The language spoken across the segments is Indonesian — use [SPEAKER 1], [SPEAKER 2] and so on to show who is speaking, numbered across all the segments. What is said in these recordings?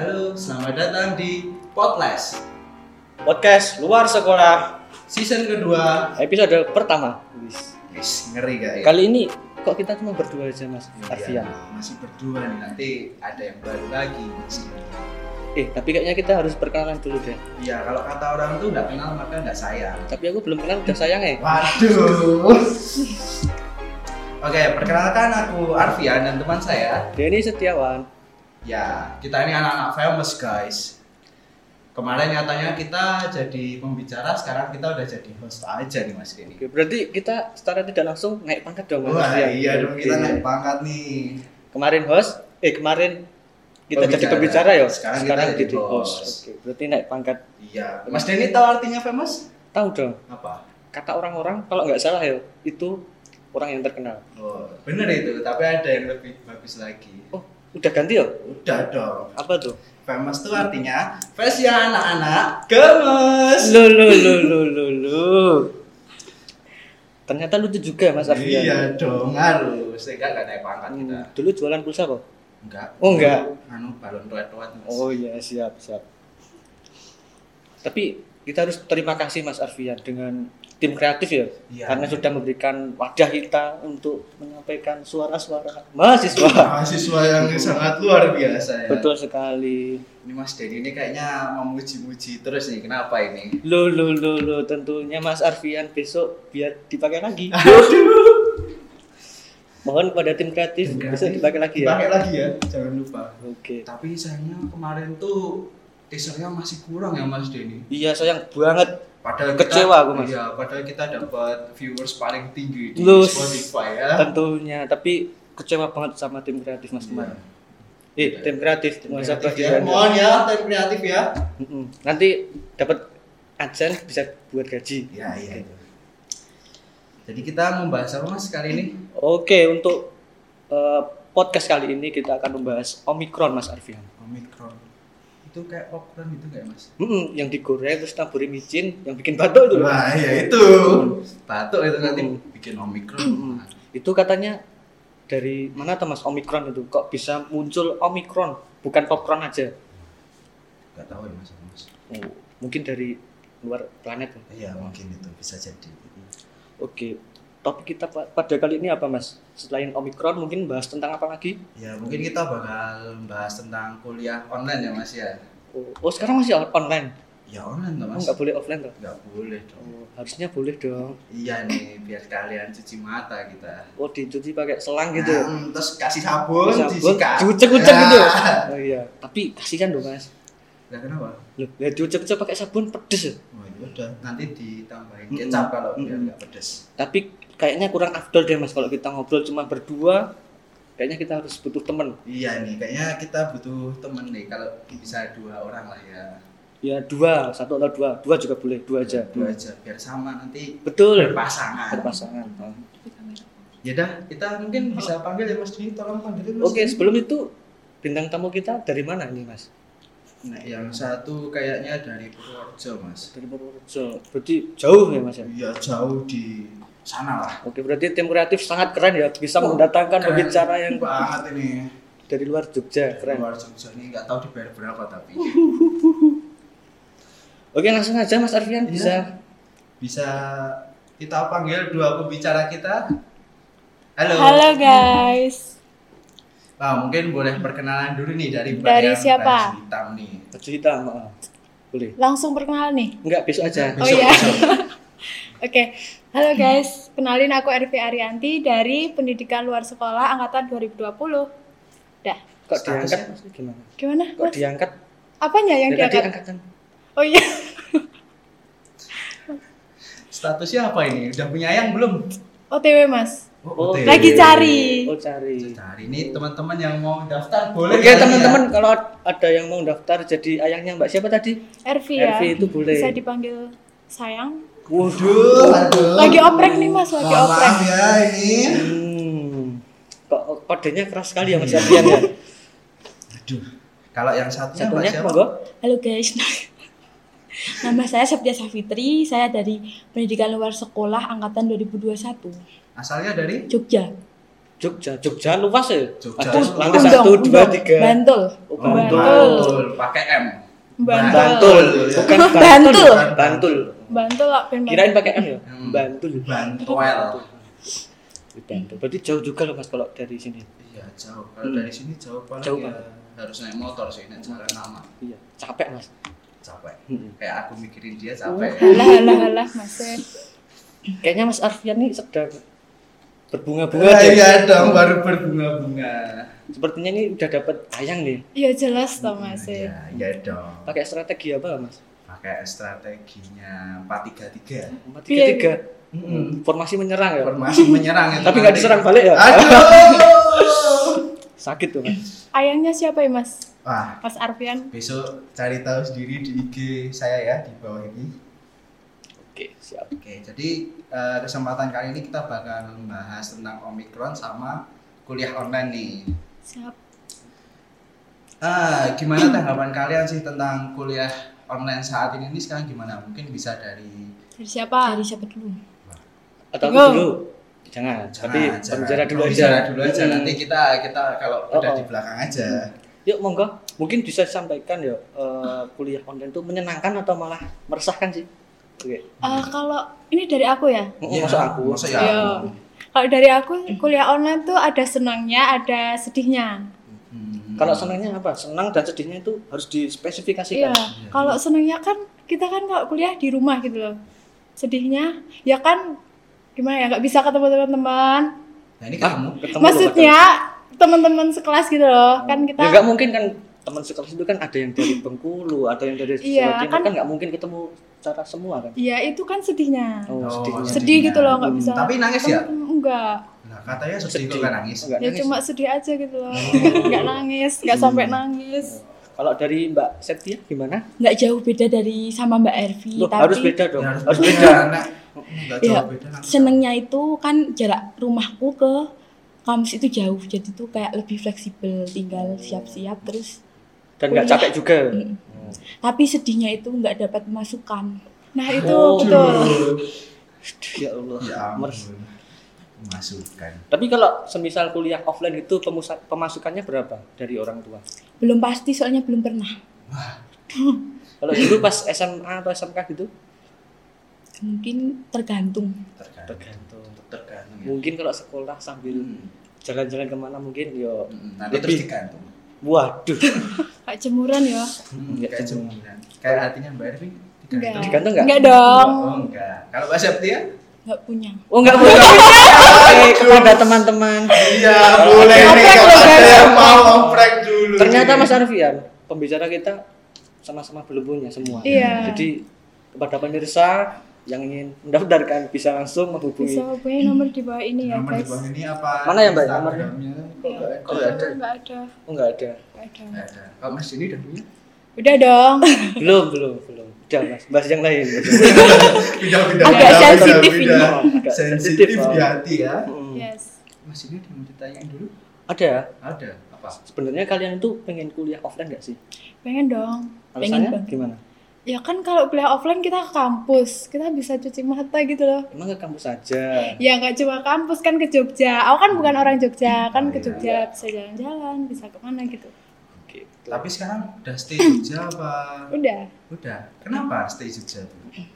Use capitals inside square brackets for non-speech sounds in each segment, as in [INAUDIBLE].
[SPEAKER 1] Halo, selamat datang di Potles
[SPEAKER 2] Podcast luar sekolah
[SPEAKER 1] season kedua.
[SPEAKER 2] episode pertama. Wis.
[SPEAKER 1] Wis, ngeri gak ya?
[SPEAKER 2] Kali ini kok kita cuma berdua aja Mas
[SPEAKER 1] Iya,
[SPEAKER 2] Arfian.
[SPEAKER 1] masih berdua nih, nanti ada yang baru lagi. Mas.
[SPEAKER 2] Eh tapi kayaknya kita harus perkenalan dulu deh.
[SPEAKER 1] Iya, kalau kata orang tuh nggak kenal maka nggak sayang.
[SPEAKER 2] Tapi aku belum kenal udah sayang ya.
[SPEAKER 1] Waduh. Oke, perkenalkan aku Arfian dan teman saya.
[SPEAKER 2] Denny Setiawan.
[SPEAKER 1] Ya, kita ini anak-anak famous guys. Kemarin nyatanya kita jadi pembicara, sekarang kita udah jadi host aja nih Mas ini.
[SPEAKER 2] Oke, berarti kita secara tidak langsung naik pangkat dong Mas
[SPEAKER 1] Wah,
[SPEAKER 2] Arfian.
[SPEAKER 1] iya dong kita
[SPEAKER 2] Oke.
[SPEAKER 1] naik pangkat nih.
[SPEAKER 2] Kemarin host, eh kemarin kita jadi
[SPEAKER 1] Pembicara.
[SPEAKER 2] pembicara ya.
[SPEAKER 1] Oh, Sekarang kita jadi
[SPEAKER 2] jadi host.
[SPEAKER 1] host.
[SPEAKER 2] Oke, berarti naik pangkat.
[SPEAKER 1] Iya. Mas Denny tahu artinya famous?
[SPEAKER 2] Tahu dong.
[SPEAKER 1] Apa?
[SPEAKER 2] Kata orang-orang kalau nggak salah ya itu orang yang terkenal.
[SPEAKER 1] Oh, bener itu, tapi ada yang lebih bagus lagi.
[SPEAKER 2] Oh, udah ganti ya?
[SPEAKER 1] Udah dong.
[SPEAKER 2] Apa tuh?
[SPEAKER 1] Famous tuh artinya spesial anak-anak gemes.
[SPEAKER 2] lo lo lo lo lo lo ternyata lu tuh juga ya, mas Arfian
[SPEAKER 1] Iya dong, harus. Sehingga nggak naik pangkat kita.
[SPEAKER 2] Hmm, dulu jualan pulsa kok
[SPEAKER 1] Enggak.
[SPEAKER 2] Oh, enggak.
[SPEAKER 1] Anu balon tuat-tuat. Mas.
[SPEAKER 2] oh iya siap siap tapi kita harus terima kasih mas Arfian dengan tim kreatif ya
[SPEAKER 1] Iya.
[SPEAKER 2] karena sudah memberikan wadah kita untuk menyampaikan suara-suara mahasiswa
[SPEAKER 1] Mahasiswa
[SPEAKER 2] [LAUGHS]
[SPEAKER 1] yang sangat luar biasa ya.
[SPEAKER 2] betul sekali
[SPEAKER 1] Ini Mas Denny ini kayaknya memuji-muji terus nih. Kenapa ini?
[SPEAKER 2] lo lo lo lo tentunya mas Arfian besok biar dipakai lagi mohon kepada tim kreatif bisa dipakai lagi ya
[SPEAKER 1] Dipakai lagi ya. Jangan lupa.
[SPEAKER 2] Oke.
[SPEAKER 1] Tapi sayangnya kemarin tuh teasernya masih kurang ya Mas Denny.
[SPEAKER 2] Iya sayang banget.
[SPEAKER 1] Padahal
[SPEAKER 2] Kecewa
[SPEAKER 1] kita,
[SPEAKER 2] aku, Mas.
[SPEAKER 1] Iya, padahal kita dapat viewers paling tinggi di
[SPEAKER 2] Lu-
[SPEAKER 1] Spotify ya.
[SPEAKER 2] Tentunya, tapi kecewa banget sama tim kreatif Mas
[SPEAKER 1] Iya.
[SPEAKER 2] kemarin. Eh, tim kreatif, mohon
[SPEAKER 1] Kreatif
[SPEAKER 2] sabar
[SPEAKER 1] ya.
[SPEAKER 2] di sana.
[SPEAKER 1] Mohon ya, tim kreatif ya.
[SPEAKER 2] Mm-mm. Nanti dapat ajan bisa buat gaji.
[SPEAKER 1] Iya, iya. Jadi kita membahas apa Mas kali ini?
[SPEAKER 2] Oke, untuk eh, podcast kali ini kita akan membahas Omikron Mas Arfian.
[SPEAKER 1] Omikron. Itu kayak Omikron itu kayak Mas?
[SPEAKER 2] Mm-mm, yang digoreng terus taburi micin yang bikin batuk itu. loh.
[SPEAKER 1] Wah, ya itu. Batuk itu nanti
[SPEAKER 2] Hmm.
[SPEAKER 1] bikin Omikron.
[SPEAKER 2] Mm-mm. Itu katanya dari mana tuh Mas Omikron itu kok bisa muncul Omikron bukan popcorn aja.
[SPEAKER 1] Gak tahu ya Mas. Mas.
[SPEAKER 2] Oh, mungkin dari luar planet.
[SPEAKER 1] Iya, mungkin itu bisa jadi.
[SPEAKER 2] Oke, topik kita pa- pada kali ini apa mas? Selain Omikron mungkin bahas tentang apa lagi?
[SPEAKER 1] Ya, mungkin kita bakal bahas tentang kuliah online ya Mas ya.
[SPEAKER 2] Oh, oh, sekarang masih on- online,
[SPEAKER 1] Ya online toh
[SPEAKER 2] Oh,
[SPEAKER 1] Mas.
[SPEAKER 2] nggak boleh offline toh?
[SPEAKER 1] Nggak boleh dong.
[SPEAKER 2] Oh, harusnya boleh dong.
[SPEAKER 1] Iya nih, biar kalian cuci mata kita.
[SPEAKER 2] Oh dicuci pakai selang
[SPEAKER 1] Nah,
[SPEAKER 2] gitu.
[SPEAKER 1] mm, terus kasih sabun,
[SPEAKER 2] Sabun,
[SPEAKER 1] disikat.
[SPEAKER 2] diucek-ucek
[SPEAKER 1] Ya.
[SPEAKER 2] gitu. Oh iya, tapi kasihan dong mas.
[SPEAKER 1] Lah kenapa?
[SPEAKER 2] Loh, ya diucek-ucek pakai sabun pedes. ya.
[SPEAKER 1] Oh, ya udah, nanti ditambahin
[SPEAKER 2] Mm-mm.
[SPEAKER 1] kecap kalau biar
[SPEAKER 2] Mm-mm.
[SPEAKER 1] nggak pedes.
[SPEAKER 2] Tapi kayaknya kurang afdol deh mas kalau kita ngobrol cuma berdua. Kayaknya kita harus butuh temen.
[SPEAKER 1] Iya nih, kayaknya kita butuh temen nih kalau bisa dua orang lah ya.
[SPEAKER 2] Ya dua, satu atau dua, dua juga boleh, dua aja.
[SPEAKER 1] Dua aja biar sama nanti
[SPEAKER 2] Betul.
[SPEAKER 1] berpasangan.
[SPEAKER 2] Berpasangan.
[SPEAKER 1] Ya dah, kita mungkin bisa panggil ya Mas Dini, tolong panggilin Mas.
[SPEAKER 2] Oke, sebelum itu bintang tamu kita dari mana ini, Mas?
[SPEAKER 1] Nah, yang satu kayaknya dari Purworejo, Mas.
[SPEAKER 2] Dari Purworejo. Berarti jauh ya, Mas ya?
[SPEAKER 1] Iya, jauh di sana lah.
[SPEAKER 2] Oke, berarti tim kreatif sangat keren ya, bisa
[SPEAKER 1] Wah,
[SPEAKER 2] mendatangkan
[SPEAKER 1] keren
[SPEAKER 2] pembicara yang
[SPEAKER 1] banget ini.
[SPEAKER 2] dari luar Jogja, keren.
[SPEAKER 1] luar Jogja ini nggak tahu dibayar berapa tapi
[SPEAKER 2] Oke, langsung aja Mas
[SPEAKER 1] Iya.
[SPEAKER 2] Arfian bisa.
[SPEAKER 1] bisa kita panggil dua pembicara kita halo
[SPEAKER 3] Halo guys,
[SPEAKER 1] Nah, mungkin boleh perkenalan dulu nih dari Mbak
[SPEAKER 3] Dari
[SPEAKER 1] yang
[SPEAKER 3] siapa?
[SPEAKER 1] baju hitam nih
[SPEAKER 2] Baju hitam, ah. Boleh.
[SPEAKER 3] langsung perkenalan nih.
[SPEAKER 2] Enggak, besok aja.
[SPEAKER 3] Oh
[SPEAKER 1] Besok,
[SPEAKER 3] iya.
[SPEAKER 1] besok.
[SPEAKER 3] Oke, halo guys, kenalin aku Ervi Arianti dari Pendidikan Luar Sekolah Angkatan 2020. Dah,
[SPEAKER 2] Kok
[SPEAKER 1] Statusnya?
[SPEAKER 2] diangkat? Mas? Gimana?
[SPEAKER 3] gimana?
[SPEAKER 2] Kok
[SPEAKER 3] Mas?
[SPEAKER 2] diangkat?
[SPEAKER 3] Apanya yang
[SPEAKER 2] Oh, Dari tadi
[SPEAKER 3] diangkat?
[SPEAKER 2] angkatan.
[SPEAKER 3] Oh iya, [LAUGHS]
[SPEAKER 1] statusnya apa ini udah punya ayang belum
[SPEAKER 3] OTW mas.
[SPEAKER 2] Oh,
[SPEAKER 1] OTW.
[SPEAKER 3] Lagi cari.
[SPEAKER 2] Oh, cari.
[SPEAKER 1] cari ini teman-teman yang mau daftar boleh
[SPEAKER 2] Oke,
[SPEAKER 1] kali ya?
[SPEAKER 2] teman-teman, kalau ada yang mau daftar jadi ayangnya Mbak siapa tadi?
[SPEAKER 3] Ervi ya,
[SPEAKER 2] Ervi itu boleh.
[SPEAKER 3] bisa dipanggil sayang.
[SPEAKER 1] Waduh, aduh.
[SPEAKER 3] Lagi oprek nih mas, lagi
[SPEAKER 1] Mohon
[SPEAKER 3] oprek.
[SPEAKER 1] maaf ya ini.
[SPEAKER 2] Hmm. Kok kodenya keras sekali ya Mas Arfian ya?
[SPEAKER 1] Aduh. Kalau yang satunya, Mbak
[SPEAKER 2] Satunya
[SPEAKER 1] siapa?
[SPEAKER 2] monggo.
[SPEAKER 3] Halo guys, [LAUGHS] nama saya Septia Safitri, saya dari Pendidikan Luar Sekolah Angkatan 2021,
[SPEAKER 1] Asalnya dari
[SPEAKER 3] Jogja.
[SPEAKER 2] Jogja, Jogja luas ya.
[SPEAKER 1] Jogja.
[SPEAKER 2] Ada lantai
[SPEAKER 1] Undang,
[SPEAKER 2] satu, dua,
[SPEAKER 3] Undang.
[SPEAKER 2] tiga.
[SPEAKER 3] Bantul.
[SPEAKER 2] Oh,
[SPEAKER 3] Bantul.
[SPEAKER 1] pakai M.
[SPEAKER 3] Bantul.
[SPEAKER 2] Bantul, bukan
[SPEAKER 3] Bantul.
[SPEAKER 2] Bantul. Bantul.
[SPEAKER 3] Bantul lah ben
[SPEAKER 2] Kirain pakai M ya?
[SPEAKER 1] Hmm.
[SPEAKER 2] Bantul.
[SPEAKER 1] Bantuel.
[SPEAKER 2] Bantul. Berarti jauh juga loh Mas kalau dari sini.
[SPEAKER 1] Iya, jauh. Kalau
[SPEAKER 2] Hmm.
[SPEAKER 1] dari sini jauh paling
[SPEAKER 2] Jauh
[SPEAKER 1] ya
[SPEAKER 2] banget.
[SPEAKER 1] harus naik motor sih, naik jalan lama.
[SPEAKER 2] Iya, capek Mas.
[SPEAKER 1] Capek.
[SPEAKER 2] Hmm. Oh.
[SPEAKER 1] Kayak aku mikirin dia capek.
[SPEAKER 2] [LAUGHS]
[SPEAKER 3] Alah alah alah Mas. Ben.
[SPEAKER 2] Kayaknya Mas Arfian nih sedang berbunga-bunga
[SPEAKER 1] Wah,
[SPEAKER 2] deh.
[SPEAKER 1] iya dong, baru berbunga-bunga.
[SPEAKER 2] Sepertinya ini udah dapat ayang nih.
[SPEAKER 3] Iya jelas toh Mas. Ben.
[SPEAKER 1] Iya, iya dong.
[SPEAKER 2] Pakai strategi apa Mas?
[SPEAKER 1] Pakai strateginya 433.
[SPEAKER 2] 4
[SPEAKER 3] Iya.
[SPEAKER 2] 3
[SPEAKER 1] Heeh.
[SPEAKER 2] 3. Formasi menyerang ya.
[SPEAKER 1] Hmm. Formasi menyerang itu.
[SPEAKER 2] Tapi nggak
[SPEAKER 1] nanti.
[SPEAKER 2] diserang balik ya.
[SPEAKER 1] Aduh.
[SPEAKER 2] Sakit tuh Mas.
[SPEAKER 3] Ayangnya siapa ya Mas?
[SPEAKER 1] Wah,
[SPEAKER 3] Mas Arfian.
[SPEAKER 1] besok cari tahu sendiri di IG saya ya di bawah ini.
[SPEAKER 2] Oke, siap.
[SPEAKER 1] Oke, jadi eh, kesempatan kali ini kita bakal membahas tentang Omicron sama kuliah online nih.
[SPEAKER 3] Siap.
[SPEAKER 1] Ah, gimana tanggapan kalian sih tentang kuliah online saat ini? Ini sekarang gimana? Mungkin bisa dari
[SPEAKER 3] Dari siapa? Dari siapa dulu?
[SPEAKER 2] Atau aku
[SPEAKER 3] Bingung.
[SPEAKER 2] dulu. Jangan, tapi pembicara dulu aja.
[SPEAKER 1] Pembicara dulu aja.
[SPEAKER 2] Hmm.
[SPEAKER 1] Nanti kita kita kalau
[SPEAKER 2] Oh,
[SPEAKER 1] udah
[SPEAKER 2] oh.
[SPEAKER 1] di belakang aja.
[SPEAKER 2] Yuk monggo, mungkin bisa disampaikan ya eh, kuliah online itu menyenangkan atau malah meresahkan sih? Oke,
[SPEAKER 3] Eh, kalau ini dari aku ya.
[SPEAKER 2] Oh, masa aku?
[SPEAKER 1] Masa ya.
[SPEAKER 3] Iya.
[SPEAKER 1] aku.
[SPEAKER 3] Kalau dari aku kuliah online tuh ada senangnya, ada sedihnya.
[SPEAKER 1] Hmm.
[SPEAKER 2] Kalau senangnya apa? Senang dan sedihnya itu harus dispesifikasikan.
[SPEAKER 3] Iya.
[SPEAKER 1] Nah,
[SPEAKER 3] Kalau senangnya kan kita kan kalau kuliah di rumah gitu loh. Sedihnya ya kan gimana ya nggak bisa ketemu teman-teman.
[SPEAKER 1] Nah, ini
[SPEAKER 2] Hah?
[SPEAKER 1] ketemu.
[SPEAKER 2] Ketemu
[SPEAKER 3] Maksudnya teman-teman sekelas gitu loh. Kan kita
[SPEAKER 2] Ya nggak mungkin kan teman sekelas itu kan ada yang dari Bengkulu, ada yang dari
[SPEAKER 3] Iya,
[SPEAKER 2] Jawa Timur
[SPEAKER 3] kan-
[SPEAKER 2] kan nggak mungkin ketemu secara semua kan.
[SPEAKER 3] ya itu kan sedihnya.
[SPEAKER 2] Oh,
[SPEAKER 1] Oh,
[SPEAKER 2] sedihnya.
[SPEAKER 1] sedih.
[SPEAKER 3] Sedih gitu loh nggak
[SPEAKER 2] Hmm,
[SPEAKER 3] bisa.
[SPEAKER 1] Tapi nangis ya?
[SPEAKER 3] Temen- Oh, Enggak.
[SPEAKER 1] Nah, katanya sedih kok
[SPEAKER 2] Sedih.
[SPEAKER 1] nggak nangis.
[SPEAKER 2] Nggak
[SPEAKER 3] Ya
[SPEAKER 2] nangis. Oh. Hmm.
[SPEAKER 3] cuma sedih aja gitu loh.
[SPEAKER 2] [LAUGHS]
[SPEAKER 3] Enggak nangis, enggak sampai nangis.
[SPEAKER 2] Kalau dari Mbak Septia gimana?
[SPEAKER 4] nggak jauh beda dari sama Mbak Ervi
[SPEAKER 3] Iya,
[SPEAKER 2] Loh,
[SPEAKER 4] tapi
[SPEAKER 2] harus beda dong.
[SPEAKER 1] Ya,
[SPEAKER 2] Harus,
[SPEAKER 1] beda.
[SPEAKER 2] beda.
[SPEAKER 1] Nak. Nggak
[SPEAKER 4] Iya,
[SPEAKER 1] jauh beda. Nak.
[SPEAKER 4] senengnya itu kan jarak rumahku ke kampus itu jauh jadi tuh kayak lebih
[SPEAKER 3] Oh.
[SPEAKER 4] fleksibel tinggal siap-siap terus
[SPEAKER 2] Dan nggak
[SPEAKER 4] Kuliah.
[SPEAKER 2] capek juga. Oh.
[SPEAKER 4] Mm. tapi sedihnya itu nggak dapat masukan
[SPEAKER 3] Nah, itu
[SPEAKER 2] Oh.
[SPEAKER 3] betul.
[SPEAKER 2] Ya Allah.
[SPEAKER 1] Ya [LAUGHS]
[SPEAKER 2] Mers-
[SPEAKER 1] ampun. Masukkan.
[SPEAKER 2] Tapi kalau semisal kuliah offline itu pemusa- pemasukannya berapa dari orang tua?
[SPEAKER 4] belum pasti soalnya belum pernah
[SPEAKER 2] Kalau dulu pas SMA atau SMK gitu?
[SPEAKER 4] mungkin tergantung
[SPEAKER 1] Tergantung.
[SPEAKER 2] Tergantung.
[SPEAKER 1] Tergantung. ya.
[SPEAKER 2] Mungkin kalau sekolah sambil
[SPEAKER 1] Hmm.
[SPEAKER 2] jalan-jalan kemana mungkin yo.
[SPEAKER 1] Hmm, Nanti terus
[SPEAKER 2] Lebih.
[SPEAKER 1] digantung.
[SPEAKER 2] Waduh.
[SPEAKER 3] Kayak jemuran ya.
[SPEAKER 1] Hmm,
[SPEAKER 2] Nggak
[SPEAKER 1] kayak
[SPEAKER 2] jemuran.
[SPEAKER 1] jemuran. Kayak hatinya Mbak Ervin digantung.
[SPEAKER 3] Nggak.
[SPEAKER 2] Digantung nggak?
[SPEAKER 3] Enggak dong.
[SPEAKER 1] Oh, enggak. Kalau Mbak Septia?
[SPEAKER 4] nggak punya
[SPEAKER 2] Oh nggak
[SPEAKER 1] [LAUGHS]
[SPEAKER 2] boleh. Oke, kepada teman-teman.
[SPEAKER 1] Iya, boleh
[SPEAKER 3] Oprek
[SPEAKER 1] nih kalau
[SPEAKER 3] dulu,
[SPEAKER 1] ada
[SPEAKER 3] guys.
[SPEAKER 1] yang mau oprek dulu.
[SPEAKER 2] Ternyata
[SPEAKER 1] nih.
[SPEAKER 2] Mas Arfian, pembicara kita sama-sama belum punya semua.
[SPEAKER 3] Iya.
[SPEAKER 2] Jadi kepada pemirsa yang ingin mendaftarkan bisa langsung
[SPEAKER 3] Bisa
[SPEAKER 2] menghubungi.
[SPEAKER 3] hubungi nomor di bawah ini ya,
[SPEAKER 1] nomor di
[SPEAKER 3] guys. Iya.
[SPEAKER 1] bawah ini apa?
[SPEAKER 2] Mana ya, Mbak? Nomornya?
[SPEAKER 1] Instagramnya? Kok nggak ada?
[SPEAKER 2] Nggak ada.
[SPEAKER 3] Enggak ada.
[SPEAKER 2] Oh nggak ada.
[SPEAKER 3] Nggak ada.
[SPEAKER 1] Nggak ada. Kalau Mas ini udah punya?
[SPEAKER 3] Udah dong.
[SPEAKER 2] Belum belum belum. Udah mas, bahas yang lain.
[SPEAKER 1] Tidak, tidak.
[SPEAKER 3] Agak
[SPEAKER 1] tidak,
[SPEAKER 3] sensitif
[SPEAKER 1] tidak,
[SPEAKER 3] ini.
[SPEAKER 1] tidak.
[SPEAKER 2] Agak
[SPEAKER 1] Sensitif
[SPEAKER 2] sensitif, oh.
[SPEAKER 1] di
[SPEAKER 2] Om.
[SPEAKER 1] hati ya.
[SPEAKER 2] Mm.
[SPEAKER 3] [LAUGHS] Yes.
[SPEAKER 1] Mas ini ada yang mau ditanyain dulu?
[SPEAKER 2] Hmm. Ada. ya?
[SPEAKER 1] Ada. Apa?
[SPEAKER 2] Sebenarnya kalian tuh pengen kuliah offline nggak sih?
[SPEAKER 3] Pengen dong.
[SPEAKER 4] Pengen
[SPEAKER 2] Alasannya
[SPEAKER 4] banget.
[SPEAKER 2] gimana?
[SPEAKER 3] Ya kan kalau kuliah offline kita ke kampus, kita bisa cuci mata gitu loh.
[SPEAKER 2] Emang ke kampus aja.
[SPEAKER 3] Ya nggak cuma kampus kan ke Jogja. Aku kan bukan orang
[SPEAKER 1] Oh,
[SPEAKER 3] Jogja, kan ke
[SPEAKER 1] iya.
[SPEAKER 3] Jogja bisa jalan-jalan, bisa kemana gitu.
[SPEAKER 2] Gitu.
[SPEAKER 1] Tapi sekarang udah stay Jogja apa?
[SPEAKER 3] Udah.
[SPEAKER 1] Udah. Kenapa stay Jogja? tuh?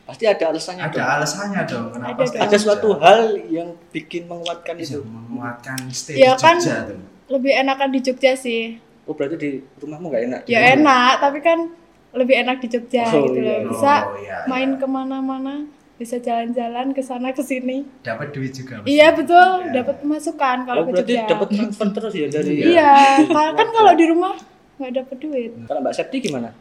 [SPEAKER 2] pasti ada alasannya.
[SPEAKER 1] Ada
[SPEAKER 2] dong.
[SPEAKER 1] alasannya dong. Kenapa
[SPEAKER 3] Ada
[SPEAKER 1] stay
[SPEAKER 3] dong.
[SPEAKER 2] ada
[SPEAKER 1] Jogja?
[SPEAKER 2] suatu hal yang bikin menguatkan
[SPEAKER 1] Bisa
[SPEAKER 2] itu.
[SPEAKER 1] menguatkan stay
[SPEAKER 3] Ya
[SPEAKER 1] di
[SPEAKER 3] kan?
[SPEAKER 1] Jogja tuh.
[SPEAKER 3] Lebih enakan di Jogja sih.
[SPEAKER 2] Oh berarti di rumahmu nggak enak?
[SPEAKER 3] Ya enak, tapi kan lebih enak di Jogja
[SPEAKER 2] Iya. Oh,
[SPEAKER 3] gitu
[SPEAKER 2] iya.
[SPEAKER 3] loh. Bisa
[SPEAKER 1] Oh, iya,
[SPEAKER 3] main
[SPEAKER 1] iya.
[SPEAKER 3] kemana-mana, bisa jalan-jalan ke sana ke sini.
[SPEAKER 1] dapat duit juga. Mas.
[SPEAKER 3] Iya betul,
[SPEAKER 1] Iya.
[SPEAKER 3] dapat masukan
[SPEAKER 2] Oh
[SPEAKER 3] kalau ke
[SPEAKER 2] berarti
[SPEAKER 3] Jogja.
[SPEAKER 2] dapat transfer terus ya dari.
[SPEAKER 3] Iya, ka- kan kalau di rumah nggak dapat duit.
[SPEAKER 2] Kalau Mbak Septi gimana?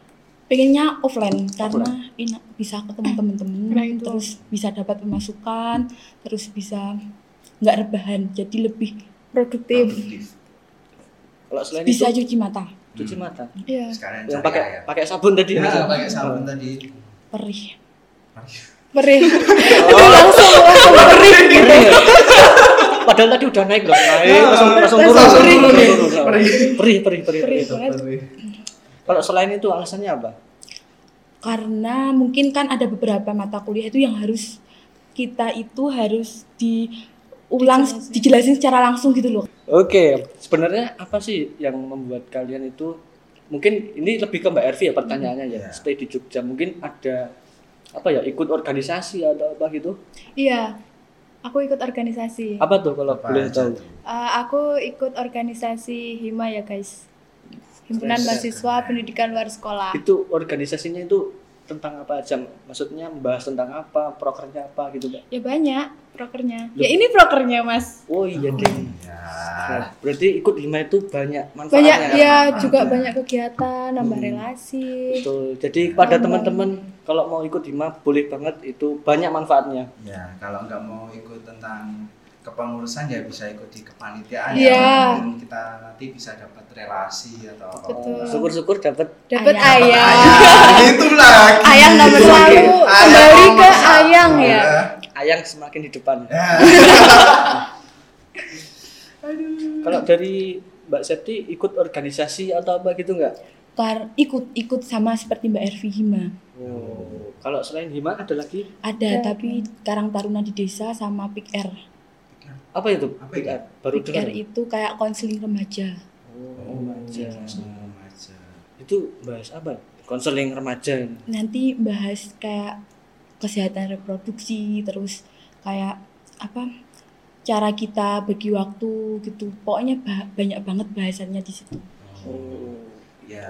[SPEAKER 4] pengennya offline karena enak bisa ketemu temen-temen
[SPEAKER 3] Nah, itu.
[SPEAKER 4] terus bisa dapat pemasukan terus bisa nggak rebahan jadi lebih
[SPEAKER 3] Produktif.
[SPEAKER 2] Kalau selain
[SPEAKER 4] bisa
[SPEAKER 2] itu
[SPEAKER 4] cuci mata
[SPEAKER 2] cuci mata.
[SPEAKER 3] Iya.
[SPEAKER 1] Hmm. Sekalian
[SPEAKER 2] Yang
[SPEAKER 1] cari
[SPEAKER 2] pakai Iya.
[SPEAKER 1] ayam.
[SPEAKER 2] pakai sabun tadi. Nah.
[SPEAKER 1] Ya,
[SPEAKER 2] itu.
[SPEAKER 1] pakai sabun tadi.
[SPEAKER 4] perih
[SPEAKER 3] Perih. [LAUGHS] Itu langsung langsung perih gitu. Nah,
[SPEAKER 2] Perih Oh. ya? Padahal tadi udah naik loh.
[SPEAKER 3] Iya,
[SPEAKER 2] Naik, Eh, langsung langsung turun.
[SPEAKER 1] Langsung
[SPEAKER 2] Perih,
[SPEAKER 1] turun.
[SPEAKER 2] turun, turun. Iya,
[SPEAKER 1] Perih.
[SPEAKER 2] Perih, perih, perih.
[SPEAKER 3] Perih.
[SPEAKER 2] perih.
[SPEAKER 3] banget.
[SPEAKER 2] Kalau selain itu alasannya apa?
[SPEAKER 4] karena mungkin kan ada beberapa mata kuliah itu yang harus kita itu harus di ulang
[SPEAKER 3] Dijelasin.
[SPEAKER 4] dijelasin secara langsung gitu loh.
[SPEAKER 2] Oke, sebenarnya apa sih yang membuat kalian itu mungkin ini lebih ke Mbak Ervi ya pertanyaannya ya.
[SPEAKER 1] Iya.
[SPEAKER 2] Stay di Jogja mungkin ada apa ya ikut organisasi atau apa gitu?
[SPEAKER 3] Iya, aku ikut organisasi.
[SPEAKER 2] Apa tuh kalau
[SPEAKER 1] Apa
[SPEAKER 2] boleh
[SPEAKER 1] aja
[SPEAKER 2] tahu?
[SPEAKER 1] tuh?
[SPEAKER 3] Eh, aku ikut organisasi HIMA ya guys. Himpunan
[SPEAKER 2] Keren.
[SPEAKER 3] Mahasiswa Pendidikan Luar Sekolah.
[SPEAKER 2] Itu organisasinya itu tentang apa aja? Maksudnya membahas tentang apa, prokernya apa gitu, Mbak?
[SPEAKER 3] Ya banyak prokernya.
[SPEAKER 2] Loh.
[SPEAKER 3] Ya ini prokernya mas.
[SPEAKER 2] Oh iya, Din.
[SPEAKER 1] Iya.
[SPEAKER 2] Nah, berarti ikut lima itu banyak iya. manfaatnya.
[SPEAKER 3] Banyak ya
[SPEAKER 1] manfaatnya.
[SPEAKER 3] juga banyak kegiatan, nambah
[SPEAKER 2] Hmm.
[SPEAKER 3] relasi.
[SPEAKER 2] Betul. Jadi pada
[SPEAKER 3] Tambah.
[SPEAKER 2] teman-teman kalau mau ikut hima boleh banget itu banyak manfaatnya.
[SPEAKER 1] Ya, kalau nggak mau ikut tentang kepengurusan ya bisa ikut di kepanitiaan
[SPEAKER 3] Iya.
[SPEAKER 1] ya. Mungkin kita nanti bisa dapat relasi atau apa.
[SPEAKER 3] Betul.
[SPEAKER 2] Syukur-syukur dapat
[SPEAKER 3] Dapat
[SPEAKER 4] Ayang.
[SPEAKER 2] Ya.
[SPEAKER 1] [LAUGHS]
[SPEAKER 3] ayang.
[SPEAKER 1] Itu gitu lagi.
[SPEAKER 3] Ayang nomor
[SPEAKER 2] Oke.
[SPEAKER 3] satu
[SPEAKER 1] Ayang
[SPEAKER 3] kembali
[SPEAKER 1] nomor
[SPEAKER 3] ke
[SPEAKER 1] satu.
[SPEAKER 3] ayang ya.
[SPEAKER 2] ayang semakin di depan.
[SPEAKER 1] Ya.
[SPEAKER 2] Kalau dari Mbak Septi ikut organisasi atau apa gitu nggak?
[SPEAKER 4] Kar ikut ikut sama seperti Mbak Ervi Hima.
[SPEAKER 2] Oh. Kalau selain hima ada lagi
[SPEAKER 3] Ya.
[SPEAKER 4] Ada tapi Karang Taruna di desa sama Pik R.
[SPEAKER 2] apa itu?
[SPEAKER 1] Apa itu?
[SPEAKER 2] PR? Baru
[SPEAKER 4] Pik
[SPEAKER 2] dengar.
[SPEAKER 4] R itu kayak konseling remaja.
[SPEAKER 2] Oh,
[SPEAKER 1] Oh,
[SPEAKER 2] remaja.
[SPEAKER 1] remaja.
[SPEAKER 2] Itu bahas apa? Konseling remaja. ini.
[SPEAKER 4] Nanti bahas kayak kesehatan reproduksi terus kayak apa cara kita bagi waktu gitu. Pokoknya ba- banyak banget bahasannya di situ.
[SPEAKER 1] Oh. Ya,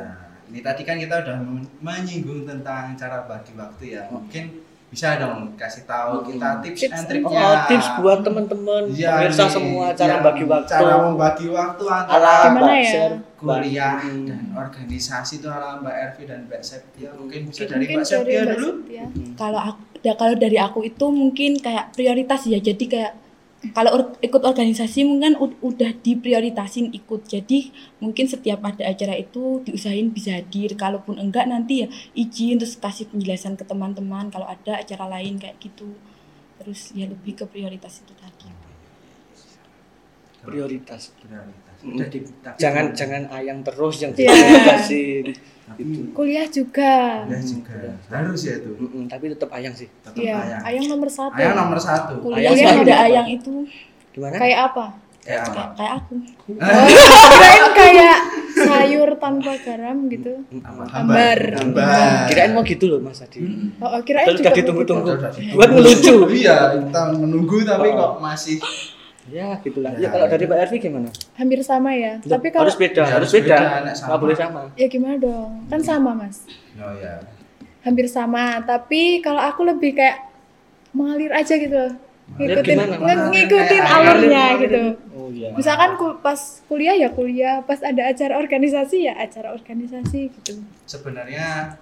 [SPEAKER 1] ini tadi kan kita udah men- menyinggung tentang cara bagi waktu ya. Mungkin bisa dong kasih tahu kita tips,
[SPEAKER 3] Tips
[SPEAKER 1] and
[SPEAKER 3] and-
[SPEAKER 1] triknya.
[SPEAKER 2] Oh, Hmm. tips buat teman-teman
[SPEAKER 1] Ya. Iya,
[SPEAKER 2] pemirsa
[SPEAKER 1] nih.
[SPEAKER 2] semua cara
[SPEAKER 1] Iya,
[SPEAKER 2] bagi waktu.
[SPEAKER 1] Cara membagi waktu antara
[SPEAKER 2] Ala
[SPEAKER 3] Gimana
[SPEAKER 2] Mbak
[SPEAKER 3] ya?
[SPEAKER 2] Sher, Mbak
[SPEAKER 1] kuliah
[SPEAKER 2] Ervi.
[SPEAKER 1] dan organisasi itu ala Mbak Ervi dan Mbak Septia. Mungkin bisa dari
[SPEAKER 3] Mungkin
[SPEAKER 1] Mbak Septia
[SPEAKER 3] Mbak
[SPEAKER 1] dulu.
[SPEAKER 3] Septia.
[SPEAKER 4] kalau aku da- kalau dari aku itu mungkin kayak prioritas ya jadi kayak kalau or- ikut organisasi mungkin ud- udah diprioritasin ikut jadi mungkin setiap ada acara itu diusahain bisa hadir kalaupun enggak nanti ya izin terus kasih penjelasan ke teman-teman kalau ada acara lain kayak gitu terus ya lebih ke prioritas itu tadi
[SPEAKER 2] prioritas.
[SPEAKER 1] Prioritas.
[SPEAKER 2] Mm.
[SPEAKER 1] Udah di- tapi-
[SPEAKER 2] Jangan jangan ayang terus yang Gitu.
[SPEAKER 3] Iya.
[SPEAKER 2] diprioritaskan.
[SPEAKER 1] tapi
[SPEAKER 2] itu.
[SPEAKER 3] Kuliah juga.
[SPEAKER 1] Ya juga. Harus ya itu.
[SPEAKER 2] Mm-mm, tapi tetap ayang sih.
[SPEAKER 1] Tetap
[SPEAKER 3] Iya,
[SPEAKER 1] ayang.
[SPEAKER 3] ayang nomor satu.
[SPEAKER 1] Ayang nomor satu.
[SPEAKER 4] kuliah
[SPEAKER 2] Ayang
[SPEAKER 4] ada
[SPEAKER 2] selalu.
[SPEAKER 4] ayang itu
[SPEAKER 2] Gimana?
[SPEAKER 3] Kayak
[SPEAKER 1] [LAUGHS]
[SPEAKER 3] apa?
[SPEAKER 1] Kayak Eh, apa? Eh,
[SPEAKER 4] kayak, kayak aku
[SPEAKER 3] Oh, kirain kayak sayur tanpa garam gitu.
[SPEAKER 1] Apa?
[SPEAKER 3] Hambar.
[SPEAKER 1] Hambar.
[SPEAKER 2] Oh, Kirain mau Eh. gitu loh Mas Adi.
[SPEAKER 1] Mm.
[SPEAKER 3] Oh, oh, kirain
[SPEAKER 2] Terus
[SPEAKER 3] juga
[SPEAKER 2] udah
[SPEAKER 3] mau
[SPEAKER 2] ditunggu-tunggu.
[SPEAKER 3] gitu.
[SPEAKER 2] Buat
[SPEAKER 1] [LAUGHS]
[SPEAKER 2] ngelucu.
[SPEAKER 1] Iya, kita menunggu tapi
[SPEAKER 2] Oh.
[SPEAKER 1] kok masih
[SPEAKER 2] Ya gitulah.
[SPEAKER 1] Ya.
[SPEAKER 2] Ya kalau dari Pak Ervi gimana?
[SPEAKER 3] Hampir sama ya. Tapi kalau
[SPEAKER 2] harus beda,
[SPEAKER 1] Ya, harus
[SPEAKER 2] harus
[SPEAKER 1] beda,
[SPEAKER 2] beda.
[SPEAKER 1] anak sama.
[SPEAKER 2] Nggak boleh sama.
[SPEAKER 3] ya gimana dong? Kan sama, Mas.
[SPEAKER 1] Oh ya.
[SPEAKER 3] Hampir sama, tapi kalau aku lebih kayak mengalir aja gitu loh.
[SPEAKER 1] Mengalir
[SPEAKER 3] Ngikutin
[SPEAKER 2] gimana?
[SPEAKER 3] nge- ngikutin
[SPEAKER 1] Mengalir,
[SPEAKER 3] Kan alurnya
[SPEAKER 1] mengalir.
[SPEAKER 3] gitu.
[SPEAKER 2] Oh iya.
[SPEAKER 3] Misalkan ku- pas kuliah ya kuliah, pas ada acara organisasi ya acara organisasi gitu.
[SPEAKER 1] Sebenarnya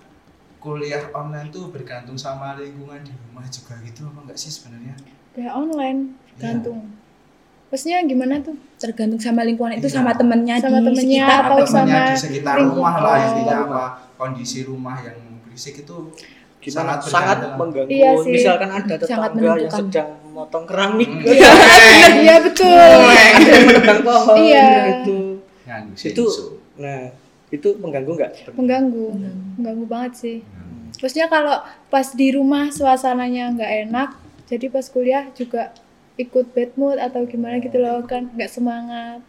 [SPEAKER 1] kuliah online tuh bergantung sama lingkungan di rumah juga gitu apa enggak sih sebenarnya?
[SPEAKER 3] Udah online,
[SPEAKER 1] Iya.
[SPEAKER 3] gantung. Maksudnya gimana
[SPEAKER 1] [LAUGHS]
[SPEAKER 3] tuh?
[SPEAKER 4] tergantung sama lingkungan itu
[SPEAKER 1] Iya.
[SPEAKER 4] sama temennya
[SPEAKER 3] Sama
[SPEAKER 2] Iya,
[SPEAKER 4] di
[SPEAKER 3] temennya,
[SPEAKER 4] sekitar
[SPEAKER 3] atau
[SPEAKER 1] Temennya
[SPEAKER 3] sama
[SPEAKER 1] di sekitar
[SPEAKER 3] lingkungan.
[SPEAKER 1] rumah lah intinya
[SPEAKER 2] Oh.
[SPEAKER 1] apa kondisi rumah yang berisik itu
[SPEAKER 2] Gimana?
[SPEAKER 1] sangat
[SPEAKER 2] Sangat,
[SPEAKER 1] bergantung.
[SPEAKER 2] mengganggu.
[SPEAKER 3] Iya sih.
[SPEAKER 2] Misalkan ada
[SPEAKER 4] Sangat
[SPEAKER 2] tetangga yang
[SPEAKER 4] menentukan.
[SPEAKER 2] sedang motong keramik, [LAUGHS]
[SPEAKER 1] Hmm.
[SPEAKER 2] ada
[SPEAKER 3] Iya, iya betul.
[SPEAKER 2] yang menebang pohon
[SPEAKER 3] Iya.
[SPEAKER 2] gitu.
[SPEAKER 1] Nganu,
[SPEAKER 2] Itu
[SPEAKER 1] sensu.
[SPEAKER 2] nah, itu mengganggu nggak?
[SPEAKER 3] Mengganggu.
[SPEAKER 4] Mengganggu.
[SPEAKER 3] Mengganggu banget sih.
[SPEAKER 1] Hmm.
[SPEAKER 3] Terusnya kalau pas di rumah suasananya nggak enak, jadi pas kuliah juga ikut bad mood atau gimana gitu loh kan nggak semangat.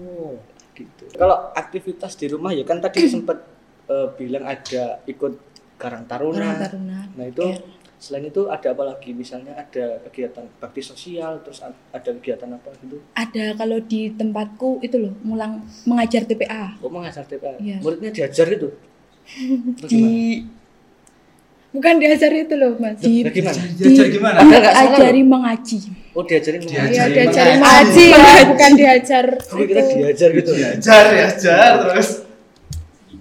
[SPEAKER 2] Oh, gitu. Kalau aktivitas di rumah ya kan tadi sempat eh, bilang ada ikut Karang
[SPEAKER 4] Karang
[SPEAKER 2] Taruna.
[SPEAKER 4] Taruna
[SPEAKER 2] Nah itu selain itu ada apa lagi? Misalnya ada kegiatan bakti sosial, terus a- ada kegiatan apa gitu?
[SPEAKER 4] ada kalau di tempatku itu loh mulang mengajar TPA
[SPEAKER 2] Oh mengajar TPA.
[SPEAKER 4] Iya.
[SPEAKER 2] Muridnya diajar gitu? Atau gimana?
[SPEAKER 4] di
[SPEAKER 3] Bukan diajar itu loh mas.
[SPEAKER 4] di
[SPEAKER 2] Nah, gimana?
[SPEAKER 1] Diajar gimana?
[SPEAKER 2] Ada nggak salah
[SPEAKER 4] diajari mengaji
[SPEAKER 2] Oh diajarin mengajar.
[SPEAKER 3] Iya
[SPEAKER 1] Diajarin
[SPEAKER 3] diajarin
[SPEAKER 4] mengaji.
[SPEAKER 3] mengaji ya, bukan diajar
[SPEAKER 2] Oh, kita
[SPEAKER 3] itu.
[SPEAKER 2] diajar gitu.
[SPEAKER 1] Diajar, diajar ya, terus.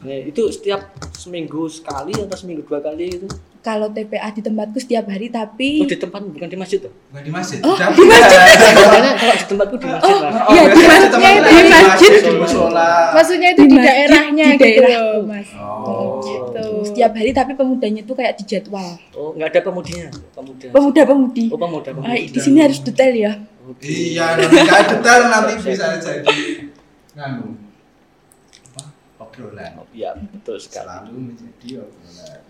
[SPEAKER 2] Nah, itu setiap seminggu sekali atau seminggu dua kali itu?
[SPEAKER 4] kalau TPA di tempatku setiap hari
[SPEAKER 2] Oh
[SPEAKER 4] tapi
[SPEAKER 2] di tempat bukan di masjid tuh?
[SPEAKER 1] Bukan di masjid. di masjid.
[SPEAKER 2] [LAUGHS] Soalnya [LAUGHS] Oh. kalau di tempatku di masjid lah.
[SPEAKER 4] Iya,
[SPEAKER 1] biasanya
[SPEAKER 4] di
[SPEAKER 1] Iya,
[SPEAKER 4] masjid,
[SPEAKER 1] teman-teman
[SPEAKER 4] di
[SPEAKER 1] lagi
[SPEAKER 4] masjid.
[SPEAKER 1] Di musola.
[SPEAKER 3] Maksudnya itu di,
[SPEAKER 4] Di masjid,
[SPEAKER 3] daerahnya
[SPEAKER 4] di
[SPEAKER 3] gitu
[SPEAKER 4] daerahku.
[SPEAKER 3] loh mas.
[SPEAKER 1] Oh.
[SPEAKER 3] Gitu.
[SPEAKER 4] setiap hari tapi pemudanya tuh kayak dijadwal
[SPEAKER 2] Oh nggak ada pemudinya? Pemuda.
[SPEAKER 4] pemuda-pemudi
[SPEAKER 2] Oh pemuda. Oh, gitu.
[SPEAKER 4] Ah,
[SPEAKER 2] pemudi.
[SPEAKER 4] di sini harus detail ya
[SPEAKER 2] Oke.
[SPEAKER 1] Iya, nanti nggak detail nanti bisa jadi nganu apa obrolan
[SPEAKER 2] Oh, Iya betul sekali.
[SPEAKER 1] selalu menjadi obrolan.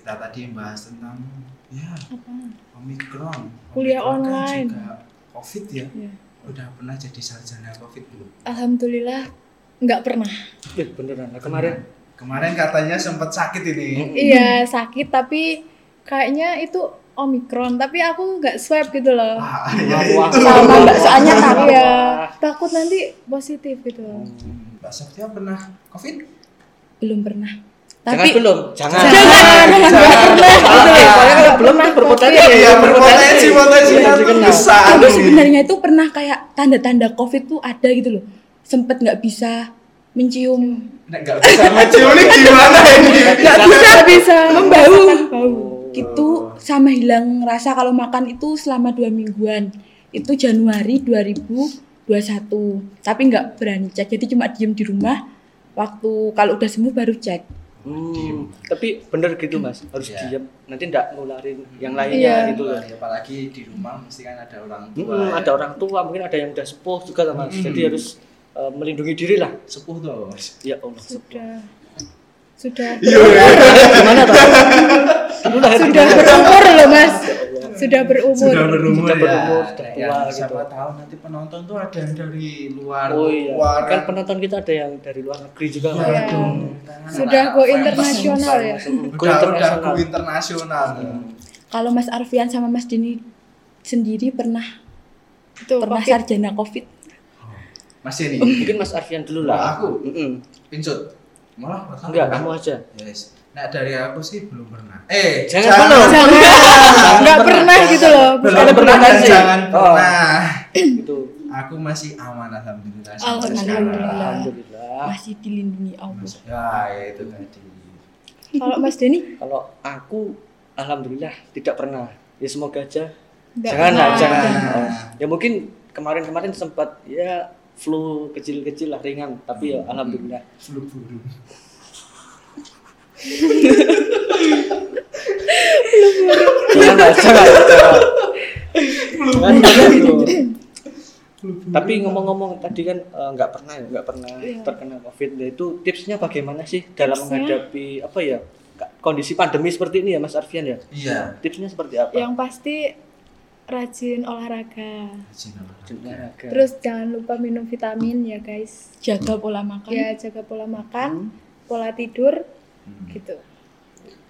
[SPEAKER 1] kita tadi bahas tentang ya
[SPEAKER 3] apa
[SPEAKER 1] omikron.
[SPEAKER 3] Kuliah
[SPEAKER 1] Omikron kan
[SPEAKER 3] online.
[SPEAKER 1] juga covid ya.
[SPEAKER 3] Iya.
[SPEAKER 1] Udah pernah jadi sarjana covid belum?
[SPEAKER 3] alhamdulillah nggak pernah
[SPEAKER 2] Ih, beneran. Nah, kemarin
[SPEAKER 1] Kemarin katanya sempat sakit ini.
[SPEAKER 3] iya sakit tapi kayaknya itu omikron tapi aku nggak swab gitu loh
[SPEAKER 1] Ah,
[SPEAKER 2] Wah,
[SPEAKER 1] ya
[SPEAKER 2] wah.
[SPEAKER 1] itu.
[SPEAKER 4] Sama, Mbak. Soalnya ya. takut.
[SPEAKER 3] Iya, takut nanti positif gitu loh.
[SPEAKER 1] Hmm, Mbak Septia pernah covid?
[SPEAKER 4] belum pernah
[SPEAKER 2] Jangan
[SPEAKER 4] tapi
[SPEAKER 2] belum, jangan.
[SPEAKER 3] Jangan, jangan, nggak pernah gitu.
[SPEAKER 2] Oke, soalnya kalau
[SPEAKER 3] Nggak
[SPEAKER 2] belum ya,
[SPEAKER 3] pernah,
[SPEAKER 2] tuh berpotensi.
[SPEAKER 3] tapi-
[SPEAKER 1] Iya, berpotensi, potensinya
[SPEAKER 2] Iya,
[SPEAKER 1] tuh
[SPEAKER 2] dikenal.
[SPEAKER 1] besar.
[SPEAKER 4] tapi
[SPEAKER 1] nih.
[SPEAKER 4] sebenarnya itu pernah kayak tanda-tanda covid tuh ada gitu loh sempet nggak bisa mencium
[SPEAKER 1] Nek nggak bisa mencium ini gimana ini?
[SPEAKER 4] nggak bisa
[SPEAKER 3] bisa.
[SPEAKER 4] membau
[SPEAKER 2] Hmm,
[SPEAKER 4] itu sama hilang rasa kalau makan itu selama dua mingguan itu Januari 2021 tapi nggak berani cek jadi cuma diem di rumah waktu kalau udah sembuh baru cek
[SPEAKER 2] Hmm, tapi bener gitu mas, harus
[SPEAKER 1] Iya.
[SPEAKER 2] diam. Nanti ndak ngularin yang
[SPEAKER 3] Iya.
[SPEAKER 2] lainnya gitu loh.
[SPEAKER 1] Apalagi di rumah mesti kan ada orang tua.
[SPEAKER 2] Mm-mm,
[SPEAKER 1] ya.
[SPEAKER 2] ada orang tua, mungkin ada yang udah sepuh juga lah mas.
[SPEAKER 1] Mm-mm.
[SPEAKER 2] Jadi harus eh, melindungi diri lah.
[SPEAKER 1] sepuh tuh. Mas.
[SPEAKER 2] Ya Allah. sepuh.
[SPEAKER 3] Sudah. Sudah.
[SPEAKER 2] Iya. Gimana tuh? Lu lahir di
[SPEAKER 3] Sudah
[SPEAKER 2] mana?
[SPEAKER 3] berumur loh, Mas.
[SPEAKER 2] Ya Allah.
[SPEAKER 3] Sudah berumur.
[SPEAKER 1] Sudah berumur
[SPEAKER 2] Sudah
[SPEAKER 1] ya.
[SPEAKER 2] berumur, sudah
[SPEAKER 1] Nek,
[SPEAKER 2] tua
[SPEAKER 1] yang
[SPEAKER 2] gitu.
[SPEAKER 1] Siapa tahu nanti penonton tuh ada yang dari luar.
[SPEAKER 2] Oh iya.
[SPEAKER 1] luar
[SPEAKER 2] Kan penonton kita ada yang dari luar negeri juga. Mas.
[SPEAKER 3] Iya.
[SPEAKER 1] Waduh, tangan
[SPEAKER 3] Sudah
[SPEAKER 1] anak
[SPEAKER 3] go
[SPEAKER 1] famous.
[SPEAKER 3] internasional ya.
[SPEAKER 2] Go
[SPEAKER 1] Udah udah
[SPEAKER 2] internasional.
[SPEAKER 1] go internasional.
[SPEAKER 4] kalau Mas Arfian sama Mas Dini sendiri pernah
[SPEAKER 3] Tuh,
[SPEAKER 4] pernah
[SPEAKER 3] COVID.
[SPEAKER 4] sarjana covid
[SPEAKER 1] Masih nih.
[SPEAKER 2] Oh, Mungkin Mas Arfian dulu lah.
[SPEAKER 1] Aku?
[SPEAKER 2] Mm-mm.
[SPEAKER 1] Pincut. Malah pertama.
[SPEAKER 2] Enggak, kamu aja.
[SPEAKER 1] Yes. Nah dari aku sih belum pernah. Eh,
[SPEAKER 2] Jangan belum.
[SPEAKER 3] Enggak pernah gitu loh.
[SPEAKER 1] Belum
[SPEAKER 2] Ada
[SPEAKER 1] pernah
[SPEAKER 2] pernah
[SPEAKER 1] dan
[SPEAKER 2] sih.
[SPEAKER 1] jangan
[SPEAKER 2] Oh.
[SPEAKER 1] pernah.
[SPEAKER 2] Gitu.
[SPEAKER 1] Aku masih aman
[SPEAKER 3] Oh,
[SPEAKER 1] alhamdulillah. sampai
[SPEAKER 4] Alhamdulillah.
[SPEAKER 1] sekarang.
[SPEAKER 2] Alhamdulillah.
[SPEAKER 4] masih dilindungi Allah
[SPEAKER 1] Mas- Ya itu tadi.
[SPEAKER 3] Kalau Mas Deni?
[SPEAKER 2] Kalau aku alhamdulillah tidak pernah. Ya semoga aja.
[SPEAKER 3] Nggak
[SPEAKER 2] Jangan lah,
[SPEAKER 3] pernah.
[SPEAKER 2] jangan.
[SPEAKER 1] Nah.
[SPEAKER 2] Ya mungkin kemarin-kemarin sempat ya flu kecil-kecil lah ringan, tapi ya alhamdulillah.
[SPEAKER 1] Flu burung.
[SPEAKER 2] Jangan lah, jangan. jangan. Jangan, jangan, jangan. Tapi ngomong-ngomong tadi kan eh, nggak pernah ya, nggak pernah
[SPEAKER 3] Iya.
[SPEAKER 2] terkena COVID. Ya, itu tipsnya bagaimana sih dalam
[SPEAKER 3] Tipsnya?
[SPEAKER 2] menghadapi apa ya ka- kondisi pandemi seperti ini ya, Mas Arfian ya?
[SPEAKER 1] Iya.
[SPEAKER 2] Tipsnya seperti apa?
[SPEAKER 3] Yang pasti rajin olahraga.
[SPEAKER 1] Rajin olahraga.
[SPEAKER 2] Olahraga.
[SPEAKER 3] Terus jangan lupa minum vitamin ya, guys.
[SPEAKER 4] jaga pola makan
[SPEAKER 3] Ya, jaga pola makan, pola tidur
[SPEAKER 1] Hmm.
[SPEAKER 3] gitu.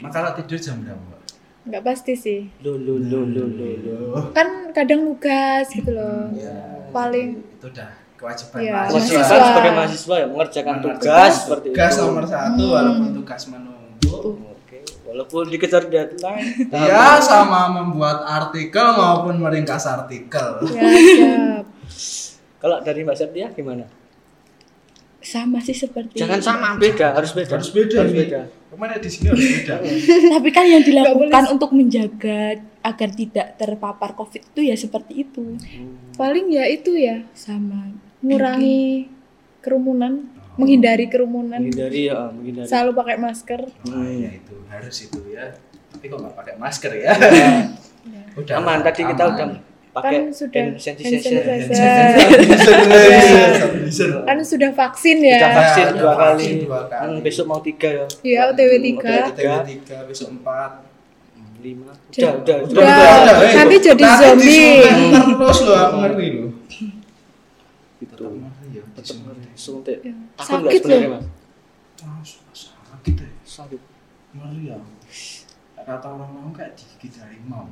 [SPEAKER 1] Nah, kalau tidur jam berapa? Mbak?
[SPEAKER 3] Nggak pasti sih.
[SPEAKER 2] lo lo lo lo lo lo.
[SPEAKER 3] Kan kadang nugas gitu loh.
[SPEAKER 1] Ya,
[SPEAKER 3] Paling-
[SPEAKER 1] itu udah kewajiban
[SPEAKER 3] Iya.
[SPEAKER 2] Kewajiban
[SPEAKER 3] Mahasiswa.
[SPEAKER 2] sebagai mahasiswa ya mengerjakan
[SPEAKER 1] Mengerjakan
[SPEAKER 2] tugas seperti
[SPEAKER 1] Tugas
[SPEAKER 2] itu.
[SPEAKER 1] nomor satu
[SPEAKER 3] Hmm.
[SPEAKER 1] walaupun tugas menunggu.
[SPEAKER 2] Oke, walaupun dikejar deadline.
[SPEAKER 1] Ya sama membuat artikel maupun meringkas artikel.
[SPEAKER 3] Ya, siap.
[SPEAKER 2] Kalau dari Mbak Septia gimana?
[SPEAKER 4] sama sih seperti
[SPEAKER 2] Jangan sama, beda, harus beda.
[SPEAKER 1] Harus beda.
[SPEAKER 2] Harus
[SPEAKER 1] nih.
[SPEAKER 2] beda.
[SPEAKER 1] Kemana ya di sini harus beda.
[SPEAKER 2] [LAUGHS]
[SPEAKER 4] tapi kan
[SPEAKER 3] [LAUGHS]
[SPEAKER 4] yang dilakukan
[SPEAKER 3] boleh.
[SPEAKER 4] untuk menjaga agar tidak terpapar covid itu ya seperti itu
[SPEAKER 3] Paling ya itu ya,
[SPEAKER 4] sama
[SPEAKER 3] ngurangi kerumunan, menghindari kerumunan,
[SPEAKER 2] Menghindari ya, menghindari.
[SPEAKER 3] selalu pakai masker.
[SPEAKER 1] Nah, ya itu harus itu ya. Tapi kok nggak pakai masker ya? [LAUGHS] Udah
[SPEAKER 2] Iya. aman tadi kita
[SPEAKER 1] aman. Iya,
[SPEAKER 2] udah pakai
[SPEAKER 3] Kan sudah
[SPEAKER 2] hand sanitizer.
[SPEAKER 3] hand
[SPEAKER 1] Hand
[SPEAKER 3] sanitizer.
[SPEAKER 1] iya, sanitizer.
[SPEAKER 3] Kan sudah vaksin
[SPEAKER 2] Kita
[SPEAKER 3] ya.
[SPEAKER 2] vaksin
[SPEAKER 1] udah
[SPEAKER 2] dua kali.
[SPEAKER 1] vaksin dua kali.
[SPEAKER 2] Hmm, besok mau tiga ya.
[SPEAKER 3] Ya, OTW
[SPEAKER 2] Udah,
[SPEAKER 1] Udah
[SPEAKER 3] 3.
[SPEAKER 1] tiga, tiga, besok empat.
[SPEAKER 2] Hmm, Lima. Udah,
[SPEAKER 3] Udah.
[SPEAKER 2] udah,
[SPEAKER 3] Udah. nanti
[SPEAKER 1] eh,
[SPEAKER 3] Iya. jadi
[SPEAKER 1] nanti
[SPEAKER 3] zombie.
[SPEAKER 1] disuntik Terus loh, aku
[SPEAKER 2] Iya.
[SPEAKER 1] ngeri loh.
[SPEAKER 2] Gitu.
[SPEAKER 1] Iya,
[SPEAKER 2] Tetep
[SPEAKER 1] disuntik.
[SPEAKER 2] suntik.
[SPEAKER 3] Ya.
[SPEAKER 2] Takut nggak
[SPEAKER 3] Sakit
[SPEAKER 2] sebenarnya,
[SPEAKER 3] loh.
[SPEAKER 2] Mas?
[SPEAKER 1] Wah, Ah, sakit ya.
[SPEAKER 2] Sakit.
[SPEAKER 1] Ngeri ya. Kata orang mau kayak digigit harimau.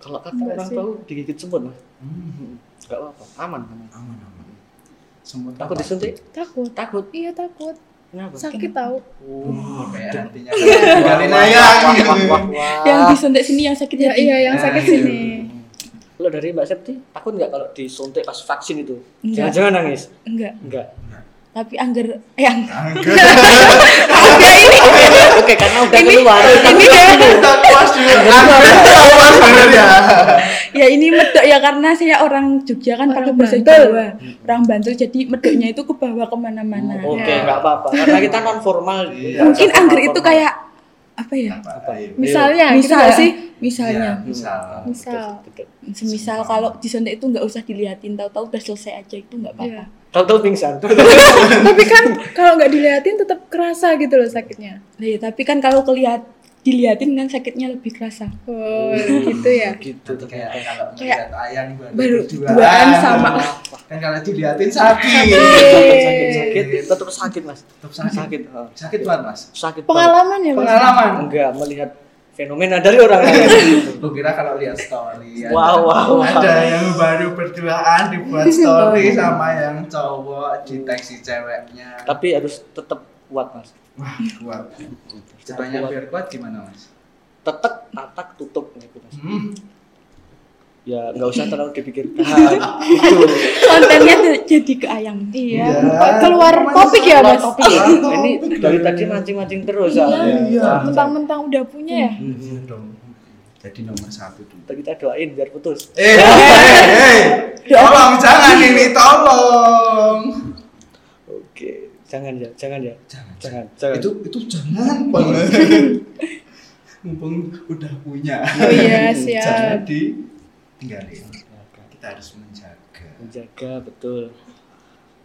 [SPEAKER 2] Kalau kata
[SPEAKER 3] Enggak
[SPEAKER 2] orang
[SPEAKER 3] sih.
[SPEAKER 2] tahu digigit semut, Mas.
[SPEAKER 1] Hmm,
[SPEAKER 2] Enggak apa-apa, aman, aman.
[SPEAKER 1] aman aman. Semut
[SPEAKER 2] Takut
[SPEAKER 1] apa?
[SPEAKER 2] disuntik?
[SPEAKER 3] Takut.
[SPEAKER 2] Takut.
[SPEAKER 3] Iya, takut.
[SPEAKER 2] Kenapa?
[SPEAKER 3] Sakit tahu.
[SPEAKER 1] Oh,
[SPEAKER 2] Wah,
[SPEAKER 1] kayak [LAUGHS] nantinya kali nayang.
[SPEAKER 2] wah, wah, wah.
[SPEAKER 4] yang disuntik sini yang sakit
[SPEAKER 3] Ya
[SPEAKER 4] hati
[SPEAKER 3] iya, yang sakit
[SPEAKER 1] Nah, iya.
[SPEAKER 3] sini.
[SPEAKER 2] Kalau dari Mbak Septi, takut nggak kalau disuntik pas vaksin itu?
[SPEAKER 4] Enggak.
[SPEAKER 2] Jangan-jangan nangis?
[SPEAKER 4] enggak
[SPEAKER 2] Enggak.
[SPEAKER 4] tapi angger [LAUGHS] Ya yang
[SPEAKER 2] Oke, karena udah keluar.
[SPEAKER 4] ini ya
[SPEAKER 1] [LAUGHS] Kita puas dulu. Kita puas bener ya.
[SPEAKER 4] ya ini medok ya karena saya orang Jogja kan
[SPEAKER 3] Orang
[SPEAKER 4] pakai bahasa
[SPEAKER 3] Bantul.
[SPEAKER 4] Jawa orang Bantul jadi medoknya itu ke bawah kemana-mana
[SPEAKER 2] Oke, nggak apa-apa. Karena kita gitu. non formal.
[SPEAKER 1] Iya.
[SPEAKER 4] mungkin
[SPEAKER 2] Formal,
[SPEAKER 4] angger itu
[SPEAKER 2] formal.
[SPEAKER 4] kayak apa ya
[SPEAKER 1] Apa? Ayo.
[SPEAKER 3] Misalnya, gitu
[SPEAKER 4] misal
[SPEAKER 3] nggak sih?
[SPEAKER 4] misalnya
[SPEAKER 1] Iya, misal.
[SPEAKER 3] Misal.
[SPEAKER 2] Betul, betul.
[SPEAKER 4] semisal kalau disuntik itu nggak usah diliatin tahu-tahu udah selesai aja itu nggak apa-apa
[SPEAKER 3] Iya.
[SPEAKER 2] Tahu-tahu pingsan.
[SPEAKER 3] Tapi kan kalau nggak diliatin tetap kerasa gitu loh sakitnya.
[SPEAKER 4] Nah, ya, tapi kan kalau kelihat dilihatin kan sakitnya lebih kerasa
[SPEAKER 3] Oh, gitu ya.
[SPEAKER 2] [LAUGHS] gitu
[SPEAKER 1] Nanti kayak
[SPEAKER 2] ternyata
[SPEAKER 1] kalau
[SPEAKER 4] Kayak
[SPEAKER 1] melihat ayah nih baru,
[SPEAKER 4] baru
[SPEAKER 1] berduaan.
[SPEAKER 4] berduaan sama.
[SPEAKER 1] kan kalau dilihatin sakit
[SPEAKER 2] sakit sakit tetap sakit mas
[SPEAKER 1] tetap
[SPEAKER 2] sakit
[SPEAKER 1] sakit
[SPEAKER 2] eh.
[SPEAKER 1] sakit banget mas
[SPEAKER 2] sakit banget.
[SPEAKER 3] Pengalaman ya, Mas.
[SPEAKER 1] pengalaman
[SPEAKER 2] enggak melihat fenomena dari orang lain
[SPEAKER 1] lu kira kalau lihat story ada-
[SPEAKER 2] Wow, wow, wow.
[SPEAKER 1] ada yang baru berduaan dibuat story sama yang cowok di si ceweknya
[SPEAKER 2] tapi harus tetap kuat mas
[SPEAKER 1] wah kuat caranya biar kuat gimana mas
[SPEAKER 2] tetek tatak tutup gitu mas
[SPEAKER 1] hmm.
[SPEAKER 2] ya nggak usah terlalu dipikirkan [LAUGHS] Gitu. itu
[SPEAKER 4] kontennya tuh jadi ke ayam
[SPEAKER 3] Iya.
[SPEAKER 1] Iya.
[SPEAKER 3] Kok keluar
[SPEAKER 1] Mas,
[SPEAKER 3] topik ya,
[SPEAKER 1] keluar
[SPEAKER 3] Mas?
[SPEAKER 1] topik. Keluar
[SPEAKER 2] ini
[SPEAKER 1] topik.
[SPEAKER 2] dari tadi mancing-mancing terus ya
[SPEAKER 1] Iya.
[SPEAKER 3] Mentang-mentang udah punya ya.
[SPEAKER 1] Iya dong. jadi nomor satu dulu
[SPEAKER 2] Ntar kita doain biar putus
[SPEAKER 1] eh eh, eh. tolong jangan ini tolong
[SPEAKER 2] oke jangan ya jangan ya
[SPEAKER 1] Jangan,
[SPEAKER 2] jangan jangan
[SPEAKER 1] itu itu jangan banget mumpung udah punya
[SPEAKER 3] Oh iya,
[SPEAKER 1] jangan
[SPEAKER 3] siap.
[SPEAKER 1] ditinggalin kita harus menjaga
[SPEAKER 2] menjaga betul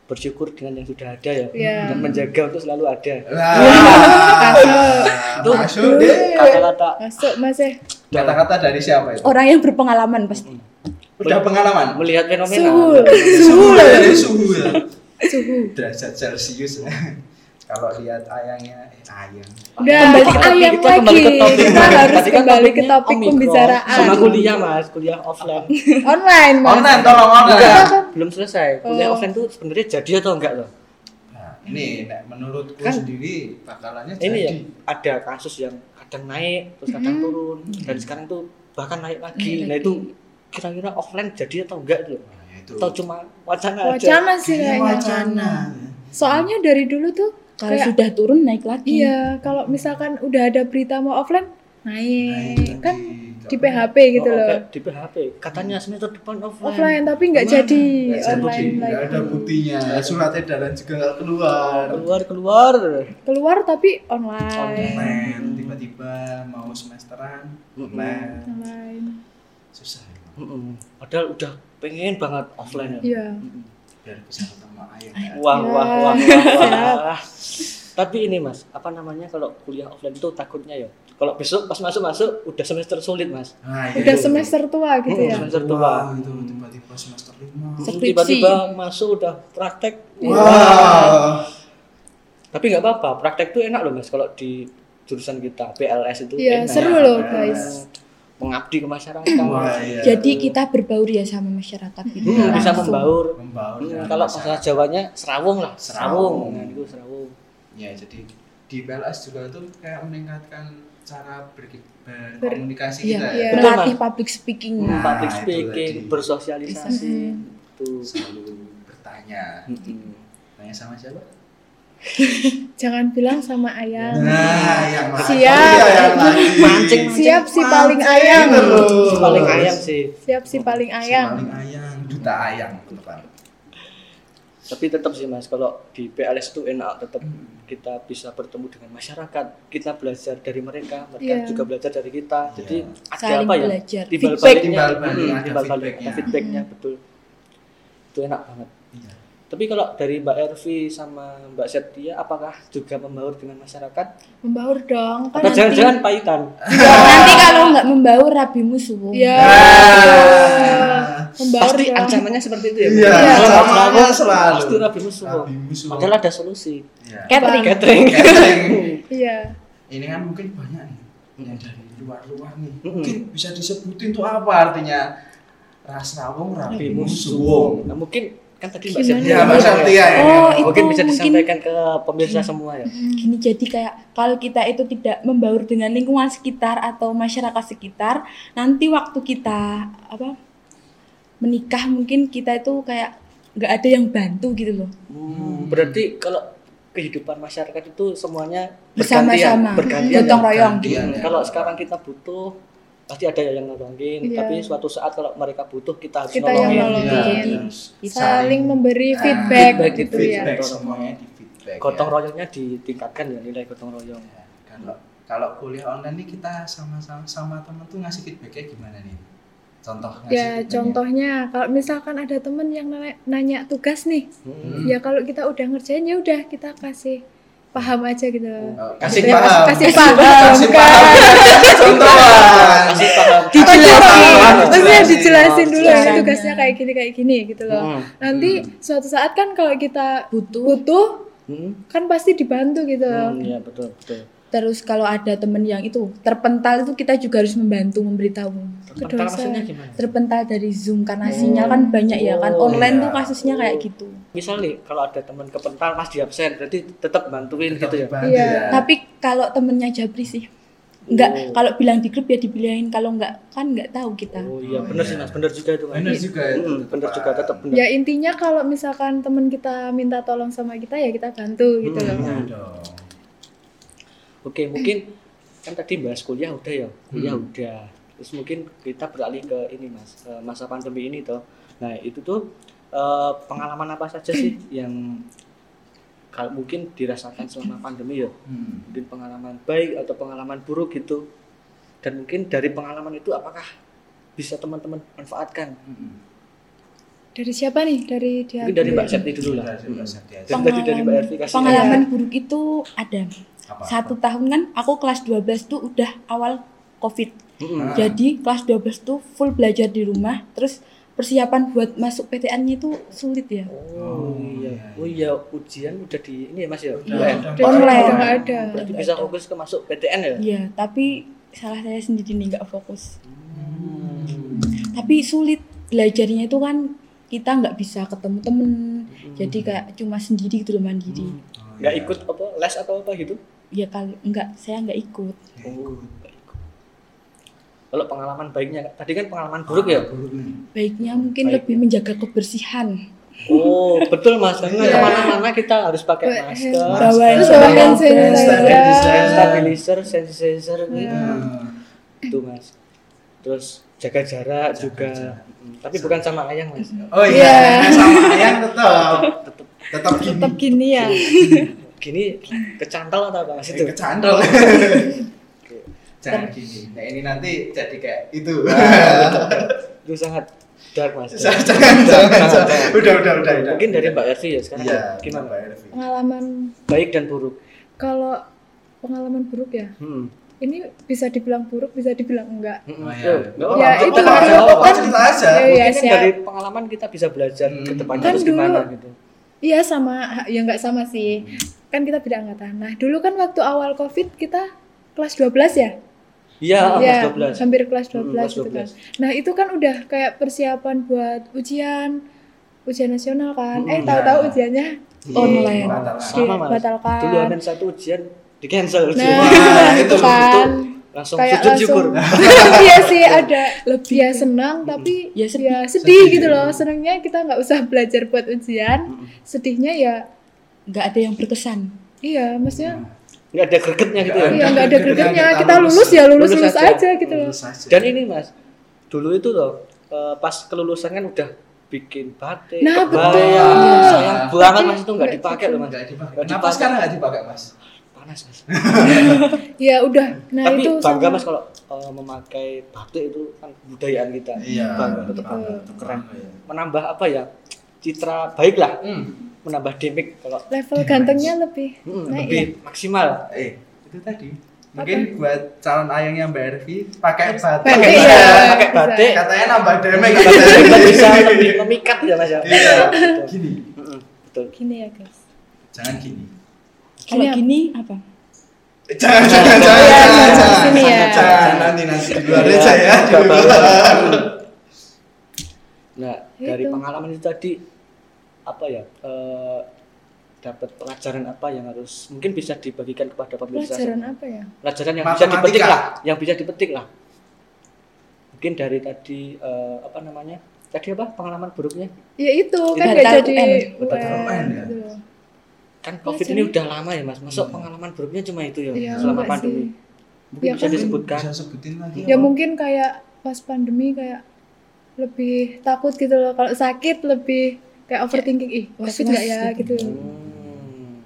[SPEAKER 2] bersyukur dengan yang sudah ada ya
[SPEAKER 3] Iya.
[SPEAKER 2] dan menjaga untuk selalu ada
[SPEAKER 1] Lah,
[SPEAKER 2] Tuh.
[SPEAKER 1] masuk
[SPEAKER 3] Iya.
[SPEAKER 1] deh.
[SPEAKER 2] kata-kata
[SPEAKER 3] Masuk, Mas ya.
[SPEAKER 1] Kata-kata dari siapa
[SPEAKER 3] Oh.
[SPEAKER 1] itu?
[SPEAKER 4] orang yang berpengalaman pasti
[SPEAKER 1] Udah pengalaman.
[SPEAKER 2] hmm, melihat fenomena
[SPEAKER 3] Suhu.
[SPEAKER 1] Suhu dari suhu. ya.
[SPEAKER 3] Suhu.
[SPEAKER 1] Derajat Celcius. [LAUGHS] Kalau lihat ayangnya, eh ayang.
[SPEAKER 3] Udah,
[SPEAKER 4] Kembali ke
[SPEAKER 3] kita
[SPEAKER 4] topik,
[SPEAKER 3] ayam
[SPEAKER 2] kita kembali
[SPEAKER 3] lagi.
[SPEAKER 2] ke topik.
[SPEAKER 3] Kita
[SPEAKER 2] Tadi
[SPEAKER 3] harus
[SPEAKER 2] kan
[SPEAKER 3] kembali ke
[SPEAKER 2] topiknya
[SPEAKER 3] topik
[SPEAKER 2] Omikron.
[SPEAKER 3] pembicaraan.
[SPEAKER 2] sama kuliah mas kuliah
[SPEAKER 3] [LAUGHS]
[SPEAKER 2] offline
[SPEAKER 3] Online, Mas.
[SPEAKER 1] Online tolong
[SPEAKER 3] Iya.
[SPEAKER 1] online.
[SPEAKER 2] belum selesai kuliah
[SPEAKER 3] Oh.
[SPEAKER 2] offline tuh sebenarnya jadi atau enggak loh
[SPEAKER 1] Nah, ini nek menurutku
[SPEAKER 2] Kan.
[SPEAKER 1] sendiri bakalannya
[SPEAKER 2] ini ya
[SPEAKER 1] jadi.
[SPEAKER 2] ada kasus yang kadang naik terus kadang
[SPEAKER 3] Mm-hmm.
[SPEAKER 2] turun dan sekarang tuh bahkan naik lagi nah itu kira-kira offline jadi atau enggak tuh
[SPEAKER 1] Nah, itu.
[SPEAKER 2] atau cuma wacana aja
[SPEAKER 3] Wacana sih
[SPEAKER 1] Kayaknya
[SPEAKER 3] kayaknya.
[SPEAKER 1] wacana. Nah,
[SPEAKER 3] Soalnya dari dulu tuh
[SPEAKER 4] kalau
[SPEAKER 3] kayak
[SPEAKER 4] sudah turun naik lagi
[SPEAKER 3] Iya, kalau misalkan udah ada berita mau offline, naik
[SPEAKER 1] Naik
[SPEAKER 3] kan
[SPEAKER 1] lagi.
[SPEAKER 3] di PHP gitu
[SPEAKER 2] Oh,
[SPEAKER 3] loh.
[SPEAKER 2] kayak di PHP katanya semester depan offline,
[SPEAKER 3] Offline tapi nggak
[SPEAKER 1] Kemana?
[SPEAKER 3] jadi
[SPEAKER 1] Nggak jadi,
[SPEAKER 3] online
[SPEAKER 1] nggak ada
[SPEAKER 3] lagi.
[SPEAKER 1] buktinya surat edaran juga nggak keluar
[SPEAKER 2] keluar keluar
[SPEAKER 3] Keluar tapi online.
[SPEAKER 1] online tiba-tiba mau semesteran online
[SPEAKER 3] Online.
[SPEAKER 1] susah ya.
[SPEAKER 2] Mm-mm. padahal udah pengen banget offline ya
[SPEAKER 3] Iya.
[SPEAKER 2] Mm-mm.
[SPEAKER 1] biar bisa ketemu ayah
[SPEAKER 2] wah
[SPEAKER 3] Ya.
[SPEAKER 2] wah
[SPEAKER 3] [LAUGHS]
[SPEAKER 2] wah, wah, wah. tapi ini mas apa namanya kalau kuliah offline itu takutnya ya kalau besok pas masuk masuk udah semester sulit mas
[SPEAKER 1] Nah,
[SPEAKER 3] Udah
[SPEAKER 1] itu.
[SPEAKER 3] semester tua
[SPEAKER 1] Oh,
[SPEAKER 3] gitu
[SPEAKER 2] Mm-mm.
[SPEAKER 3] ya.
[SPEAKER 2] Semester
[SPEAKER 1] Wah,
[SPEAKER 2] tua.
[SPEAKER 1] itu tiba-tiba semester lima
[SPEAKER 2] Mm,
[SPEAKER 4] Skripsi.
[SPEAKER 2] tiba-tiba masuk udah praktek
[SPEAKER 1] Iya. wah
[SPEAKER 2] tapi nggak apa-apa praktek itu enak loh mas kalau di jurusan kita PLS itu
[SPEAKER 3] Iya,
[SPEAKER 2] enak
[SPEAKER 3] seru loh, guys.
[SPEAKER 2] mengabdi ke masyarakat
[SPEAKER 1] Wah, iya.
[SPEAKER 4] jadi kita berbaur ya sama masyarakat gitu
[SPEAKER 2] Hmm, bisa
[SPEAKER 4] Langsung.
[SPEAKER 3] Iya.
[SPEAKER 2] membaur
[SPEAKER 1] membaur ya,
[SPEAKER 2] Hmm,
[SPEAKER 1] dengan
[SPEAKER 2] kalau
[SPEAKER 1] Iya, masyarakat.
[SPEAKER 2] bahasa Jawanya serawung lah
[SPEAKER 1] Serawung.
[SPEAKER 2] serawung nah, itu serawung
[SPEAKER 1] ya jadi di PLS juga itu kayak meningkatkan cara berki- berkomunikasi
[SPEAKER 4] Iya,
[SPEAKER 1] kita
[SPEAKER 3] iya.
[SPEAKER 1] ya.
[SPEAKER 4] berlatih public speaking
[SPEAKER 1] Nah,
[SPEAKER 2] public
[SPEAKER 1] itu
[SPEAKER 2] speaking
[SPEAKER 1] tadi.
[SPEAKER 2] bersosialisasi itu
[SPEAKER 3] iya.
[SPEAKER 1] selalu bertanya tanya sama siapa
[SPEAKER 3] Jangan bilang sama ayang.
[SPEAKER 1] nah yang lagi
[SPEAKER 3] Iya. Siap.
[SPEAKER 1] ya, yang lagi
[SPEAKER 2] mancing
[SPEAKER 3] Siap si paling ayang.
[SPEAKER 1] Terus.
[SPEAKER 2] paling ayam sih
[SPEAKER 3] Siap si paling
[SPEAKER 1] Si
[SPEAKER 3] ayang.
[SPEAKER 1] paling ayang duta ayang teman
[SPEAKER 2] tapi tetap sih mas kalau di PLS itu enak tetap kita bisa bertemu dengan masyarakat kita belajar dari mereka mereka
[SPEAKER 3] Iya.
[SPEAKER 2] juga belajar dari kita
[SPEAKER 1] Iya.
[SPEAKER 2] jadi ada
[SPEAKER 4] saling
[SPEAKER 2] apa ya
[SPEAKER 4] belajar
[SPEAKER 2] timbal
[SPEAKER 4] feedback
[SPEAKER 2] baliknya
[SPEAKER 1] Timbal balik,
[SPEAKER 2] Hmm,
[SPEAKER 1] ada
[SPEAKER 2] timbal balik,
[SPEAKER 1] feedbacknya.
[SPEAKER 2] ada feedbacknya betul itu enak banget
[SPEAKER 1] Iya.
[SPEAKER 2] tapi kalau dari Mbak Ervi sama Mbak Setia apakah juga membaur dengan masyarakat
[SPEAKER 3] Membaur
[SPEAKER 2] atau
[SPEAKER 3] dong kan nanti.
[SPEAKER 2] jangan-jangan pahitan
[SPEAKER 4] nanti kalau nggak membaur rabimu subuh
[SPEAKER 3] Iya. Membaur
[SPEAKER 2] pasti
[SPEAKER 3] dong.
[SPEAKER 2] ancamannya seperti itu ya
[SPEAKER 1] Iya,
[SPEAKER 2] Bu? Kalau nggak
[SPEAKER 1] ancamannya
[SPEAKER 2] selalu,
[SPEAKER 1] selalu.
[SPEAKER 2] pasti rabi musuh
[SPEAKER 1] Rabi musuh.
[SPEAKER 2] padahal ada solusi
[SPEAKER 1] Iya.
[SPEAKER 4] catering
[SPEAKER 2] catering
[SPEAKER 1] Catering.
[SPEAKER 3] Iya.
[SPEAKER 1] ini kan mungkin banyak nih yang dari luar-luar nih
[SPEAKER 2] [LAUGHS] Mm-mm.
[SPEAKER 1] mungkin bisa disebutin tuh apa artinya ras rawong rabi musuh
[SPEAKER 2] nah, mungkin kan tadi Mbak
[SPEAKER 3] Gimana?
[SPEAKER 2] Setia
[SPEAKER 1] ya Mbak
[SPEAKER 2] iya,
[SPEAKER 1] Satya ya
[SPEAKER 4] Oh, itu
[SPEAKER 2] Nah, mungkin bisa
[SPEAKER 4] mungkin-
[SPEAKER 2] disampaikan ke pemirsa semua ya
[SPEAKER 4] gini jadi kayak kalau kita itu tidak membaur dengan lingkungan sekitar atau masyarakat sekitar nanti waktu kita apa menikah mungkin kita itu kayak nggak ada yang bantu gitu loh
[SPEAKER 2] Hmm, berarti kalau kehidupan masyarakat itu semuanya bergantian,
[SPEAKER 4] Bersama-sama.
[SPEAKER 2] bergantian
[SPEAKER 4] Gotong
[SPEAKER 2] ya.
[SPEAKER 4] royong
[SPEAKER 1] gitu.
[SPEAKER 2] Hmm, Kalau sekarang kita butuh pasti ada yang nolongin,
[SPEAKER 3] Iya.
[SPEAKER 2] tapi suatu saat kalau mereka butuh kita harus
[SPEAKER 3] Kita yang
[SPEAKER 2] nolongin.
[SPEAKER 3] nolongin.
[SPEAKER 1] Iya,
[SPEAKER 4] Jadi,
[SPEAKER 1] terus
[SPEAKER 3] Saling memberi
[SPEAKER 1] Nah,
[SPEAKER 3] feedback
[SPEAKER 2] feedback
[SPEAKER 3] gitu
[SPEAKER 2] itu
[SPEAKER 3] ya.
[SPEAKER 1] feedback semuanya di feedback
[SPEAKER 2] Gotong
[SPEAKER 1] ya.
[SPEAKER 2] royongnya ditingkatkan ya nilai gotong royong.
[SPEAKER 1] Ya, kalau kalau kuliah online nih kita sama-sama sama temen tuh ngasih feedbacknya gimana nih contoh ngasih
[SPEAKER 3] Ya
[SPEAKER 1] feedbacknya.
[SPEAKER 3] contohnya kalau misalkan ada temen yang nanya, nanya tugas nih,
[SPEAKER 2] Hmm.
[SPEAKER 3] ya kalau kita udah ngerjain ya udah kita ya kasih paham aja gitu
[SPEAKER 1] Eh, kasih
[SPEAKER 3] Ya,
[SPEAKER 1] paham
[SPEAKER 3] kasih
[SPEAKER 1] kasih
[SPEAKER 3] paham kan
[SPEAKER 1] paham contohan
[SPEAKER 2] Kasih paham.
[SPEAKER 3] dijelasin
[SPEAKER 2] Paham,
[SPEAKER 3] Iya,
[SPEAKER 2] Iya,
[SPEAKER 3] maksudnya
[SPEAKER 1] jelasin.
[SPEAKER 3] dijelasin dulu ini
[SPEAKER 4] Caranya.
[SPEAKER 3] tugasnya kayak gini kayak gini gitu loh
[SPEAKER 2] Hmm.
[SPEAKER 3] nanti suatu saat kan kalau kita
[SPEAKER 4] butuh
[SPEAKER 3] butuh
[SPEAKER 2] Hmm.
[SPEAKER 3] kan pasti dibantu gitu loh
[SPEAKER 2] Hmm, ya betul betul.
[SPEAKER 4] terus kalau ada temen yang itu terpental itu kita juga harus membantu memberitahu
[SPEAKER 2] Pertama maksudnya gimana?
[SPEAKER 4] terpental dari zoom karena sinyal kan banyak ya kan
[SPEAKER 2] Oh,
[SPEAKER 4] online
[SPEAKER 1] iya.
[SPEAKER 4] tuh kasusnya kayak gitu
[SPEAKER 2] Misal nih kalau ada teman kepental pas di absen berarti tetap bantuin gitu ya.
[SPEAKER 1] Bantu
[SPEAKER 3] Iya.
[SPEAKER 1] ya.
[SPEAKER 4] tapi kalau temennya Jabri sih
[SPEAKER 2] Oh.
[SPEAKER 4] nggak kalau bilang di grup ya dibilangin kalau nggak kan nggak tahu kita
[SPEAKER 2] Oh iya
[SPEAKER 1] Oh,
[SPEAKER 2] benar
[SPEAKER 1] iya.
[SPEAKER 2] sih Mas, benar juga itu Mas.
[SPEAKER 1] Bener juga itu,
[SPEAKER 2] Hmm, benar juga tetap benar.
[SPEAKER 3] ya intinya kalau misalkan teman kita minta tolong sama kita ya kita bantu gitu
[SPEAKER 2] Hmm.
[SPEAKER 3] loh
[SPEAKER 1] Iya dong.
[SPEAKER 2] Oke, mungkin kan tadi bahas kuliah udah ya, kuliah udah. Terus mungkin kita beralih ke ini mas, eh, masa pandemi ini toh. Nah itu tuh eh, pengalaman apa saja sih yang kalau mungkin dirasakan selama pandemi ya,
[SPEAKER 1] Hmm.
[SPEAKER 2] mungkin pengalaman baik atau pengalaman buruk gitu. Dan mungkin dari pengalaman itu apakah bisa teman-teman manfaatkan?
[SPEAKER 1] Hmm.
[SPEAKER 3] dari siapa nih dari dia
[SPEAKER 2] Mungkin dari
[SPEAKER 3] dulu
[SPEAKER 2] Mbak
[SPEAKER 3] ya?
[SPEAKER 2] Septi dulu lah.
[SPEAKER 1] Dari Mbak Septi aja.
[SPEAKER 2] Dan tadi dari Mbak ya. Ervi kasih.
[SPEAKER 4] pengalaman buruk itu ada
[SPEAKER 1] Apa?
[SPEAKER 4] satu tahun kan aku kelas 12 tuh udah awal covid
[SPEAKER 2] Mm-mm.
[SPEAKER 1] Ah.
[SPEAKER 4] jadi kelas 12 tuh full belajar di rumah terus persiapan buat masuk PTN-nya itu sulit ya
[SPEAKER 2] Oh iya, oh iya ujian udah di ini ya mas ya.
[SPEAKER 1] Udah,
[SPEAKER 2] UN.
[SPEAKER 1] udah.
[SPEAKER 3] Dari
[SPEAKER 4] Online.
[SPEAKER 3] udah nggak ada
[SPEAKER 2] Berarti bisa fokus ke masuk PTN ya?
[SPEAKER 4] iya tapi salah saya sendiri nih nggak fokus
[SPEAKER 1] Hmm.
[SPEAKER 3] Hmm.
[SPEAKER 4] tapi sulit belajarnya itu kan kita nggak bisa ketemu temen jadi
[SPEAKER 3] Hmm.
[SPEAKER 4] kayak cuma sendiri gitu loh mandiri
[SPEAKER 1] Oh,
[SPEAKER 2] Nggak
[SPEAKER 1] iya.
[SPEAKER 2] ikut apa les atau apa gitu? Oh,
[SPEAKER 4] ya kalau nggak saya nggak ikut
[SPEAKER 1] Nggak ikut.
[SPEAKER 2] Nggak ikut. Kalau pengalaman baiknya, tadi kan pengalaman buruk ya?
[SPEAKER 1] Buruk nih.
[SPEAKER 4] baiknya mungkin
[SPEAKER 2] Baik.
[SPEAKER 4] lebih menjaga kebersihan
[SPEAKER 2] Oh betul mas, karena
[SPEAKER 3] Iya.
[SPEAKER 2] kemana-mana kita harus pakai
[SPEAKER 3] Pakai
[SPEAKER 2] masker,
[SPEAKER 1] masker,
[SPEAKER 4] bawa
[SPEAKER 3] terus
[SPEAKER 1] Bawa
[SPEAKER 3] bahkan
[SPEAKER 1] hand
[SPEAKER 3] saya
[SPEAKER 1] sanitizer.
[SPEAKER 2] stabilizer, sanitizer
[SPEAKER 3] Iya.
[SPEAKER 2] gitu
[SPEAKER 1] Hmm.
[SPEAKER 2] Itu, mas. Terus jaga jarak juga,
[SPEAKER 1] jarak.
[SPEAKER 2] Mm, tapi bukan sama ayang mas.
[SPEAKER 1] Oh
[SPEAKER 3] Iya.
[SPEAKER 1] iya, sama ayang tetap
[SPEAKER 2] Tetep
[SPEAKER 1] tetap gini.
[SPEAKER 4] tetap gini ya
[SPEAKER 2] gini kecantal atau apa mas
[SPEAKER 3] gitu.
[SPEAKER 1] Itu
[SPEAKER 2] itu?
[SPEAKER 1] kecandol. [LAUGHS] Jangan gini. Nah, ini nanti jadi kayak itu.
[SPEAKER 2] Ah, Itu sangat dark
[SPEAKER 1] [LAUGHS]
[SPEAKER 2] mas.
[SPEAKER 1] jangan, jangan, jangan, [LAUGHS] jangan. Udah, udah, udah, udah.
[SPEAKER 2] Mungkin dari Mbak Ervi ya sekarang
[SPEAKER 1] Iya,
[SPEAKER 2] gimana? Oh,
[SPEAKER 1] Mbak Ervi.
[SPEAKER 3] pengalaman
[SPEAKER 2] Baik dan buruk.
[SPEAKER 3] kalau pengalaman buruk ya
[SPEAKER 2] Hmm.
[SPEAKER 3] ini bisa dibilang buruk bisa dibilang enggak
[SPEAKER 1] Oh, iya.
[SPEAKER 2] Tuh, Eh, nggak apa-apa,
[SPEAKER 3] Ya,
[SPEAKER 2] nggak apa-apa,
[SPEAKER 3] itu, itu.
[SPEAKER 2] nggak apa-apa.
[SPEAKER 1] Apa cerita aja?
[SPEAKER 3] Iya, iya,
[SPEAKER 2] Mungkin kan
[SPEAKER 3] siap.
[SPEAKER 2] dari pengalaman kita bisa belajar
[SPEAKER 1] Hmm.
[SPEAKER 2] ke depannya
[SPEAKER 3] Kan
[SPEAKER 2] harus
[SPEAKER 3] dulu-
[SPEAKER 2] gimana gitu.
[SPEAKER 3] Iya sama, ya nggak sama sih.
[SPEAKER 1] Iya,
[SPEAKER 3] Kan kita beda angkatan. Nah dulu kan waktu awal covid kita kelas 12 ya?
[SPEAKER 2] Iya,
[SPEAKER 3] Iya,
[SPEAKER 2] kelas 12.
[SPEAKER 3] hampir kelas 12
[SPEAKER 2] Hmm, kelas
[SPEAKER 3] gitu kan.
[SPEAKER 2] 12.
[SPEAKER 3] Nah itu kan udah kayak persiapan buat ujian, ujian nasional kan.
[SPEAKER 2] Hmm, iya.
[SPEAKER 3] eh tahu-tahu ujiannya Oh,
[SPEAKER 4] Online.
[SPEAKER 1] Batal.
[SPEAKER 2] Sama, Mas.
[SPEAKER 3] dibatalkan.
[SPEAKER 2] Dulu ada satu ujian di cancel
[SPEAKER 3] kan. [LAUGHS] Nah
[SPEAKER 1] Wah,
[SPEAKER 3] itu
[SPEAKER 1] itu-
[SPEAKER 3] kan
[SPEAKER 2] langsung
[SPEAKER 3] kayak
[SPEAKER 2] sujud syukur.
[SPEAKER 3] langsung [LAUGHS] iya sih ada
[SPEAKER 4] lebih
[SPEAKER 3] ya senang tapi
[SPEAKER 4] Ya,
[SPEAKER 3] ya
[SPEAKER 4] sedih.
[SPEAKER 1] Sedih.
[SPEAKER 3] sedih, gitu loh. Senangnya kita nggak usah belajar buat ujian. Sedihnya ya
[SPEAKER 4] nggak ada yang berkesan
[SPEAKER 3] iya maksudnya
[SPEAKER 2] Nggak ada gregetnya gitu ya.
[SPEAKER 1] Nggak
[SPEAKER 3] Iya nggak ada gregetnya.
[SPEAKER 1] Kita
[SPEAKER 3] Kita lulus
[SPEAKER 1] lulus.
[SPEAKER 3] ya lulus lulus,
[SPEAKER 2] Lulus
[SPEAKER 3] aja.
[SPEAKER 2] aja.
[SPEAKER 3] gitu loh.
[SPEAKER 1] Lulus aja.
[SPEAKER 2] Dan ini Mas, dulu itu loh eh, pas kelulusan kan udah bikin batik,
[SPEAKER 3] Nah, Iya,
[SPEAKER 2] kebaya.
[SPEAKER 1] betul.
[SPEAKER 2] Sayang banget Mas itu nggak
[SPEAKER 3] Nggak
[SPEAKER 2] dipakai loh Mas.
[SPEAKER 1] Nggak dipakai.
[SPEAKER 2] Nggak
[SPEAKER 1] Kenapa
[SPEAKER 2] dipakai.
[SPEAKER 1] sekarang nggak dipakai, Mas?
[SPEAKER 2] Panas Mas.
[SPEAKER 3] Ya udah. Nah
[SPEAKER 2] Tapi
[SPEAKER 3] itu
[SPEAKER 2] bangga
[SPEAKER 3] sama-
[SPEAKER 2] Mas kalau eh, memakai batik itu kan budayaan kita.
[SPEAKER 1] Iya.
[SPEAKER 2] Bangga tetap
[SPEAKER 1] Keren,
[SPEAKER 3] Iya.
[SPEAKER 1] keren.
[SPEAKER 2] menambah apa ya? Citra baik lah,
[SPEAKER 1] Hmm.
[SPEAKER 2] menambah demik kalau
[SPEAKER 3] level gantengnya lebih
[SPEAKER 2] Hmm,
[SPEAKER 3] naik
[SPEAKER 2] lebih
[SPEAKER 3] ya.
[SPEAKER 2] maksimal.
[SPEAKER 1] Eh, itu tadi. Mungkin buat calon ayangnya Mbak Ervi pakai batik.
[SPEAKER 3] Batik,
[SPEAKER 2] Pakai
[SPEAKER 3] iya,
[SPEAKER 2] batik, pakai
[SPEAKER 3] bisa.
[SPEAKER 2] batik.
[SPEAKER 1] Katanya nambah damage. [LAUGHS]
[SPEAKER 2] Kita bisa lebih memikat ya Mas ya. Gitu.
[SPEAKER 1] Iya.
[SPEAKER 2] Betul.
[SPEAKER 1] Gini,
[SPEAKER 2] Mm-mm, Betul.
[SPEAKER 3] Gini ya guys.
[SPEAKER 1] jangan gini.
[SPEAKER 4] kalau
[SPEAKER 3] Gini apa?
[SPEAKER 4] gini apa
[SPEAKER 1] Eh, Jangan, jangan, jangan,
[SPEAKER 3] Iya,
[SPEAKER 1] jangan,
[SPEAKER 3] jangan,
[SPEAKER 1] jangan,
[SPEAKER 3] sini ya.
[SPEAKER 1] jangan, jangan, nanti nanti di luar
[SPEAKER 2] Iya,
[SPEAKER 1] aja ya, di
[SPEAKER 2] nggak
[SPEAKER 1] luar. [LAUGHS]
[SPEAKER 2] apa-apa. Nah, dari
[SPEAKER 3] Itu.
[SPEAKER 2] pengalaman itu tadi apa ya? eh, dapat pelajaran apa yang harus mungkin bisa dibagikan kepada pemirsa?
[SPEAKER 3] Pelajaran
[SPEAKER 2] semua?
[SPEAKER 3] apa ya?
[SPEAKER 2] Pelajaran yang bisa
[SPEAKER 1] Matematika.
[SPEAKER 2] dipetik lah, yang bisa dipetik lah. Mungkin dari tadi eh, apa namanya? Tadi apa pengalaman buruknya?
[SPEAKER 3] Ya itu kan
[SPEAKER 4] Batal
[SPEAKER 3] nggak jadi
[SPEAKER 4] UN.
[SPEAKER 1] Batal UN, ya.
[SPEAKER 3] gitu loh.
[SPEAKER 2] Kan Covid
[SPEAKER 3] Pelajaran.
[SPEAKER 2] ini udah lama ya, Mas. Masuk pengalaman buruknya cuma itu ya,
[SPEAKER 3] Iya,
[SPEAKER 2] selama
[SPEAKER 3] enggak sih.
[SPEAKER 2] pandemi. Mungkin
[SPEAKER 3] Ya
[SPEAKER 2] bisa
[SPEAKER 3] kan?
[SPEAKER 2] disebutkan.
[SPEAKER 1] Bisa sebutin lagi.
[SPEAKER 3] Ya mungkin kayak pas pandemi kayak lebih takut gitu loh. Kalau sakit lebih kayak overthinking ih covid
[SPEAKER 4] Was-was
[SPEAKER 3] nggak ya
[SPEAKER 4] gitu.
[SPEAKER 3] gitu.
[SPEAKER 2] Hmm.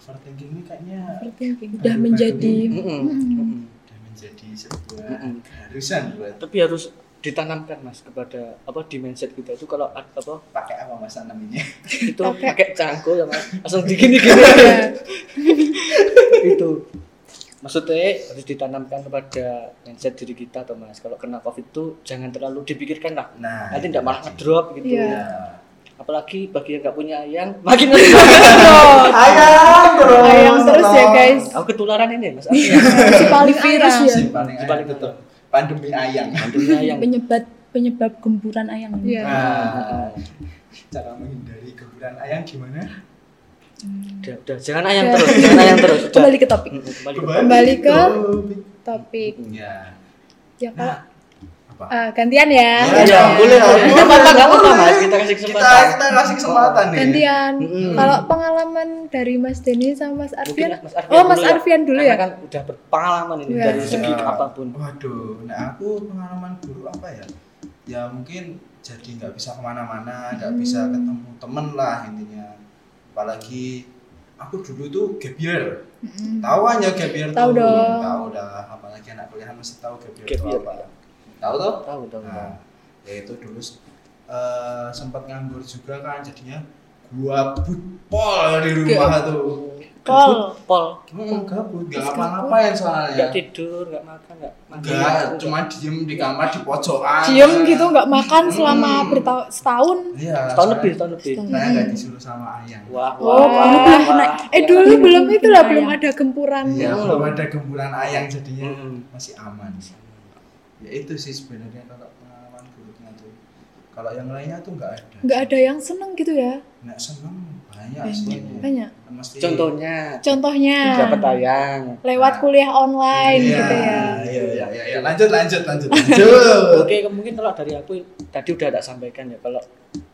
[SPEAKER 1] Overthinking ini kayaknya
[SPEAKER 3] Overthinking.
[SPEAKER 4] udah
[SPEAKER 1] Baru-baru
[SPEAKER 4] menjadi
[SPEAKER 3] Hmm.
[SPEAKER 2] Mm-mm.
[SPEAKER 3] Mm-mm.
[SPEAKER 2] Mm-mm.
[SPEAKER 1] udah menjadi sebuah
[SPEAKER 2] Mm-mm.
[SPEAKER 1] keharusan buat
[SPEAKER 2] Tapi harus ditanamkan mas kepada apa di mindset kita itu kalau ad- apa
[SPEAKER 1] pakai apa mas tanaminnya
[SPEAKER 2] itu
[SPEAKER 3] Pakai.
[SPEAKER 2] pakai cangkul ya mas langsung digini
[SPEAKER 3] [LAUGHS]
[SPEAKER 2] gini itu maksudnya harus ditanamkan kepada mindset diri kita atau mas kalau kena covid itu jangan terlalu dipikirkan lah
[SPEAKER 1] nah
[SPEAKER 2] nanti
[SPEAKER 1] itu
[SPEAKER 2] tidak malah
[SPEAKER 1] dia.
[SPEAKER 2] ngedrop gitu
[SPEAKER 3] Iya.
[SPEAKER 1] Nah.
[SPEAKER 2] apalagi bagi yang nggak punya ayang makin
[SPEAKER 3] [LAUGHS]
[SPEAKER 2] ngedrop
[SPEAKER 1] ayam terus
[SPEAKER 3] Ayam
[SPEAKER 2] Iya.
[SPEAKER 3] terus ya, guys.
[SPEAKER 2] aku ketularan ini mas Artinya,
[SPEAKER 3] Si paling virus
[SPEAKER 4] Virus
[SPEAKER 3] ya.
[SPEAKER 1] Si paling
[SPEAKER 2] Si
[SPEAKER 1] ayam
[SPEAKER 2] paling
[SPEAKER 1] tetep. pandemi ayam
[SPEAKER 2] punya
[SPEAKER 3] [LAUGHS]
[SPEAKER 2] ayang
[SPEAKER 4] penyebab penyebab gempuran ayam
[SPEAKER 3] Iya.
[SPEAKER 1] Nah, cara menghindari gemburan ayam gimana
[SPEAKER 2] udah, udah jangan ayang
[SPEAKER 3] Udah.
[SPEAKER 2] terus jangan ayam terus udah.
[SPEAKER 4] kembali ke topik
[SPEAKER 2] Mm, kembali Iya. ke
[SPEAKER 3] Kembali ke-
[SPEAKER 1] topik.
[SPEAKER 3] Topik.
[SPEAKER 1] ya
[SPEAKER 3] Ya kalau
[SPEAKER 1] Nah, apa
[SPEAKER 3] ah, gantian ya.
[SPEAKER 1] Boleh
[SPEAKER 2] Iya,
[SPEAKER 1] dong,
[SPEAKER 2] boleh.
[SPEAKER 1] boleh.
[SPEAKER 2] Nggak apa-apa, nggak apa-apa,
[SPEAKER 1] Boleh.
[SPEAKER 2] Mas. Kita kasih kesempatan.
[SPEAKER 1] Kita, kita kasih kesempatan nih.
[SPEAKER 3] Gantian.
[SPEAKER 2] Mm-mm.
[SPEAKER 3] Kalau pengalaman dari Mas Denny sama Mas
[SPEAKER 2] Mungkin
[SPEAKER 3] Arfian.
[SPEAKER 2] Mas
[SPEAKER 3] Oh, Mas
[SPEAKER 2] ya.
[SPEAKER 3] Arfian dulu
[SPEAKER 2] Karena
[SPEAKER 3] ya.
[SPEAKER 2] kan udah berpengalaman ini
[SPEAKER 3] Iya.
[SPEAKER 2] dari segi
[SPEAKER 1] Iya.
[SPEAKER 2] apapun.
[SPEAKER 1] Waduh, nah aku pengalaman buruk apa ya? Ya mungkin jadi nggak bisa kemana-mana, nggak bisa
[SPEAKER 3] Hmm.
[SPEAKER 1] ketemu temen lah intinya. Apalagi aku dulu tuh gap year.
[SPEAKER 3] Mm-mm.
[SPEAKER 1] Tahu aja gap year
[SPEAKER 3] Hmm. Tahu
[SPEAKER 1] tuh.
[SPEAKER 3] dong.
[SPEAKER 1] Tahu dah, apalagi anak kuliah mesti tahu gap year
[SPEAKER 2] Gap
[SPEAKER 1] itu
[SPEAKER 2] year,
[SPEAKER 1] apa. Tahu tuh?
[SPEAKER 2] Tahu tahu. tahu.
[SPEAKER 1] Nah, yaitu dulu eh, sempat nganggur juga kan jadinya gua butpol di rumah tuh.
[SPEAKER 3] Pol.
[SPEAKER 2] Pol.
[SPEAKER 1] Hmm, gabut, nggak
[SPEAKER 3] Terus
[SPEAKER 1] ngapa-ngapain soalnya.
[SPEAKER 3] Iya.
[SPEAKER 2] Enggak tidur, enggak makan, enggak
[SPEAKER 1] Enggak, cuma diem di kamar di pojokan.
[SPEAKER 3] Diem gitu nggak makan selama
[SPEAKER 1] Hmm.
[SPEAKER 3] bertahun setahun.
[SPEAKER 1] Iya.
[SPEAKER 2] setahun
[SPEAKER 1] soalnya
[SPEAKER 2] lebih, setahun lebih.
[SPEAKER 4] Setahun.
[SPEAKER 1] Saya nggak disuruh sama ayang.
[SPEAKER 2] Wah,
[SPEAKER 3] Oh, baru
[SPEAKER 2] wah.
[SPEAKER 4] pernah.
[SPEAKER 3] Eh dulu
[SPEAKER 4] Iya.
[SPEAKER 3] belum itu lah
[SPEAKER 4] Iya.
[SPEAKER 3] belum ada gempuran.
[SPEAKER 1] Iya,
[SPEAKER 2] Hmm.
[SPEAKER 1] belum ada gemburan ayang jadinya
[SPEAKER 2] Hmm.
[SPEAKER 1] masih aman. Ya itu sih sebenarnya kalau pengalaman buruknya tuh. Kalau yang lainnya tuh nggak ada.
[SPEAKER 3] Nggak ada yang seneng gitu ya.
[SPEAKER 1] Nggak seneng banyak
[SPEAKER 4] Banyak.
[SPEAKER 1] sih.
[SPEAKER 3] Banyak.
[SPEAKER 1] Mesti
[SPEAKER 2] Contohnya
[SPEAKER 3] Contohnya
[SPEAKER 2] dapat ayang.
[SPEAKER 3] lewat kuliah online
[SPEAKER 1] Iya,
[SPEAKER 3] gitu ya.
[SPEAKER 1] Iya, iya, iya, iya. Lanjut, lanjut, lanjut. Lanjut.
[SPEAKER 2] Oke, mungkin kalau dari aku tadi udah tak sampaikan ya kalau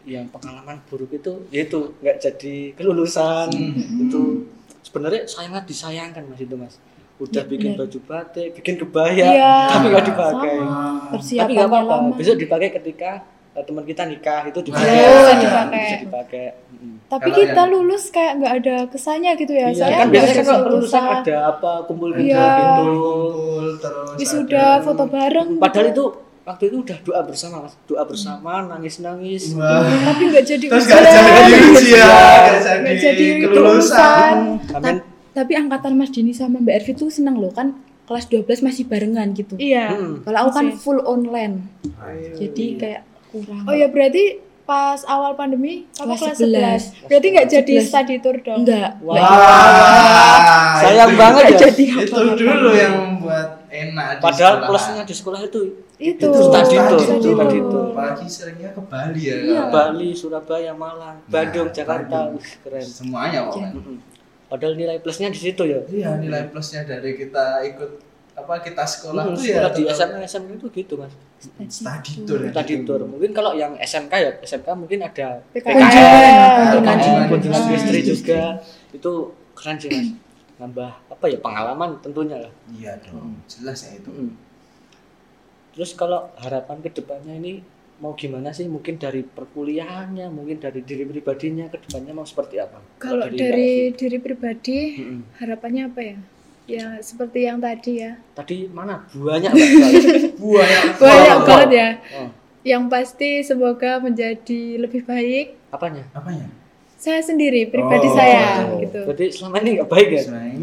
[SPEAKER 2] yang pengalaman buruk itu yaitu nggak jadi kelulusan
[SPEAKER 1] Hmm.
[SPEAKER 2] itu sebenarnya sangat disayangkan mas itu mas udah
[SPEAKER 4] Iya,
[SPEAKER 2] bikin
[SPEAKER 4] benar.
[SPEAKER 2] baju batik bikin kebaya
[SPEAKER 3] Iya,
[SPEAKER 2] tapi nggak dipakai
[SPEAKER 3] sama.
[SPEAKER 1] Wah.
[SPEAKER 2] tapi nggak
[SPEAKER 4] persiapannya
[SPEAKER 2] apa-apa
[SPEAKER 4] lama
[SPEAKER 2] besok dipakai ketika eh, teman kita nikah itu dipakai
[SPEAKER 1] Iya, bisa
[SPEAKER 3] dipakai.
[SPEAKER 2] bisa dipakai Mm.
[SPEAKER 3] Tapi
[SPEAKER 1] Kalau
[SPEAKER 3] kita
[SPEAKER 1] yang-
[SPEAKER 3] lulus kayak nggak ada kesannya gitu
[SPEAKER 2] Iya,
[SPEAKER 3] ya. Soalnya
[SPEAKER 2] kan
[SPEAKER 3] nggak
[SPEAKER 2] biasanya
[SPEAKER 3] ada
[SPEAKER 2] kalau kelulusan
[SPEAKER 3] kelulusan.
[SPEAKER 2] ada apa kumpul kumpul
[SPEAKER 3] Iya.
[SPEAKER 1] Kumpul, terus
[SPEAKER 3] wisuda
[SPEAKER 1] ada-
[SPEAKER 3] foto bareng.
[SPEAKER 2] padahal itu waktu itu udah doa bersama mas doa bersama nangis nangis
[SPEAKER 1] Wah.
[SPEAKER 3] tapi nggak jadi
[SPEAKER 1] terus
[SPEAKER 3] ujian.
[SPEAKER 1] gak jadi ujian
[SPEAKER 3] Nggak
[SPEAKER 1] gak
[SPEAKER 3] jadi
[SPEAKER 1] jadi kelulusan
[SPEAKER 2] Amin.
[SPEAKER 4] tapi angkatan Mas Dini sama Mbak Ervi tuh seneng loh kan kelas 12 masih barengan gitu
[SPEAKER 3] Iya.
[SPEAKER 2] Mm.
[SPEAKER 4] kalau aku kan
[SPEAKER 3] Masih.
[SPEAKER 4] full online jadi
[SPEAKER 2] Iya.
[SPEAKER 4] kayak kurang
[SPEAKER 3] Oh ya berarti pas awal pandemi kamu kelas
[SPEAKER 4] Kelas
[SPEAKER 3] 11. Berarti nggak jadi
[SPEAKER 4] 11.
[SPEAKER 3] study tour dong.
[SPEAKER 4] enggak
[SPEAKER 2] Wah.
[SPEAKER 1] wah
[SPEAKER 2] sayang
[SPEAKER 1] itu-
[SPEAKER 2] banget ya
[SPEAKER 4] [LAUGHS] jadi
[SPEAKER 1] itu dulu yang membuat enak di
[SPEAKER 2] padahal
[SPEAKER 1] sekolahan.
[SPEAKER 2] plusnya di sekolah itu
[SPEAKER 3] Itu.
[SPEAKER 2] Itu study
[SPEAKER 1] tour,
[SPEAKER 3] Study
[SPEAKER 1] itu
[SPEAKER 2] study
[SPEAKER 3] tour.
[SPEAKER 2] tour.
[SPEAKER 1] apalagi seringnya ke Bali ya
[SPEAKER 4] Iya.
[SPEAKER 2] Bali Surabaya Malang Bandung
[SPEAKER 1] Nah,
[SPEAKER 2] Jakarta
[SPEAKER 1] Bandung.
[SPEAKER 2] Wih, keren
[SPEAKER 1] semuanya pokoknya
[SPEAKER 2] Mm-mm. Padahal nilai plusnya di situ ya.
[SPEAKER 1] iya nilai plusnya dari kita ikut apa kita sekolah
[SPEAKER 2] Hmm,
[SPEAKER 1] tuh ya
[SPEAKER 2] sekolah di
[SPEAKER 1] tetap
[SPEAKER 2] SMA SMA itu gitu mas.
[SPEAKER 1] study tour ya.
[SPEAKER 2] Tadi tour. Mungkin kalau yang SMK ya SMK mungkin ada
[SPEAKER 3] PKN.
[SPEAKER 1] Nah,
[SPEAKER 2] PKN,
[SPEAKER 1] kunjungan
[SPEAKER 2] kunjungan
[SPEAKER 1] industri.
[SPEAKER 2] industri juga itu keren sih mas. Nambah apa ya pengalaman tentunya lah.
[SPEAKER 1] iya dong jelas ya itu
[SPEAKER 2] Mm. Terus kalau harapan kedepannya ini mau gimana sih? Mungkin dari perkuliahannya, mungkin dari diri pribadinya kedepannya mau seperti apa? Hmm.
[SPEAKER 3] Kalau
[SPEAKER 2] Mbak Evi.
[SPEAKER 3] dari diri pribadi
[SPEAKER 2] Mm-mm.
[SPEAKER 3] harapannya apa ya? Ya seperti yang tadi ya.
[SPEAKER 2] Tadi mana banyak banget.
[SPEAKER 1] banyak
[SPEAKER 3] Banyak
[SPEAKER 1] banget.
[SPEAKER 3] banget ya.
[SPEAKER 2] [LAUGHS] oh,
[SPEAKER 3] Yang pasti semoga menjadi lebih baik
[SPEAKER 2] apanya?
[SPEAKER 1] apa ya
[SPEAKER 3] saya sendiri pribadi
[SPEAKER 1] Oh.
[SPEAKER 3] saya
[SPEAKER 1] Oh.
[SPEAKER 3] gitu.
[SPEAKER 2] Jadi selama ini nggak baik ya?
[SPEAKER 1] sebenarnya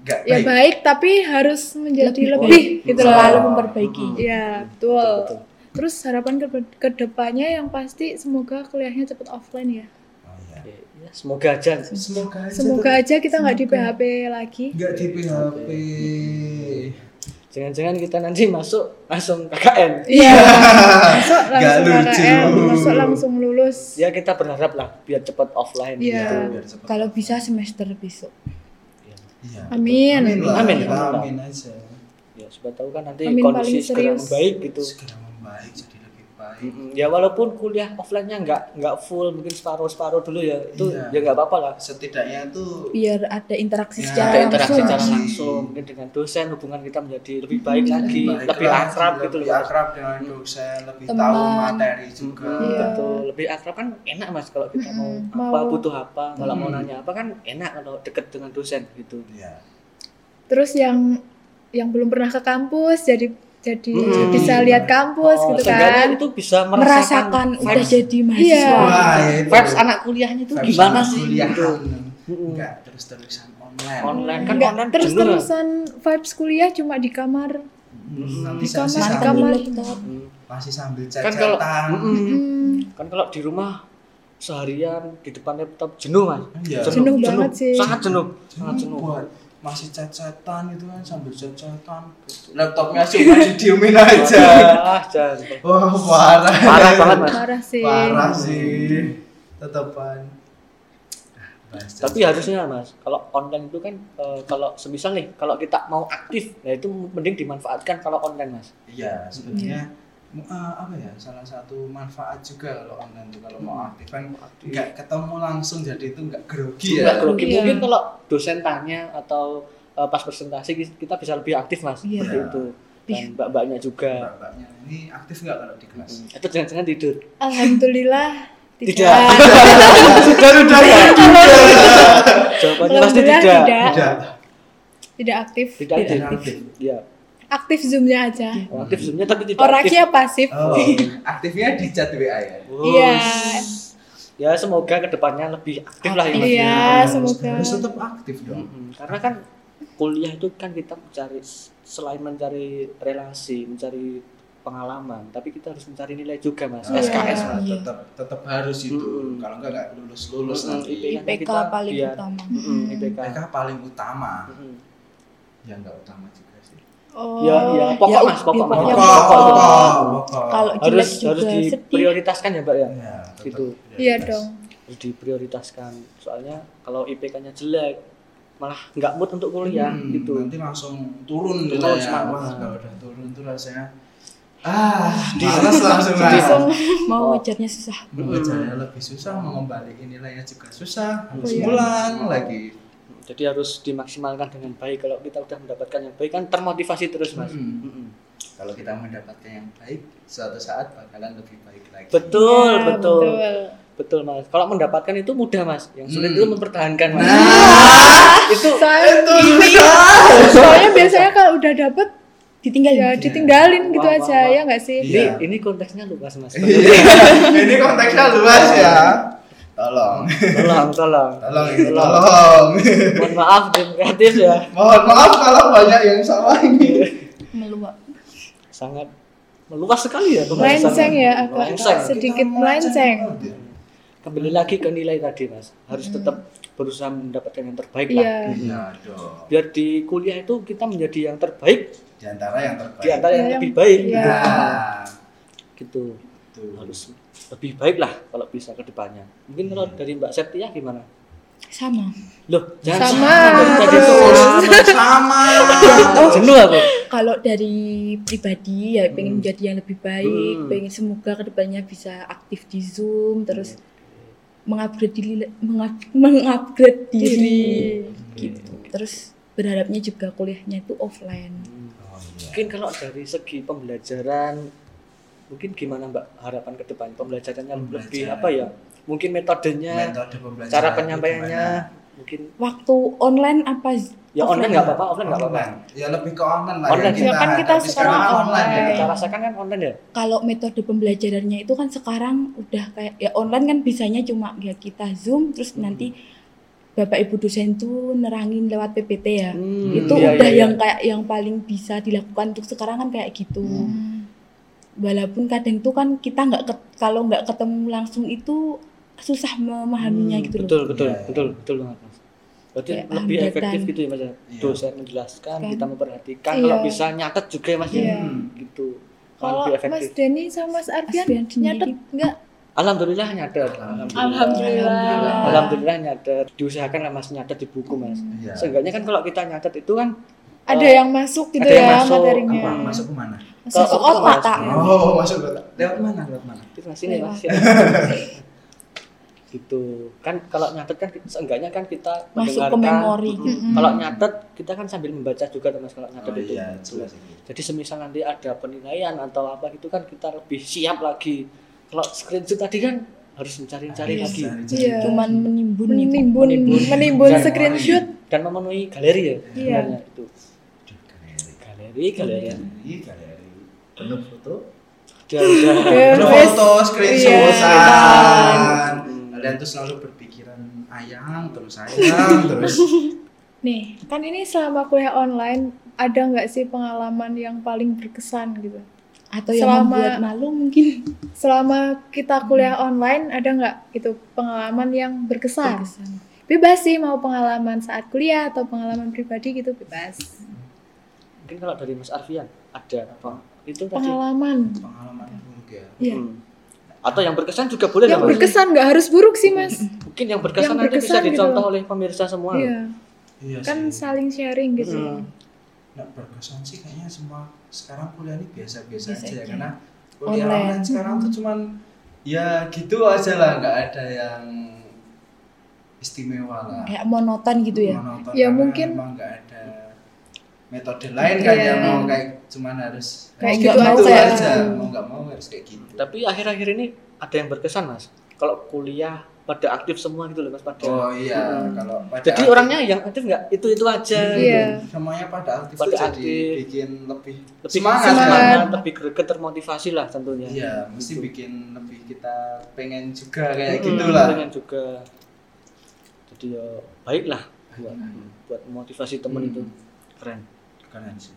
[SPEAKER 1] nggak
[SPEAKER 3] Ya
[SPEAKER 1] baik
[SPEAKER 3] baik tapi harus menjadi
[SPEAKER 2] Lebih
[SPEAKER 3] lebih,
[SPEAKER 2] baik.
[SPEAKER 3] gitu loh.
[SPEAKER 4] selalu memperbaiki
[SPEAKER 2] Mm-mm.
[SPEAKER 3] Ya,
[SPEAKER 2] Betul,
[SPEAKER 3] betul.
[SPEAKER 2] betul.
[SPEAKER 3] Terus harapan ke kedepannya yang pasti semoga kuliahnya cepet offline ya.
[SPEAKER 1] Oh, iya.
[SPEAKER 2] Oke, ya, semoga aja.
[SPEAKER 1] semoga aja
[SPEAKER 3] Semoga
[SPEAKER 1] tetap-
[SPEAKER 3] aja kita nggak di
[SPEAKER 4] Semoga.
[SPEAKER 3] PHP lagi.
[SPEAKER 1] nggak di PHP
[SPEAKER 2] Jangan-jangan kita nanti masuk langsung KKN.
[SPEAKER 3] Iya. Masuk
[SPEAKER 1] Nggak
[SPEAKER 3] langsung
[SPEAKER 1] lucu.
[SPEAKER 3] KKN, masuk langsung lulus.
[SPEAKER 2] Ya kita berharap lah biar cepat offline.
[SPEAKER 3] Iya.
[SPEAKER 1] Tuh, biar cepet.
[SPEAKER 4] kalau bisa semester besok
[SPEAKER 1] Iya.
[SPEAKER 3] Amin.
[SPEAKER 1] Amin lah.
[SPEAKER 2] Amin.
[SPEAKER 1] Kita
[SPEAKER 2] Amin.
[SPEAKER 1] amin aja.
[SPEAKER 2] Ya siapa tahu kan nanti
[SPEAKER 3] Amin,
[SPEAKER 2] kondisi
[SPEAKER 3] paling
[SPEAKER 2] segera
[SPEAKER 3] serius.
[SPEAKER 2] membaik gitu.
[SPEAKER 1] Segera membaik jadi lebih baik.
[SPEAKER 2] Mm-mm. Ya walaupun kuliah offline-nya nggak nggak full mungkin separuh-separuh dulu ya itu
[SPEAKER 1] Iya.
[SPEAKER 2] ya nggak apa-apa lah.
[SPEAKER 1] Setidaknya tuh
[SPEAKER 4] biar ada interaksi
[SPEAKER 1] Ya,
[SPEAKER 4] secara
[SPEAKER 3] Ah,
[SPEAKER 2] Ada interaksi
[SPEAKER 4] langsung
[SPEAKER 2] secara
[SPEAKER 1] Langsung.
[SPEAKER 2] langsung mungkin dengan dosen hubungan kita menjadi lebih baik lagi,
[SPEAKER 1] baik
[SPEAKER 2] lebih
[SPEAKER 1] lagi,
[SPEAKER 2] akrab gitu
[SPEAKER 1] lebih
[SPEAKER 2] loh.
[SPEAKER 1] akrab dengan dosen, lebih
[SPEAKER 4] Teman.
[SPEAKER 1] tahu materi juga.
[SPEAKER 2] Mm,
[SPEAKER 3] Iya.
[SPEAKER 2] betul. Lebih akrab kan enak mas kalau kita mau
[SPEAKER 3] Mm-mm,
[SPEAKER 2] apa
[SPEAKER 3] mau.
[SPEAKER 2] butuh apa kalau mau
[SPEAKER 1] Mm.
[SPEAKER 2] nanya apa kan enak kalau deket dengan dosen gitu.
[SPEAKER 1] Iya.
[SPEAKER 3] Terus yang yang belum pernah ke kampus jadi jadi
[SPEAKER 2] Mm-mm.
[SPEAKER 3] bisa lihat kampus
[SPEAKER 2] Oh,
[SPEAKER 3] gitu
[SPEAKER 2] seenggaknya
[SPEAKER 3] kan
[SPEAKER 2] itu bisa merasakan,
[SPEAKER 4] merasakan udah
[SPEAKER 2] vibes-
[SPEAKER 4] jadi mahasiswa.
[SPEAKER 3] Iya.
[SPEAKER 1] Wah, ya itu.
[SPEAKER 2] vibes anak kuliahnya itu
[SPEAKER 1] Vibes
[SPEAKER 2] gimana
[SPEAKER 1] anak
[SPEAKER 2] sih
[SPEAKER 1] kuliahan.
[SPEAKER 2] gitu. Mm-mm.
[SPEAKER 1] Enggak terus-terusan online.
[SPEAKER 2] Online kan
[SPEAKER 3] nggak
[SPEAKER 2] online
[SPEAKER 3] terus
[SPEAKER 2] jenuh.
[SPEAKER 3] terusan vibes kuliah cuma di kamar
[SPEAKER 1] Hmm, Nanti
[SPEAKER 3] Di kamar,
[SPEAKER 1] masih
[SPEAKER 3] di
[SPEAKER 4] Masih
[SPEAKER 1] sambil,
[SPEAKER 3] kamar.
[SPEAKER 4] kamar laptop.
[SPEAKER 2] Mm.
[SPEAKER 1] masih sambil
[SPEAKER 2] Kan kalau
[SPEAKER 1] chat-chatan.
[SPEAKER 2] Mm-mm.
[SPEAKER 3] Hmm,
[SPEAKER 2] kan kalau di rumah seharian di depan laptop jenuh mas
[SPEAKER 1] Iya.
[SPEAKER 3] Jenuh banget sih.
[SPEAKER 2] sangat jenuh sangat
[SPEAKER 1] Ini
[SPEAKER 2] jenuh
[SPEAKER 1] Hmm, buat masih cacatan gitu kan sambil cacatan laptopnya cuma didiemin aja
[SPEAKER 2] ah jangan
[SPEAKER 1] wah parah
[SPEAKER 2] parah banget mas Iya.
[SPEAKER 3] parah sih
[SPEAKER 1] parah sih tetepan Ah, bahas
[SPEAKER 2] tapi
[SPEAKER 1] cacat.
[SPEAKER 2] harusnya mas kalau online itu kan eh, kalau semisal nih kalau kita mau aktif nah itu mending dimanfaatkan kalau online mas
[SPEAKER 1] iya sebenarnya
[SPEAKER 3] Hmm.
[SPEAKER 1] mu- eh, apa ya salah satu manfaat juga kalau online tuh kalau
[SPEAKER 3] Hmm.
[SPEAKER 1] mau aktif kan nggak ketemu langsung jadi itu nggak grogi
[SPEAKER 2] nggak
[SPEAKER 1] ya
[SPEAKER 2] grogi
[SPEAKER 3] Iya.
[SPEAKER 2] mungkin kalau dosen tanya atau eh, pas presentasi kita bisa lebih aktif mas
[SPEAKER 4] Iya.
[SPEAKER 2] seperti itu dan
[SPEAKER 4] Iya.
[SPEAKER 2] mbak-mbaknya juga
[SPEAKER 1] Mbak-mbaknya, ini aktif nggak kalau di kelas
[SPEAKER 2] Hmm. atau jangan-jangan tidur
[SPEAKER 3] alhamdulillah
[SPEAKER 2] Tidak.
[SPEAKER 1] sudah sudah ya
[SPEAKER 2] jawabannya
[SPEAKER 3] Kalau
[SPEAKER 2] pasti
[SPEAKER 3] benar,
[SPEAKER 2] tidak
[SPEAKER 3] tidak.
[SPEAKER 1] sudah
[SPEAKER 3] tidak aktif
[SPEAKER 2] tidak
[SPEAKER 1] Tidak
[SPEAKER 2] aktif.
[SPEAKER 1] aktif.
[SPEAKER 2] ya
[SPEAKER 3] aktif zoomnya aja
[SPEAKER 2] aktif sebenarnya tapi tidak aktif
[SPEAKER 3] orangnya pasif
[SPEAKER 1] oh, [LAUGHS] aktifnya di chat WA ya
[SPEAKER 2] Oh,
[SPEAKER 3] iya
[SPEAKER 2] ya semoga kedepannya lebih aktif lah ya Mas.
[SPEAKER 3] iya
[SPEAKER 1] Harus-
[SPEAKER 3] semoga
[SPEAKER 1] harus tetap aktif dong
[SPEAKER 2] Mm-mm. karena kan kuliah itu kan kita mencari selain mencari relasi mencari pengalaman tapi kita harus mencari nilai juga mas
[SPEAKER 1] Nah,
[SPEAKER 2] SKS
[SPEAKER 1] nah,
[SPEAKER 4] Iya.
[SPEAKER 1] tetap tetap harus itu
[SPEAKER 2] Mm-mm.
[SPEAKER 1] kalau enggak enggak lulus lulus
[SPEAKER 2] Mm-mm,
[SPEAKER 1] nanti
[SPEAKER 2] IP.
[SPEAKER 4] IPK
[SPEAKER 2] Kita
[SPEAKER 4] paling
[SPEAKER 2] biar-
[SPEAKER 4] utama.
[SPEAKER 2] Mm-mm, IPK
[SPEAKER 1] IPK paling utama
[SPEAKER 2] Mm-mm.
[SPEAKER 1] ya enggak utama juga sih
[SPEAKER 3] oh
[SPEAKER 2] ya ya pokok
[SPEAKER 4] Ya,
[SPEAKER 2] mas pokok
[SPEAKER 4] ya,
[SPEAKER 2] mas
[SPEAKER 4] pokok.
[SPEAKER 2] Pokok, pokok.
[SPEAKER 1] pokok,
[SPEAKER 4] Kalau
[SPEAKER 2] harus
[SPEAKER 4] jelek juga
[SPEAKER 2] harus
[SPEAKER 4] sedih.
[SPEAKER 2] diprioritaskan ya mbak ya
[SPEAKER 1] Ya, tetap
[SPEAKER 2] Gitu.
[SPEAKER 1] prioritas.
[SPEAKER 3] iya dong
[SPEAKER 2] harus diprioritaskan soalnya kalau IPK-nya jelek malah nggak mood untuk kuliah
[SPEAKER 1] Hmm,
[SPEAKER 2] gitu
[SPEAKER 1] nanti langsung turun
[SPEAKER 2] Turun
[SPEAKER 1] nilainya.
[SPEAKER 2] semangat.
[SPEAKER 1] Wah, kalau udah turun tuh rasanya ah males [LAUGHS] langsung lah
[SPEAKER 3] langsung
[SPEAKER 4] Mau
[SPEAKER 2] Oh.
[SPEAKER 4] ngejarnya susah.
[SPEAKER 1] mengejarnya lebih susah mau ngembalikan nilainya juga susah harus
[SPEAKER 3] Iya.
[SPEAKER 1] ulang lagi
[SPEAKER 2] jadi harus dimaksimalkan dengan baik kalau kita udah mendapatkan yang baik kan termotivasi terus mas Hmm.
[SPEAKER 1] Mm-mm.
[SPEAKER 2] Mm-mm.
[SPEAKER 1] kalau kita mendapatkan yang baik suatu saat bakalan lebih baik lagi
[SPEAKER 2] betul
[SPEAKER 3] Ya,
[SPEAKER 2] betul Betul mas. Kalau mendapatkan itu mudah mas. Yang sulit
[SPEAKER 1] Hmm. Nah.
[SPEAKER 2] itu mempertahankan mas. itu
[SPEAKER 3] soalnya
[SPEAKER 1] [LAUGHS]
[SPEAKER 3] soalnya biasanya kalau udah dapet
[SPEAKER 4] Ditinggal
[SPEAKER 3] ya ditinggalin gitu
[SPEAKER 2] Wah,
[SPEAKER 3] aja
[SPEAKER 2] wah, wah.
[SPEAKER 3] ya nggak sih
[SPEAKER 2] ini
[SPEAKER 1] Iya.
[SPEAKER 2] ini konteksnya luas mas.
[SPEAKER 1] Iya. ini konteksnya luas ya tolong
[SPEAKER 2] Tolong tolong.
[SPEAKER 1] tolong ini tolong
[SPEAKER 2] Mohon maaf tim kreatif ya.
[SPEAKER 1] mohon maaf kalau banyak yang salah ini
[SPEAKER 4] meluap.
[SPEAKER 2] Sangat meluas sekali ya pembahasannya.
[SPEAKER 3] melenceng ya agak
[SPEAKER 2] Melenceng.
[SPEAKER 3] sedikit melenceng
[SPEAKER 1] gitu.
[SPEAKER 2] Kembali lagi ke nilai tadi mas. Harus tetap berusaha mendapatkan yang terbaik lah.
[SPEAKER 3] Hmm. iya
[SPEAKER 1] iya dong
[SPEAKER 2] Biar di kuliah itu kita menjadi yang terbaik
[SPEAKER 1] di antara yang terbaik
[SPEAKER 2] di antara yang
[SPEAKER 3] Iya.
[SPEAKER 2] lebih baik.
[SPEAKER 3] Iya.
[SPEAKER 1] Nah,
[SPEAKER 2] Gitu.
[SPEAKER 1] tuh.
[SPEAKER 2] Harus lebih baik lah kalau bisa ke depannya. Mungkin kalau
[SPEAKER 3] Iya.
[SPEAKER 2] dari Mbak Septia gimana?
[SPEAKER 4] Sama.
[SPEAKER 2] Loh, jangan
[SPEAKER 3] Sama, Oh.
[SPEAKER 2] dari tadi
[SPEAKER 1] Terus,
[SPEAKER 2] terus.
[SPEAKER 1] sama Oh, iya.
[SPEAKER 2] Jenuh
[SPEAKER 3] Iya.
[SPEAKER 2] aku.
[SPEAKER 4] Kalau dari pribadi ya pengen menjadi yang lebih baik,
[SPEAKER 2] Hmm.
[SPEAKER 4] pengen semoga kedepannya bisa aktif di Zoom,
[SPEAKER 2] Iya.
[SPEAKER 4] terus mengupgrade diri, mengap- mengupgrade diri, gitu. Terus berharapnya juga kuliahnya itu offline.
[SPEAKER 1] Oh, iya.
[SPEAKER 2] Mungkin kalau dari segi pembelajaran mungkin gimana Mbak harapan ke depan pembelajarannya lebih
[SPEAKER 1] Pembelajaran.
[SPEAKER 2] apa ya? Mungkin metodenya,
[SPEAKER 1] metode pembelajaran
[SPEAKER 2] Iya. cara
[SPEAKER 1] itu
[SPEAKER 2] penyampaiannya
[SPEAKER 1] gimana?
[SPEAKER 2] mungkin
[SPEAKER 4] Waktu online apa? z-
[SPEAKER 2] ya online
[SPEAKER 4] Offline.
[SPEAKER 2] nggak apa-apa, offline nggak apa-apa.
[SPEAKER 1] online ya lebih ke online lah
[SPEAKER 2] Online.
[SPEAKER 1] yang kita
[SPEAKER 3] Ya kan kita
[SPEAKER 1] hadapi
[SPEAKER 3] sekarang
[SPEAKER 1] sekarang online,
[SPEAKER 3] online.
[SPEAKER 2] Yang
[SPEAKER 1] ya
[SPEAKER 2] Kita rasakan kan online ya?
[SPEAKER 4] Kalau metode pembelajarannya itu kan sekarang udah kayak ya online kan bisanya cuma ya kita Zoom, terus
[SPEAKER 2] Hmm.
[SPEAKER 4] nanti Bapak Ibu dosen tuh nerangin lewat PPT ya.
[SPEAKER 2] Hmm,
[SPEAKER 4] itu
[SPEAKER 2] iya,
[SPEAKER 4] udah
[SPEAKER 2] iya,
[SPEAKER 4] yang
[SPEAKER 2] iya.
[SPEAKER 4] kayak yang paling bisa dilakukan untuk sekarang kan kayak gitu
[SPEAKER 1] Hmm.
[SPEAKER 4] walaupun kadang tuh kan kita nggak ket- kalau nggak ketemu langsung itu susah memahaminya
[SPEAKER 2] Hmm,
[SPEAKER 4] gitu loh
[SPEAKER 2] Betul, betul,
[SPEAKER 1] Iya, iya.
[SPEAKER 2] betul, betul banget Mas. Berarti
[SPEAKER 4] Kayak
[SPEAKER 2] lebih
[SPEAKER 4] hambatan.
[SPEAKER 2] efektif gitu ya Mas. ya?
[SPEAKER 1] Iya.
[SPEAKER 2] Dosen menjelaskan,
[SPEAKER 4] Kan.
[SPEAKER 2] kita memperhatikan,
[SPEAKER 3] Iya.
[SPEAKER 2] kalau bisa nyatet juga ya Mas ya.
[SPEAKER 3] Iya.
[SPEAKER 1] Hmm.
[SPEAKER 2] Gitu.
[SPEAKER 3] kalau
[SPEAKER 2] lebih
[SPEAKER 3] Mas
[SPEAKER 2] efektif.
[SPEAKER 3] Denny sama Mas Ardian
[SPEAKER 4] Ardian sendiri.
[SPEAKER 3] nyatet nggak
[SPEAKER 2] Alhamdulillah nyatet.
[SPEAKER 3] alhamdulillah
[SPEAKER 2] Alhamdulillah nyatet diusahakan lah mas nyatet di buku mas.
[SPEAKER 1] Iya.
[SPEAKER 2] Seenggaknya kan kalau kita nyatet itu kan
[SPEAKER 3] ada yang masuk gitu
[SPEAKER 2] ada yang
[SPEAKER 3] ya
[SPEAKER 2] masuk,
[SPEAKER 3] materinya
[SPEAKER 1] apa masuk ke mana
[SPEAKER 4] masuk
[SPEAKER 2] ke ya.
[SPEAKER 4] otak,
[SPEAKER 2] mas.
[SPEAKER 4] Kak.
[SPEAKER 3] Iya.
[SPEAKER 1] oh masuk ke lewat mana lewat mana
[SPEAKER 2] Itu mas ini mas. ya. gitu kan kalau nyatet kan seenggaknya kan kita
[SPEAKER 4] Masuk ke
[SPEAKER 2] mendengarkan.
[SPEAKER 4] memori
[SPEAKER 2] Mm-mm.
[SPEAKER 3] gitu.
[SPEAKER 2] Kalau nyatet kita kan sambil membaca juga tuh, mas kalau nyatet
[SPEAKER 1] oh
[SPEAKER 2] itu.
[SPEAKER 1] iya jelas ini
[SPEAKER 2] Jadi semisal nanti ada penilaian atau apa gitu kan kita lebih siap lagi. Kalau screenshot tadi kan harus
[SPEAKER 1] Iya,
[SPEAKER 2] mencari-cari lagi
[SPEAKER 1] cari-cari.
[SPEAKER 3] Iya.
[SPEAKER 4] cuman menimbun gitu.
[SPEAKER 3] menimbun
[SPEAKER 4] nimbun
[SPEAKER 2] Menimbun.
[SPEAKER 3] menimbun
[SPEAKER 2] Dan-
[SPEAKER 3] screenshot
[SPEAKER 2] dan memenuhi galeri ya
[SPEAKER 3] Iya.
[SPEAKER 2] sebenarnya itu.
[SPEAKER 1] Aduh, galeri.
[SPEAKER 2] Galeri, galeri.
[SPEAKER 1] Hmm. Iya, Galeri, galeri.
[SPEAKER 5] penuh foto
[SPEAKER 2] Udah, udah.
[SPEAKER 3] Ya,
[SPEAKER 1] Ada
[SPEAKER 3] wes. Iya,
[SPEAKER 1] foto screenshotan kalian tuh selalu berpikiran ayam terus ayam terus
[SPEAKER 3] [LAUGHS] Nih, kan ini selama kuliah online ada nggak sih pengalaman yang paling berkesan gitu?
[SPEAKER 4] atau yang
[SPEAKER 3] Selama-
[SPEAKER 4] membuat malu mungkin
[SPEAKER 3] Selama kita kuliah online ada nggak itu pengalaman yang berkesan? Bebas sih mau pengalaman saat kuliah atau pengalaman pribadi gitu bebas.
[SPEAKER 2] Mungkin kalau dari Mas Arfian ada apa? Itu tadi.
[SPEAKER 3] Pengalaman
[SPEAKER 1] pengalaman buruk ya
[SPEAKER 3] Oh, Iya.
[SPEAKER 2] Hmm. Atau yang berkesan juga boleh
[SPEAKER 3] yang
[SPEAKER 2] lah, Mas.
[SPEAKER 3] berkesan nggak harus buruk sih mas.
[SPEAKER 2] Mungkin yang berkesan,
[SPEAKER 3] Yang
[SPEAKER 2] nanti bisa
[SPEAKER 3] berkesan gitu
[SPEAKER 2] dicontoh
[SPEAKER 3] loh.
[SPEAKER 2] oleh pemirsa semua. loh.
[SPEAKER 3] Iya,
[SPEAKER 1] iya
[SPEAKER 3] kan
[SPEAKER 1] sih.
[SPEAKER 3] saling sharing gitu.
[SPEAKER 2] Hmm.
[SPEAKER 1] nggak berkesan sih kayaknya semua sekarang kuliah ini biasa-biasa
[SPEAKER 4] Biasa
[SPEAKER 1] aja ya
[SPEAKER 4] aja.
[SPEAKER 1] karena kuliah
[SPEAKER 4] Online.
[SPEAKER 1] online, sekarang tuh cuman ya gitu aja lah nggak ada yang istimewa lah
[SPEAKER 4] kayak monoton gitu ya
[SPEAKER 1] Menonton
[SPEAKER 3] Ya,
[SPEAKER 1] karena
[SPEAKER 3] mungkin.
[SPEAKER 1] memang nggak ada metode lain kayaknya
[SPEAKER 3] Iya.
[SPEAKER 1] mau kayak cuman harus
[SPEAKER 3] Kayak
[SPEAKER 1] harus
[SPEAKER 4] gitu aja.
[SPEAKER 1] aja mau nggak mau harus kayak gitu
[SPEAKER 2] Tapi akhir-akhir ini ada yang berkesan, Mas. Kalau kuliah pada aktif semua gitu loh, Mas, pada.
[SPEAKER 1] oh iya
[SPEAKER 2] Hmm.
[SPEAKER 1] kalau pada
[SPEAKER 2] Jadi
[SPEAKER 1] aktif-
[SPEAKER 2] orangnya yang aktif nggak itu-itu aja.
[SPEAKER 3] Iya.
[SPEAKER 2] gitu.
[SPEAKER 1] semuanya pada aktif
[SPEAKER 2] Pada
[SPEAKER 1] tuh jadi
[SPEAKER 2] aktif.
[SPEAKER 1] bikin lebih,
[SPEAKER 2] Lebih
[SPEAKER 1] semangat,
[SPEAKER 2] semangat,
[SPEAKER 1] kan?
[SPEAKER 3] semangat.
[SPEAKER 2] lebih greget termotivasi lah tentunya.
[SPEAKER 1] iya mesti
[SPEAKER 2] Gitu.
[SPEAKER 1] bikin lebih kita pengen juga kayak gitu
[SPEAKER 2] Hmm,
[SPEAKER 1] gitulah
[SPEAKER 2] pengen juga. Jadi ya baiklah buat buat motivasi
[SPEAKER 1] Hmm.
[SPEAKER 2] temen itu. Keren.
[SPEAKER 1] keren sih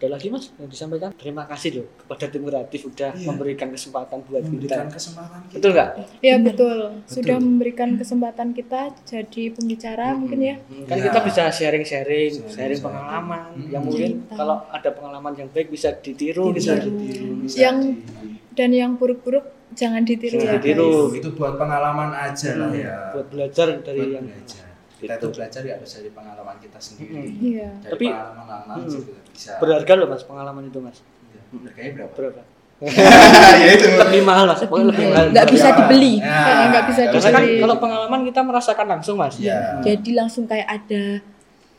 [SPEAKER 2] Ada lagi Mas yang disampaikan? Terima kasih loh kepada tim kreatif udah
[SPEAKER 1] Iya. Hmm,
[SPEAKER 2] memberikan kesempatan buat
[SPEAKER 1] memberikan
[SPEAKER 2] kita.
[SPEAKER 1] kesempatan gitu. kita
[SPEAKER 2] Betul nggak?
[SPEAKER 3] Ya
[SPEAKER 4] Bener.
[SPEAKER 3] betul. Sudah memberikan kesempatan kita jadi pembicara mungkin ya.
[SPEAKER 2] Kan
[SPEAKER 1] Iya.
[SPEAKER 2] kita bisa sharing-sharing, sharing,
[SPEAKER 1] Sharing-sharing.
[SPEAKER 2] pengalaman
[SPEAKER 1] Hmm. Iya.
[SPEAKER 2] yang mungkin
[SPEAKER 3] Iya.
[SPEAKER 4] Cerita.
[SPEAKER 2] kalau ada pengalaman yang baik bisa ditiru
[SPEAKER 1] bisa
[SPEAKER 2] gitu.
[SPEAKER 1] ditiru bisa
[SPEAKER 3] Yang-
[SPEAKER 1] di-
[SPEAKER 3] Dan yang buruk-buruk jangan ditiru
[SPEAKER 2] Jangan
[SPEAKER 3] ya.
[SPEAKER 1] Nah,
[SPEAKER 3] guys.
[SPEAKER 2] ditiru.
[SPEAKER 1] itu buat pengalaman aja lah ya
[SPEAKER 2] Nah, Hmm. iya. Buat belajar dari
[SPEAKER 1] Buat
[SPEAKER 2] yang
[SPEAKER 1] belajar kita
[SPEAKER 2] Gitu.
[SPEAKER 1] tuh belajar ya harus dari pengalaman kita sendiri
[SPEAKER 3] Iya.
[SPEAKER 1] dari
[SPEAKER 2] Hmm. Tapi-
[SPEAKER 1] pengalaman lama
[SPEAKER 2] Hmm.
[SPEAKER 1] juga bisa
[SPEAKER 2] berharga loh Mas pengalaman itu Mas.
[SPEAKER 1] Iya. harganya berapa
[SPEAKER 2] Berapa?
[SPEAKER 1] [LAUGHS] ya itu
[SPEAKER 2] Lebih mahal Mas, pokoknya lebih mahal.
[SPEAKER 4] Nggak bisa
[SPEAKER 1] Berapa?
[SPEAKER 4] dibeli.
[SPEAKER 1] Nah,
[SPEAKER 3] Karena nggak bisa
[SPEAKER 2] Karena kan
[SPEAKER 3] Jadi-
[SPEAKER 2] kalau pengalaman kita merasakan langsung Mas.
[SPEAKER 1] Iya.
[SPEAKER 4] jadi langsung kayak ada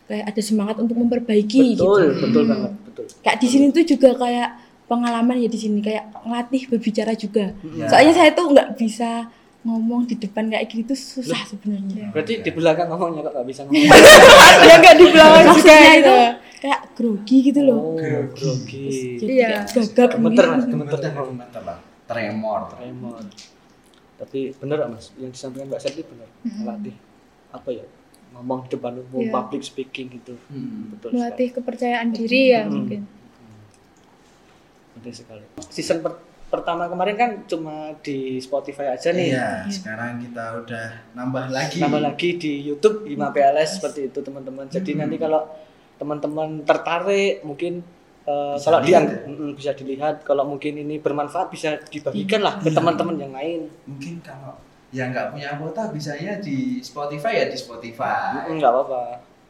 [SPEAKER 4] kayak ada semangat untuk memperbaiki gitu
[SPEAKER 2] betul, betul
[SPEAKER 3] Hmm.
[SPEAKER 2] banget, betul.
[SPEAKER 4] kayak di sini tuh juga kayak pengalaman ya di sini kayak ngelatih berbicara juga
[SPEAKER 1] Ya.
[SPEAKER 2] Iya.
[SPEAKER 4] soalnya saya tuh nggak bisa ngomong di depan kayak gitu susah sebenarnya
[SPEAKER 2] Berarti
[SPEAKER 1] Iya.
[SPEAKER 2] di belakang ngomongnya kok nggak bisa ngomong.
[SPEAKER 3] [LAUGHS] ya nggak di belakang juga
[SPEAKER 4] Maksudnya
[SPEAKER 3] itu.
[SPEAKER 4] itu kayak grogi gitu loh
[SPEAKER 2] Oh, gitu.
[SPEAKER 1] Grogi.
[SPEAKER 2] grogi.
[SPEAKER 4] jadi
[SPEAKER 3] Iya.
[SPEAKER 4] kayak gagap
[SPEAKER 2] Gemeter, Mas.
[SPEAKER 4] gitu.
[SPEAKER 1] gemeter gemeter lah tremor
[SPEAKER 2] Tremor. Tapi bener nggak, Mas, yang disampaikan Mbak Serti bener.
[SPEAKER 4] Mm-hmm.
[SPEAKER 2] Melatih apa ya? Ngomong di depan umum,
[SPEAKER 3] Iya.
[SPEAKER 2] public speaking gitu.
[SPEAKER 1] Hmm.
[SPEAKER 2] Betul
[SPEAKER 3] Melatih
[SPEAKER 2] sekali.
[SPEAKER 3] kepercayaan diri ya
[SPEAKER 2] Hmm.
[SPEAKER 3] mungkin.
[SPEAKER 2] Betul sekali. Season per- pertama kemarin kan cuma di Spotify aja nih.
[SPEAKER 1] Iya, sekarang kita udah nambah lagi.
[SPEAKER 2] Tambah lagi di YouTube 5 PLS seperti itu teman-teman. Jadi
[SPEAKER 1] Hmm.
[SPEAKER 2] nanti kalau teman-teman tertarik mungkin eh,
[SPEAKER 1] Bisa
[SPEAKER 2] kalau
[SPEAKER 1] dilihat
[SPEAKER 2] dia
[SPEAKER 1] ya?
[SPEAKER 2] Mm, bisa dilihat kalau mungkin ini bermanfaat bisa dibagikan lah ke teman-teman yang lain.
[SPEAKER 1] Mungkin kalau yang nggak punya kuota bisanya di Spotify ya di Spotify.
[SPEAKER 2] Mm, nggak apa-apa.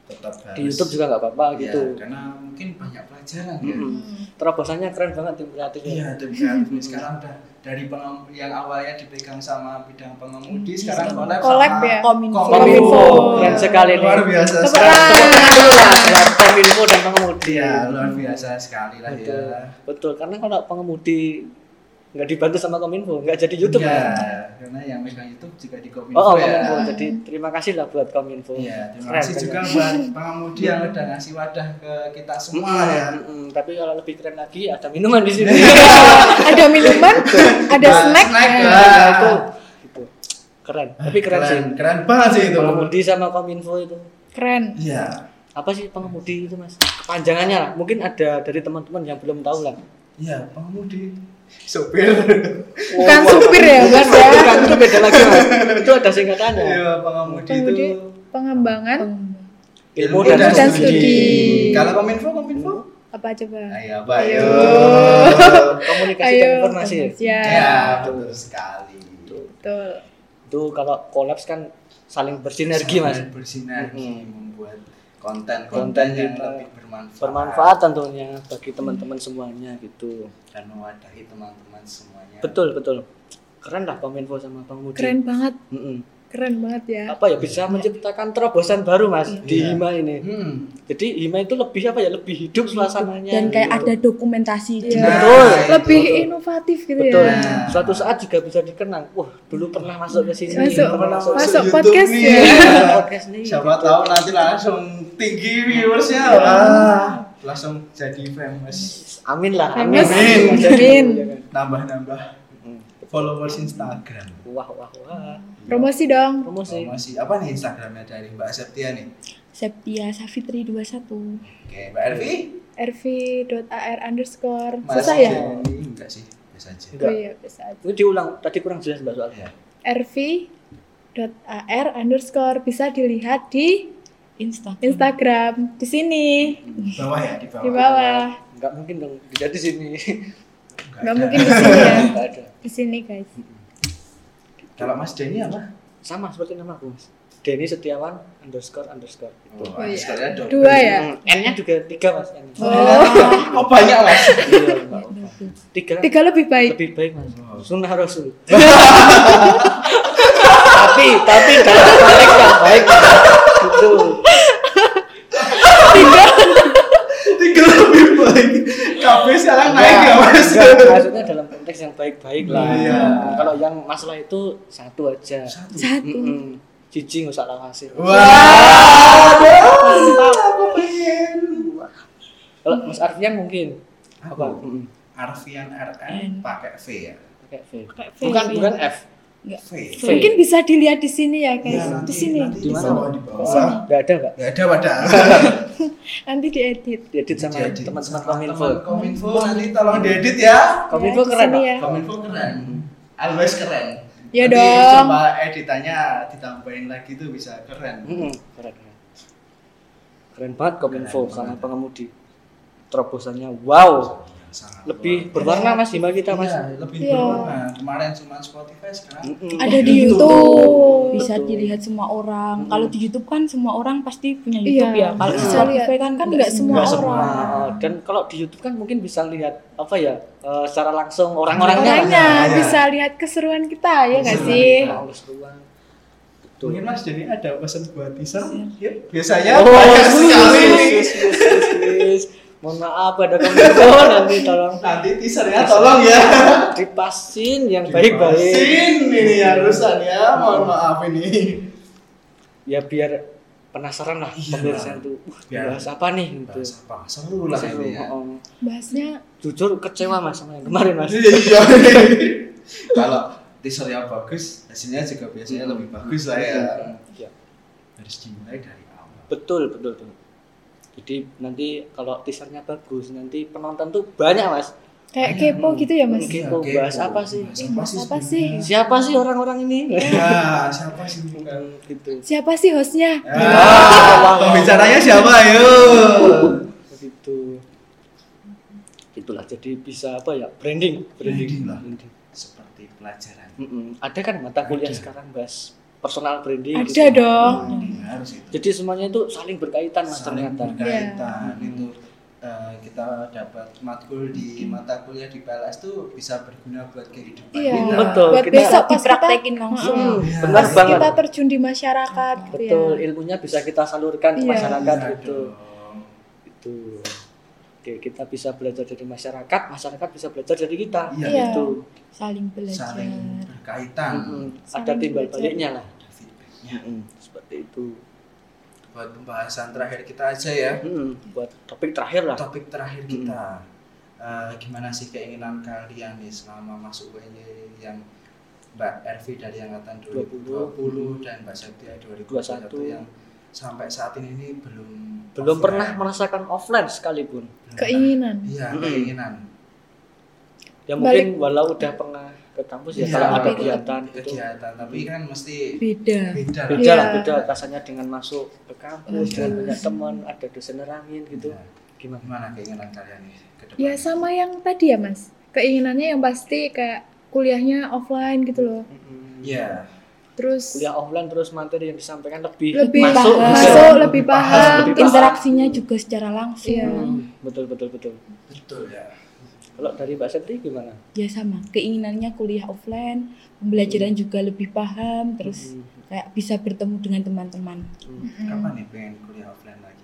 [SPEAKER 1] Tetap
[SPEAKER 2] Di
[SPEAKER 1] harus-
[SPEAKER 2] YouTube juga nggak apa-apa
[SPEAKER 1] Iya,
[SPEAKER 2] gitu.
[SPEAKER 1] karena mungkin banyak pelajaran ya.
[SPEAKER 2] Mm-mm. Terobosannya keren banget tim kreatif ya.
[SPEAKER 1] Iya, tim kreatif ini sekarang udah dari pengem- yang awalnya dipegang sama bidang pengemudi sekarang collab,
[SPEAKER 3] Collab
[SPEAKER 1] sama
[SPEAKER 3] ya?
[SPEAKER 4] Kominfo.
[SPEAKER 1] Kominfo.
[SPEAKER 2] Keren sekali nih.
[SPEAKER 1] Luar biasa
[SPEAKER 3] Tepuk
[SPEAKER 1] sekali.
[SPEAKER 3] tangan.
[SPEAKER 2] Buat Kominfo dan pengemudi.
[SPEAKER 1] Iya, luar biasa sekali lah ya.
[SPEAKER 2] Betul. Betul, karena kalau pengemudi nggak dibantu sama Kominfo, nggak jadi YouTube
[SPEAKER 1] Iya,
[SPEAKER 2] ya.
[SPEAKER 1] karena yang megang YouTube juga di Kominfo
[SPEAKER 2] Oh, oh,
[SPEAKER 1] ya.
[SPEAKER 2] Kominfo. Jadi terima kasih lah buat Kominfo.
[SPEAKER 1] Iya, terima
[SPEAKER 2] Keren, kan?
[SPEAKER 1] kasih
[SPEAKER 2] keren.
[SPEAKER 1] juga buat pengemudi yang udah ngasih wadah ke kita semua
[SPEAKER 2] Mm,
[SPEAKER 1] ya. Iya.
[SPEAKER 2] mm, mm. tapi kalau lebih keren lagi ada minuman di sini.
[SPEAKER 4] Hmm.
[SPEAKER 3] ada minuman, ada
[SPEAKER 1] Nah,
[SPEAKER 3] snack.
[SPEAKER 1] snack
[SPEAKER 2] Nah,
[SPEAKER 1] lah.
[SPEAKER 2] itu gitu. Keren. Tapi keren,
[SPEAKER 1] keren,
[SPEAKER 2] sih.
[SPEAKER 1] keren banget sih itu.
[SPEAKER 2] Pengemudi sama kominfo itu.
[SPEAKER 3] Keren.
[SPEAKER 1] Iya,
[SPEAKER 2] Apa sih pengemudi itu, Mas? Kepanjangannya lah. Mungkin ada dari teman-teman yang belum tahu lah.
[SPEAKER 1] iya pengemudi, sopir,
[SPEAKER 3] Bukan supir ya, Mas ya.
[SPEAKER 2] Bukan, itu beda lagi, Mas. Itu ada singkatannya.
[SPEAKER 1] iya pengemudi itu
[SPEAKER 3] Pengemudi pengembangan
[SPEAKER 4] kan?
[SPEAKER 2] Ilmu
[SPEAKER 1] Iya,
[SPEAKER 2] dan,
[SPEAKER 3] dan
[SPEAKER 2] studi.
[SPEAKER 3] studi.
[SPEAKER 1] Kalau kominfo, kominfo,
[SPEAKER 3] apa coba?
[SPEAKER 1] ayo, bayo.
[SPEAKER 3] Ayo.
[SPEAKER 2] Komunikasi dan
[SPEAKER 3] Ayo.
[SPEAKER 2] informasi.
[SPEAKER 3] Ya,
[SPEAKER 1] Ya, betul sekali.
[SPEAKER 3] betul.
[SPEAKER 2] Itu kalau kolaps kan saling bersinergi, Mas.
[SPEAKER 1] Sangat Bersinergi
[SPEAKER 2] Mm.
[SPEAKER 1] membuat konten-konten
[SPEAKER 2] Konten
[SPEAKER 1] yang
[SPEAKER 2] kita
[SPEAKER 3] eh,
[SPEAKER 1] lebih bermanfaat.
[SPEAKER 2] Bermanfaat tentunya bagi teman-teman semuanya gitu.
[SPEAKER 1] dan mewadahi teman-teman semuanya.
[SPEAKER 2] Betul, betul. Keren lah Kominfo sama pengemudi.
[SPEAKER 3] Keren banget,
[SPEAKER 2] Mm-mm.
[SPEAKER 3] keren banget ya.
[SPEAKER 2] apa ya bisa menciptakan terobosan baru mas di
[SPEAKER 1] Iya.
[SPEAKER 2] Hima ini.
[SPEAKER 1] Hmm.
[SPEAKER 2] Jadi Hima itu lebih apa ya lebih hidup suasananya.
[SPEAKER 4] dan kayak
[SPEAKER 2] gitu.
[SPEAKER 4] ada dokumentasi
[SPEAKER 3] Iya.
[SPEAKER 4] juga.
[SPEAKER 1] Nah,
[SPEAKER 2] Betul.
[SPEAKER 1] itu
[SPEAKER 3] Lebih
[SPEAKER 1] tuh.
[SPEAKER 3] inovatif gitu
[SPEAKER 2] betul.
[SPEAKER 3] ya.
[SPEAKER 1] Nah.
[SPEAKER 2] Suatu saat juga bisa dikenang. Wah dulu pernah masuk ke sini.
[SPEAKER 3] Masuk-
[SPEAKER 2] pernah masuk,
[SPEAKER 3] masuk
[SPEAKER 1] YouTube
[SPEAKER 3] podcast
[SPEAKER 1] nih.
[SPEAKER 3] ya.
[SPEAKER 2] ke podcast nih.
[SPEAKER 1] Siapa tahu nanti langsung tinggi viewersnya.
[SPEAKER 3] Wah.
[SPEAKER 1] Wah, lah langsung jadi famous
[SPEAKER 2] Amin lah.
[SPEAKER 3] Famous.
[SPEAKER 1] Amin.
[SPEAKER 3] Amin.
[SPEAKER 1] nambah-nambah
[SPEAKER 2] Mm.
[SPEAKER 1] followers Instagram
[SPEAKER 2] Wah wah wah.
[SPEAKER 3] Promosi dong.
[SPEAKER 2] Promosi.
[SPEAKER 1] promosi apa nih Instagramnya dari Mbak Septia nih
[SPEAKER 4] Septia Safitri 21.
[SPEAKER 1] oke Mbak Elvi
[SPEAKER 3] rv.ar underscore.
[SPEAKER 1] Mas
[SPEAKER 3] Susah ya?
[SPEAKER 1] Jenny, enggak sih biasa aja
[SPEAKER 3] Oh
[SPEAKER 2] Enggak.
[SPEAKER 3] iya, bisa aja.
[SPEAKER 2] Itu diulang tadi kurang jelas mbak soalnya.
[SPEAKER 1] ya
[SPEAKER 3] rv.ar underscore. Bisa dilihat di
[SPEAKER 4] Instagram.
[SPEAKER 3] Instagram. Di sini.
[SPEAKER 1] bawah ya di bawah
[SPEAKER 3] Di bawah.
[SPEAKER 2] Enggak mungkin dong. Jadi sini.
[SPEAKER 3] Nggak
[SPEAKER 1] ada.
[SPEAKER 3] mungkin di sini ya.
[SPEAKER 2] [LAUGHS] Enggak ada.
[SPEAKER 3] Di sini guys.
[SPEAKER 1] kalau Mas Denny apa
[SPEAKER 2] Sama seperti nama aku mas. Denny Setiawan underscore underscore. Gitu.
[SPEAKER 1] oh,
[SPEAKER 3] iya.
[SPEAKER 1] sekalian dong.
[SPEAKER 3] Dua ya?
[SPEAKER 2] Hmm, N-nya juga tiga mas. N
[SPEAKER 1] Oh, oh, banyak mas
[SPEAKER 2] Iya, enggak apa-apa. Tiga.
[SPEAKER 3] Tiga lebih baik.
[SPEAKER 2] Lebih baik mas.
[SPEAKER 1] Oh.
[SPEAKER 2] Sunnah
[SPEAKER 1] [LAUGHS]
[SPEAKER 2] Rasul. tapi tapi dalam konteks yang baik gitu.
[SPEAKER 1] tiga lebih baik KB sekarang naik ya mas
[SPEAKER 2] Enggak, maksudnya dalam konteks yang baik-baik lah.
[SPEAKER 1] Iya.
[SPEAKER 2] Kalau yang masalah itu satu aja.
[SPEAKER 1] satu
[SPEAKER 4] Satu.
[SPEAKER 2] Mm-mm. Cici nggak usah lawasin.
[SPEAKER 1] wah aku pengen
[SPEAKER 2] Kalau Mas Arfian mungkin apa?
[SPEAKER 1] apa
[SPEAKER 2] Mm-mm.
[SPEAKER 1] Arfian
[SPEAKER 3] Iya.
[SPEAKER 1] RN pakai V ya
[SPEAKER 2] Pakai V. ya.
[SPEAKER 4] Pakai V,
[SPEAKER 2] Bukan
[SPEAKER 4] V.
[SPEAKER 2] bukan F.
[SPEAKER 1] V
[SPEAKER 2] V. Iya,
[SPEAKER 3] Mungkin bisa dilihat di sini ya guys.
[SPEAKER 1] Ya, nanti-
[SPEAKER 3] Iya. di sini.
[SPEAKER 1] nanti
[SPEAKER 2] Di
[SPEAKER 1] di
[SPEAKER 2] mana?
[SPEAKER 1] bawah di
[SPEAKER 3] sini.
[SPEAKER 1] bawah
[SPEAKER 2] Nggak ada nggak?
[SPEAKER 1] nggak ada wadah
[SPEAKER 3] Nanti diedit.
[SPEAKER 2] Diedit sama
[SPEAKER 1] Jadi,
[SPEAKER 2] teman-teman
[SPEAKER 1] sama
[SPEAKER 2] [LAUGHS] kominfo.
[SPEAKER 1] teman kominfo nanti tolong diedit ya
[SPEAKER 2] Kominfo
[SPEAKER 3] Ya, di
[SPEAKER 2] keren
[SPEAKER 3] sini
[SPEAKER 2] Pak.
[SPEAKER 3] ya.
[SPEAKER 1] kominfo keren always keren
[SPEAKER 3] Ya
[SPEAKER 1] Nanti
[SPEAKER 3] dong.
[SPEAKER 1] coba editannya ditambahin lagi tuh bisa keren
[SPEAKER 2] Mm-mm. Keren keren. Keren banget
[SPEAKER 1] Keren
[SPEAKER 2] kominfo sama
[SPEAKER 1] banget.
[SPEAKER 2] pengemudi. Terobosannya wow.
[SPEAKER 1] Sangat
[SPEAKER 2] Oh. Lebih
[SPEAKER 1] luar
[SPEAKER 2] berwarna mas Hima kita mas.
[SPEAKER 1] Iya, lebih
[SPEAKER 3] Iya.
[SPEAKER 1] berwarna. Kemarin cuma Spotify sekarang.
[SPEAKER 2] Mm-mm.
[SPEAKER 4] Ada di
[SPEAKER 3] YouTube.
[SPEAKER 4] YouTube, bisa
[SPEAKER 2] Betul.
[SPEAKER 4] dilihat semua orang.
[SPEAKER 2] Hmm.
[SPEAKER 4] Kalau di YouTube kan semua orang pasti punya
[SPEAKER 3] Iya,
[SPEAKER 4] YouTube ya. Kalau di
[SPEAKER 1] bisa
[SPEAKER 4] Spotify
[SPEAKER 3] lihat.
[SPEAKER 4] kan
[SPEAKER 3] Kan
[SPEAKER 4] nggak
[SPEAKER 3] nggak semua
[SPEAKER 1] Nggak semua.
[SPEAKER 3] orang.
[SPEAKER 2] Nah, dan kalau di YouTube kan mungkin bisa lihat apa ya eh, secara langsung orang-orangnya.
[SPEAKER 3] Orangnya
[SPEAKER 1] Iya.
[SPEAKER 3] bisa lihat keseruan kita ya nggak
[SPEAKER 1] Keseruan
[SPEAKER 3] sih?
[SPEAKER 1] kita.
[SPEAKER 2] Harus keluar. Betul.
[SPEAKER 1] Mungkin Mas jadi ada pesan buat teaser?
[SPEAKER 3] Iya.
[SPEAKER 1] Yuk, biasanya
[SPEAKER 2] Oh,
[SPEAKER 1] Ya, banyak
[SPEAKER 2] yes,
[SPEAKER 1] sekali.
[SPEAKER 2] yes, yes, yes, yes. iya, Mohon maaf ada komentar
[SPEAKER 1] [LAUGHS]
[SPEAKER 2] nanti tolong
[SPEAKER 1] Nanti teasernya tolong ya.
[SPEAKER 2] dipasin yang baik-baik.
[SPEAKER 1] Dipasin ini harusan ya. Mohon maaf ini.
[SPEAKER 2] Ya biar penasaran lah
[SPEAKER 1] Iya.
[SPEAKER 2] pemirsa itu. Wah,
[SPEAKER 1] Biar-
[SPEAKER 2] bahas apa nih gitu.
[SPEAKER 1] Bahas apa? Seru lah
[SPEAKER 2] Seru,
[SPEAKER 1] ini ya.
[SPEAKER 2] oh.
[SPEAKER 3] Bahasnya
[SPEAKER 2] Jujur kecewa Mas sama yang kemarin Mas.
[SPEAKER 1] Iya. Kalau teaser yang bagus, hasilnya juga biasanya lebih bagus lah ya.
[SPEAKER 2] Iya.
[SPEAKER 1] Harus dimulai dari awal.
[SPEAKER 2] Betul, betul, betul. Jadi nanti kalau teasernya bagus, nanti penonton tuh banyak mas.
[SPEAKER 3] kayak kepo gitu ya mas?
[SPEAKER 2] Mungkin. Kepo,
[SPEAKER 1] Oke,
[SPEAKER 2] bahas
[SPEAKER 1] kepo.
[SPEAKER 2] apa sih?
[SPEAKER 1] Bahas
[SPEAKER 3] Apa sih?
[SPEAKER 1] sebenarnya?
[SPEAKER 2] Siapa sih orang-orang ini?
[SPEAKER 1] Ya, siapa sih bukan?
[SPEAKER 2] gitu.
[SPEAKER 3] Siapa sih hostnya?
[SPEAKER 1] Ya, pembicaranya siapa? Yuk.
[SPEAKER 2] Begitu. Itulah jadi bisa apa ya branding,
[SPEAKER 1] Branding
[SPEAKER 2] branding.
[SPEAKER 1] lah.
[SPEAKER 2] branding.
[SPEAKER 1] Seperti pelajaran.
[SPEAKER 2] Mm-mm. Ada kan mata kuliah
[SPEAKER 1] Ada.
[SPEAKER 2] sekarang bahas personal branding. gitu.
[SPEAKER 3] Ada dong.
[SPEAKER 4] Oh.
[SPEAKER 1] Nah, harus itu.
[SPEAKER 2] Jadi semuanya itu saling berkaitan mas
[SPEAKER 1] Saling
[SPEAKER 2] ternyata.
[SPEAKER 1] berkaitan itu eh, kita dapat matkul di mata kuliah di PLS tuh bisa berguna buat kehidupan
[SPEAKER 3] Iya.
[SPEAKER 1] kita.
[SPEAKER 2] Betul.
[SPEAKER 3] Buat
[SPEAKER 2] kita-
[SPEAKER 3] besok pas kita,
[SPEAKER 4] dipraktekin langsung.
[SPEAKER 2] Mm,
[SPEAKER 1] Iya.
[SPEAKER 2] benar
[SPEAKER 1] Pas
[SPEAKER 2] banget.
[SPEAKER 3] kita terjun di masyarakat gitu ya.
[SPEAKER 2] Betul, ilmunya bisa kita salurkan ke
[SPEAKER 3] Iya.
[SPEAKER 2] masyarakat
[SPEAKER 1] Iya
[SPEAKER 2] gitu.
[SPEAKER 1] dong.
[SPEAKER 2] itu oke kita bisa belajar dari masyarakat masyarakat bisa belajar dari kita Gitu.
[SPEAKER 1] Iya, Nah.
[SPEAKER 3] Iya.
[SPEAKER 2] itu
[SPEAKER 4] Saling belajar.
[SPEAKER 1] saling berkaitan.
[SPEAKER 2] ada
[SPEAKER 3] Saling
[SPEAKER 2] timbal
[SPEAKER 3] belajar.
[SPEAKER 2] baliknya lah
[SPEAKER 1] Ada feedbacknya.
[SPEAKER 2] seperti itu
[SPEAKER 1] Buat pembahasan terakhir kita aja ya.
[SPEAKER 2] Mm-mm. buat topik terakhir lah
[SPEAKER 1] topik terakhir kita Eh, gimana sih keinginan kalian nih selama masuk UNY yang Mbak Ervi dari angkatan 2020 dan Mbak Septia 2021
[SPEAKER 2] 21.
[SPEAKER 1] yang sampai saat ini ini belum offline.
[SPEAKER 2] belum pernah merasakan offline sekalipun
[SPEAKER 1] Belum
[SPEAKER 3] Keinginan.
[SPEAKER 1] pernah. iya
[SPEAKER 2] Mm-mm.
[SPEAKER 1] keinginan
[SPEAKER 2] ya
[SPEAKER 3] Balik.
[SPEAKER 2] mungkin walau udah pernah ke kampus ya
[SPEAKER 1] Iya,
[SPEAKER 2] kalau ada
[SPEAKER 1] tapi-
[SPEAKER 2] kegiatan gitu. itu
[SPEAKER 1] kegiatan tapi kan mesti
[SPEAKER 4] Beda.
[SPEAKER 1] beda lah.
[SPEAKER 2] beda
[SPEAKER 3] Iya.
[SPEAKER 2] lah beda rasanya dengan masuk ke kampus
[SPEAKER 1] Iya.
[SPEAKER 2] dengan punya teman ada dosen nerangin gitu
[SPEAKER 1] Nah,
[SPEAKER 2] gimana
[SPEAKER 1] gimana keinginan kalian nih ke depan
[SPEAKER 3] Ya sama yang tadi ya mas. Keinginannya yang pasti kayak kuliahnya offline gitu loh.
[SPEAKER 2] Mm-mm.
[SPEAKER 1] Iya.
[SPEAKER 3] Terus
[SPEAKER 2] kuliah offline terus materi yang disampaikan lebih,
[SPEAKER 3] lebih
[SPEAKER 2] masuk gitu.
[SPEAKER 3] paham, masuk,
[SPEAKER 1] Lebih
[SPEAKER 3] lebih
[SPEAKER 1] paham,
[SPEAKER 3] paham.
[SPEAKER 2] lebih paham.
[SPEAKER 4] Interaksinya juga secara langsung.
[SPEAKER 3] Iya.
[SPEAKER 2] Mm, betul betul betul
[SPEAKER 1] betul ya
[SPEAKER 2] kalau dari Mbak Septi gimana
[SPEAKER 3] Iya.
[SPEAKER 4] Ya sama, keinginannya kuliah offline, pembelajaran juga lebih paham, terus
[SPEAKER 2] Mm.
[SPEAKER 4] kayak bisa bertemu dengan teman-teman.
[SPEAKER 2] Mm.
[SPEAKER 3] Mm-mm.
[SPEAKER 1] kapan nih pengen kuliah offline lagi nih?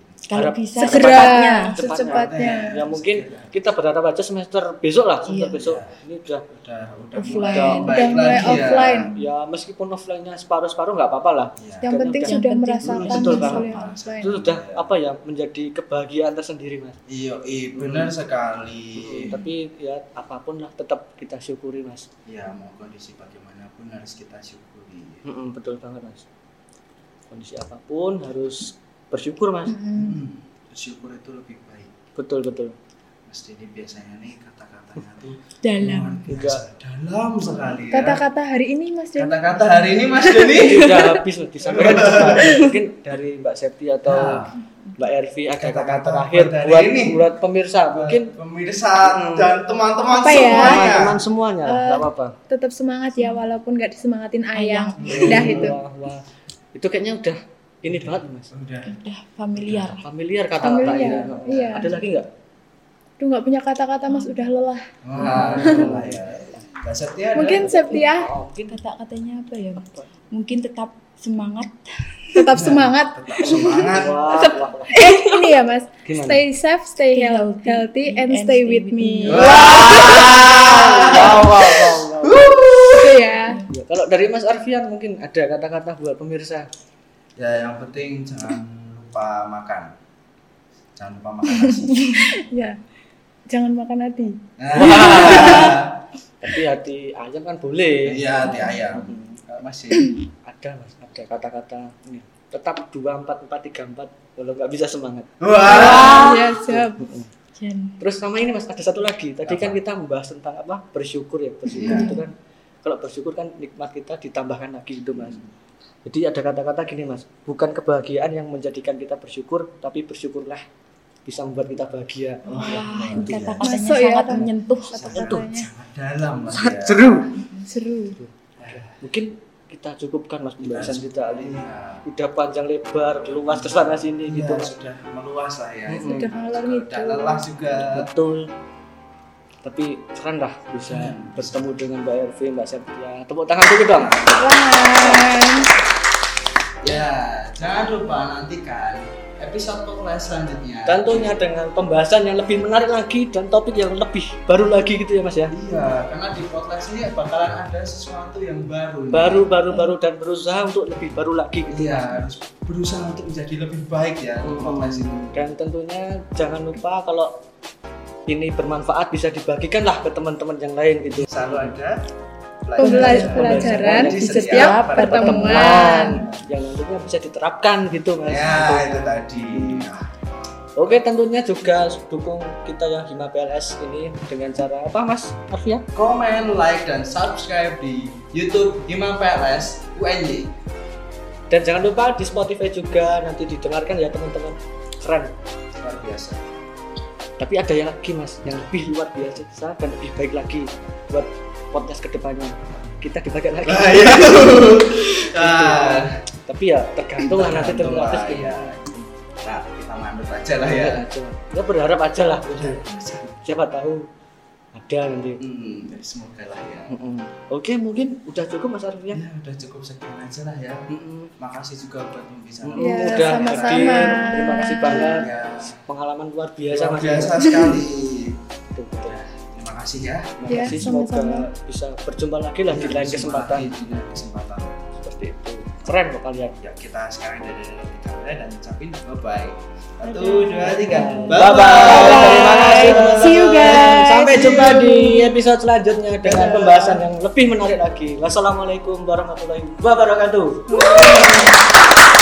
[SPEAKER 2] Harap-
[SPEAKER 4] kalau bisa
[SPEAKER 2] Segera.
[SPEAKER 4] secepatnya.
[SPEAKER 2] Cepatnya.
[SPEAKER 3] secepatnya.
[SPEAKER 2] Ya mungkin kita berharap aja semester besok lah, semester
[SPEAKER 4] Iya.
[SPEAKER 2] besok. Ini udah
[SPEAKER 1] udah udah
[SPEAKER 4] Offline.
[SPEAKER 1] mulai
[SPEAKER 2] Udah
[SPEAKER 1] baik
[SPEAKER 3] mulai
[SPEAKER 1] lagi ya.
[SPEAKER 3] offline.
[SPEAKER 2] ya meskipun offline-nya separuh-separuh nggak apa-apa lah.
[SPEAKER 1] Iya.
[SPEAKER 3] Yang
[SPEAKER 2] Dan
[SPEAKER 3] penting
[SPEAKER 2] yang
[SPEAKER 3] sudah
[SPEAKER 4] penting-
[SPEAKER 3] merasakan
[SPEAKER 2] Betul
[SPEAKER 3] mas,
[SPEAKER 2] banget.
[SPEAKER 3] kuliah offline.
[SPEAKER 2] Itu sudah apa ya menjadi kebahagiaan tersendiri, Mas.
[SPEAKER 1] Iya, iya benar sekali.
[SPEAKER 2] Tapi ya apapun lah tetap kita syukuri, Mas.
[SPEAKER 1] Ya mau kondisi bagaimanapun harus kita syukuri.
[SPEAKER 2] Mm-mm, betul banget, Mas. Kondisi apapun harus bersyukur, Mas.
[SPEAKER 4] Mm-mm.
[SPEAKER 1] Hmm, syukur itu lebih baik.
[SPEAKER 2] Betul, betul.
[SPEAKER 1] Mas Dini biasanya nih kata-katanya tuh
[SPEAKER 4] Dalam.
[SPEAKER 1] luar biasa dalam sekali
[SPEAKER 2] Iya.
[SPEAKER 1] ya.
[SPEAKER 3] Kata-kata hari ini mas Den.
[SPEAKER 1] Kata-kata hari ini Mas Dini.
[SPEAKER 2] Ini udah habis Mas. disampaikan di sana. mungkin dari Mbak Septi atau Mbak Ervi
[SPEAKER 1] Nah,
[SPEAKER 2] ada kata
[SPEAKER 1] Ah. Kata-kata
[SPEAKER 2] terakhir
[SPEAKER 1] dari
[SPEAKER 2] buat
[SPEAKER 1] ini. Ah.
[SPEAKER 2] buat pemirsa mungkin
[SPEAKER 1] mungkin pemirsa
[SPEAKER 2] Hmm.
[SPEAKER 1] dan teman-teman
[SPEAKER 3] Apa ya?
[SPEAKER 1] semuanya.
[SPEAKER 2] teman-teman semuanya
[SPEAKER 3] Eh,
[SPEAKER 2] nggak apa-apa.
[SPEAKER 3] Tetap semangat ya walaupun nggak disemangatin
[SPEAKER 1] Ayang.
[SPEAKER 3] ayang. Udah gitu. itu.
[SPEAKER 2] Wah, wah. Itu kayaknya udah ini banget Mas.
[SPEAKER 3] Iya.
[SPEAKER 1] Udah.
[SPEAKER 4] Udah familiar.
[SPEAKER 2] Familiar kata-kata ini. Nah,
[SPEAKER 3] Familiar, iya.
[SPEAKER 2] Ada lagi nggak?
[SPEAKER 3] Tuh nggak punya kata-kata mas udah lelah.
[SPEAKER 1] Wah, itulah ya. Mbak Septia ada?
[SPEAKER 3] Mungkin Septia
[SPEAKER 2] Oh, mungkin
[SPEAKER 4] Kata-katanya apa ya? Mungkin tetap semangat.
[SPEAKER 3] tetap
[SPEAKER 2] Iya.
[SPEAKER 3] semangat.
[SPEAKER 1] tetap
[SPEAKER 3] [LAUGHS]
[SPEAKER 1] semangat.
[SPEAKER 2] wah, wah, wah.
[SPEAKER 3] Ini ya mas.
[SPEAKER 2] Gimana?
[SPEAKER 3] Stay safe, stay
[SPEAKER 4] Stay
[SPEAKER 3] healthy,
[SPEAKER 4] healthy,
[SPEAKER 3] healthy and stay with me.
[SPEAKER 1] [LAUGHS]
[SPEAKER 4] me.
[SPEAKER 2] Wow, wow,
[SPEAKER 1] Oh,
[SPEAKER 2] wow, wow.
[SPEAKER 3] Itu ya.
[SPEAKER 1] iya.
[SPEAKER 2] Ya, kalau dari Mas Arfian mungkin ada kata-kata buat pemirsa.
[SPEAKER 1] Ya yang penting jangan lupa makan. Jangan lupa makan nasi.
[SPEAKER 3] [LAUGHS] Ya. Jangan makan hati.
[SPEAKER 1] Nah,
[SPEAKER 2] Tapi hati ayam kan boleh.
[SPEAKER 1] Iya hati ayam.
[SPEAKER 2] Hmm,
[SPEAKER 1] Masih.
[SPEAKER 2] Ada Mas, ada kata-kata ini. Tetap 244434 kalau nggak bisa semangat.
[SPEAKER 1] Wah.
[SPEAKER 3] Ya siap.
[SPEAKER 4] Jan.
[SPEAKER 2] Terus sama ini Mas, ada satu lagi. Tadi kan
[SPEAKER 1] Apa?
[SPEAKER 2] kita membahas tentang apa? Bersyukur ya, bersyukur
[SPEAKER 1] Iya.
[SPEAKER 2] itu kan kalau bersyukur kan nikmat kita ditambahkan lagi gitu Mas. Jadi ada kata-kata gini Mas, bukan kebahagiaan yang menjadikan kita bersyukur, tapi bersyukurlah bisa membuat kita bahagia.
[SPEAKER 4] Wah, ini
[SPEAKER 1] Iya.
[SPEAKER 4] kata-katanya
[SPEAKER 3] Oh, Masuk ya,
[SPEAKER 4] sangat
[SPEAKER 3] Kak.
[SPEAKER 4] menyentuh.
[SPEAKER 3] Kata-katanya
[SPEAKER 1] Dalam Mas. ya.
[SPEAKER 2] Seru.
[SPEAKER 3] seru.
[SPEAKER 2] Mungkin kita cukupkan Mas pembahasan kita kali ini.
[SPEAKER 1] Iya.
[SPEAKER 2] Udah panjang lebar, luas ke sana sini
[SPEAKER 1] Iya,
[SPEAKER 2] gitu Mas.
[SPEAKER 1] sudah meluas lah ya.
[SPEAKER 2] Sudah
[SPEAKER 3] ngalor
[SPEAKER 1] Udah
[SPEAKER 3] ngidul.
[SPEAKER 1] lelah juga.
[SPEAKER 2] betul tapi keren lah bisa bertemu dengan Mbak Ervi, Mbak Septia tepuk tangan dulu dong
[SPEAKER 3] Wah.
[SPEAKER 1] Ya, jangan lupa nantikan episode podcast selanjutnya.
[SPEAKER 2] tentunya dengan pembahasan yang lebih menarik lagi dan topik yang lebih baru lagi gitu ya mas ya
[SPEAKER 1] Iya, karena di podcast ini bakalan ada sesuatu yang baru. nih.
[SPEAKER 2] baru baru baru dan berusaha untuk lebih baru lagi gitu
[SPEAKER 1] Iya,
[SPEAKER 2] Mas.
[SPEAKER 1] harus berusaha untuk menjadi lebih baik ya di podcast ini.
[SPEAKER 2] dan tentunya jangan lupa kalau ini bermanfaat bisa dibagikan lah ke teman-teman yang lain gitu
[SPEAKER 1] Selalu ada
[SPEAKER 3] Pembela-
[SPEAKER 2] pembelajaran
[SPEAKER 3] pelajaran
[SPEAKER 2] di
[SPEAKER 3] di setiap pertemuan.
[SPEAKER 2] yang nantinya bisa diterapkan gitu mas
[SPEAKER 1] Ya, itu tadi. Nah,
[SPEAKER 2] Oke tentunya juga dukung kita ya yang Hima PLS ini dengan cara apa mas ya? Arfian?
[SPEAKER 1] Komen, like, dan subscribe di YouTube Imam PLS UNY.
[SPEAKER 2] Dan jangan lupa di Spotify juga nanti didengarkan ya teman-teman. Keren.
[SPEAKER 1] Luar biasa.
[SPEAKER 2] Tapi ada yang lagi mas, yang lebih luar biasa dan lebih baik lagi buat podcast kedepannya. Kita dipakai lagi.
[SPEAKER 1] Nah, iya.
[SPEAKER 2] Gitu.
[SPEAKER 1] Nah,
[SPEAKER 2] Tapi ya tergantung lah nanti
[SPEAKER 1] Tergantung lah,
[SPEAKER 2] tergantung
[SPEAKER 1] ya.
[SPEAKER 2] gimana.
[SPEAKER 1] nah, kita mandut aja lah Iya. ya.
[SPEAKER 2] Berharap aja. Ya berharap aja lah. Siapa tahu ada nanti.
[SPEAKER 1] Hmm, jadi semoga lah ya.
[SPEAKER 2] Mm-mm. Oke mungkin udah cukup mas
[SPEAKER 1] Ya
[SPEAKER 2] Arfian.
[SPEAKER 1] udah cukup sekian aja lah ya.
[SPEAKER 2] Mm-mm.
[SPEAKER 1] Makasih juga buat pembicaraan.
[SPEAKER 2] Mm-mm.
[SPEAKER 3] Ya,
[SPEAKER 2] udah
[SPEAKER 3] sama-sama. Iya,
[SPEAKER 2] hadir. Terima kasih banget.
[SPEAKER 1] Ya,
[SPEAKER 2] Pengalaman luar biasa
[SPEAKER 1] biasa
[SPEAKER 2] mas.
[SPEAKER 1] biasa sekali.
[SPEAKER 2] Betul, betul.
[SPEAKER 1] Terima kasih ya.
[SPEAKER 2] Terima
[SPEAKER 3] Ya,
[SPEAKER 2] kasih semoga
[SPEAKER 3] sama-sama.
[SPEAKER 2] bisa berjumpa lagi lah di lain Ya, kesempatan
[SPEAKER 1] Di lain kesempatan.
[SPEAKER 2] seperti itu. Keren loh kalian.
[SPEAKER 1] Ya kita sekarang dari dari kamera dan ucapin bye bye. Satu, dua, tiga.
[SPEAKER 2] Bye bye. Terima kasih.
[SPEAKER 3] See you guys.
[SPEAKER 2] Sampai
[SPEAKER 3] See
[SPEAKER 2] jumpa
[SPEAKER 3] you.
[SPEAKER 2] di episode selanjutnya dengan pembahasan yang lebih menarik lagi. Wassalamualaikum warahmatullahi wabarakatuh.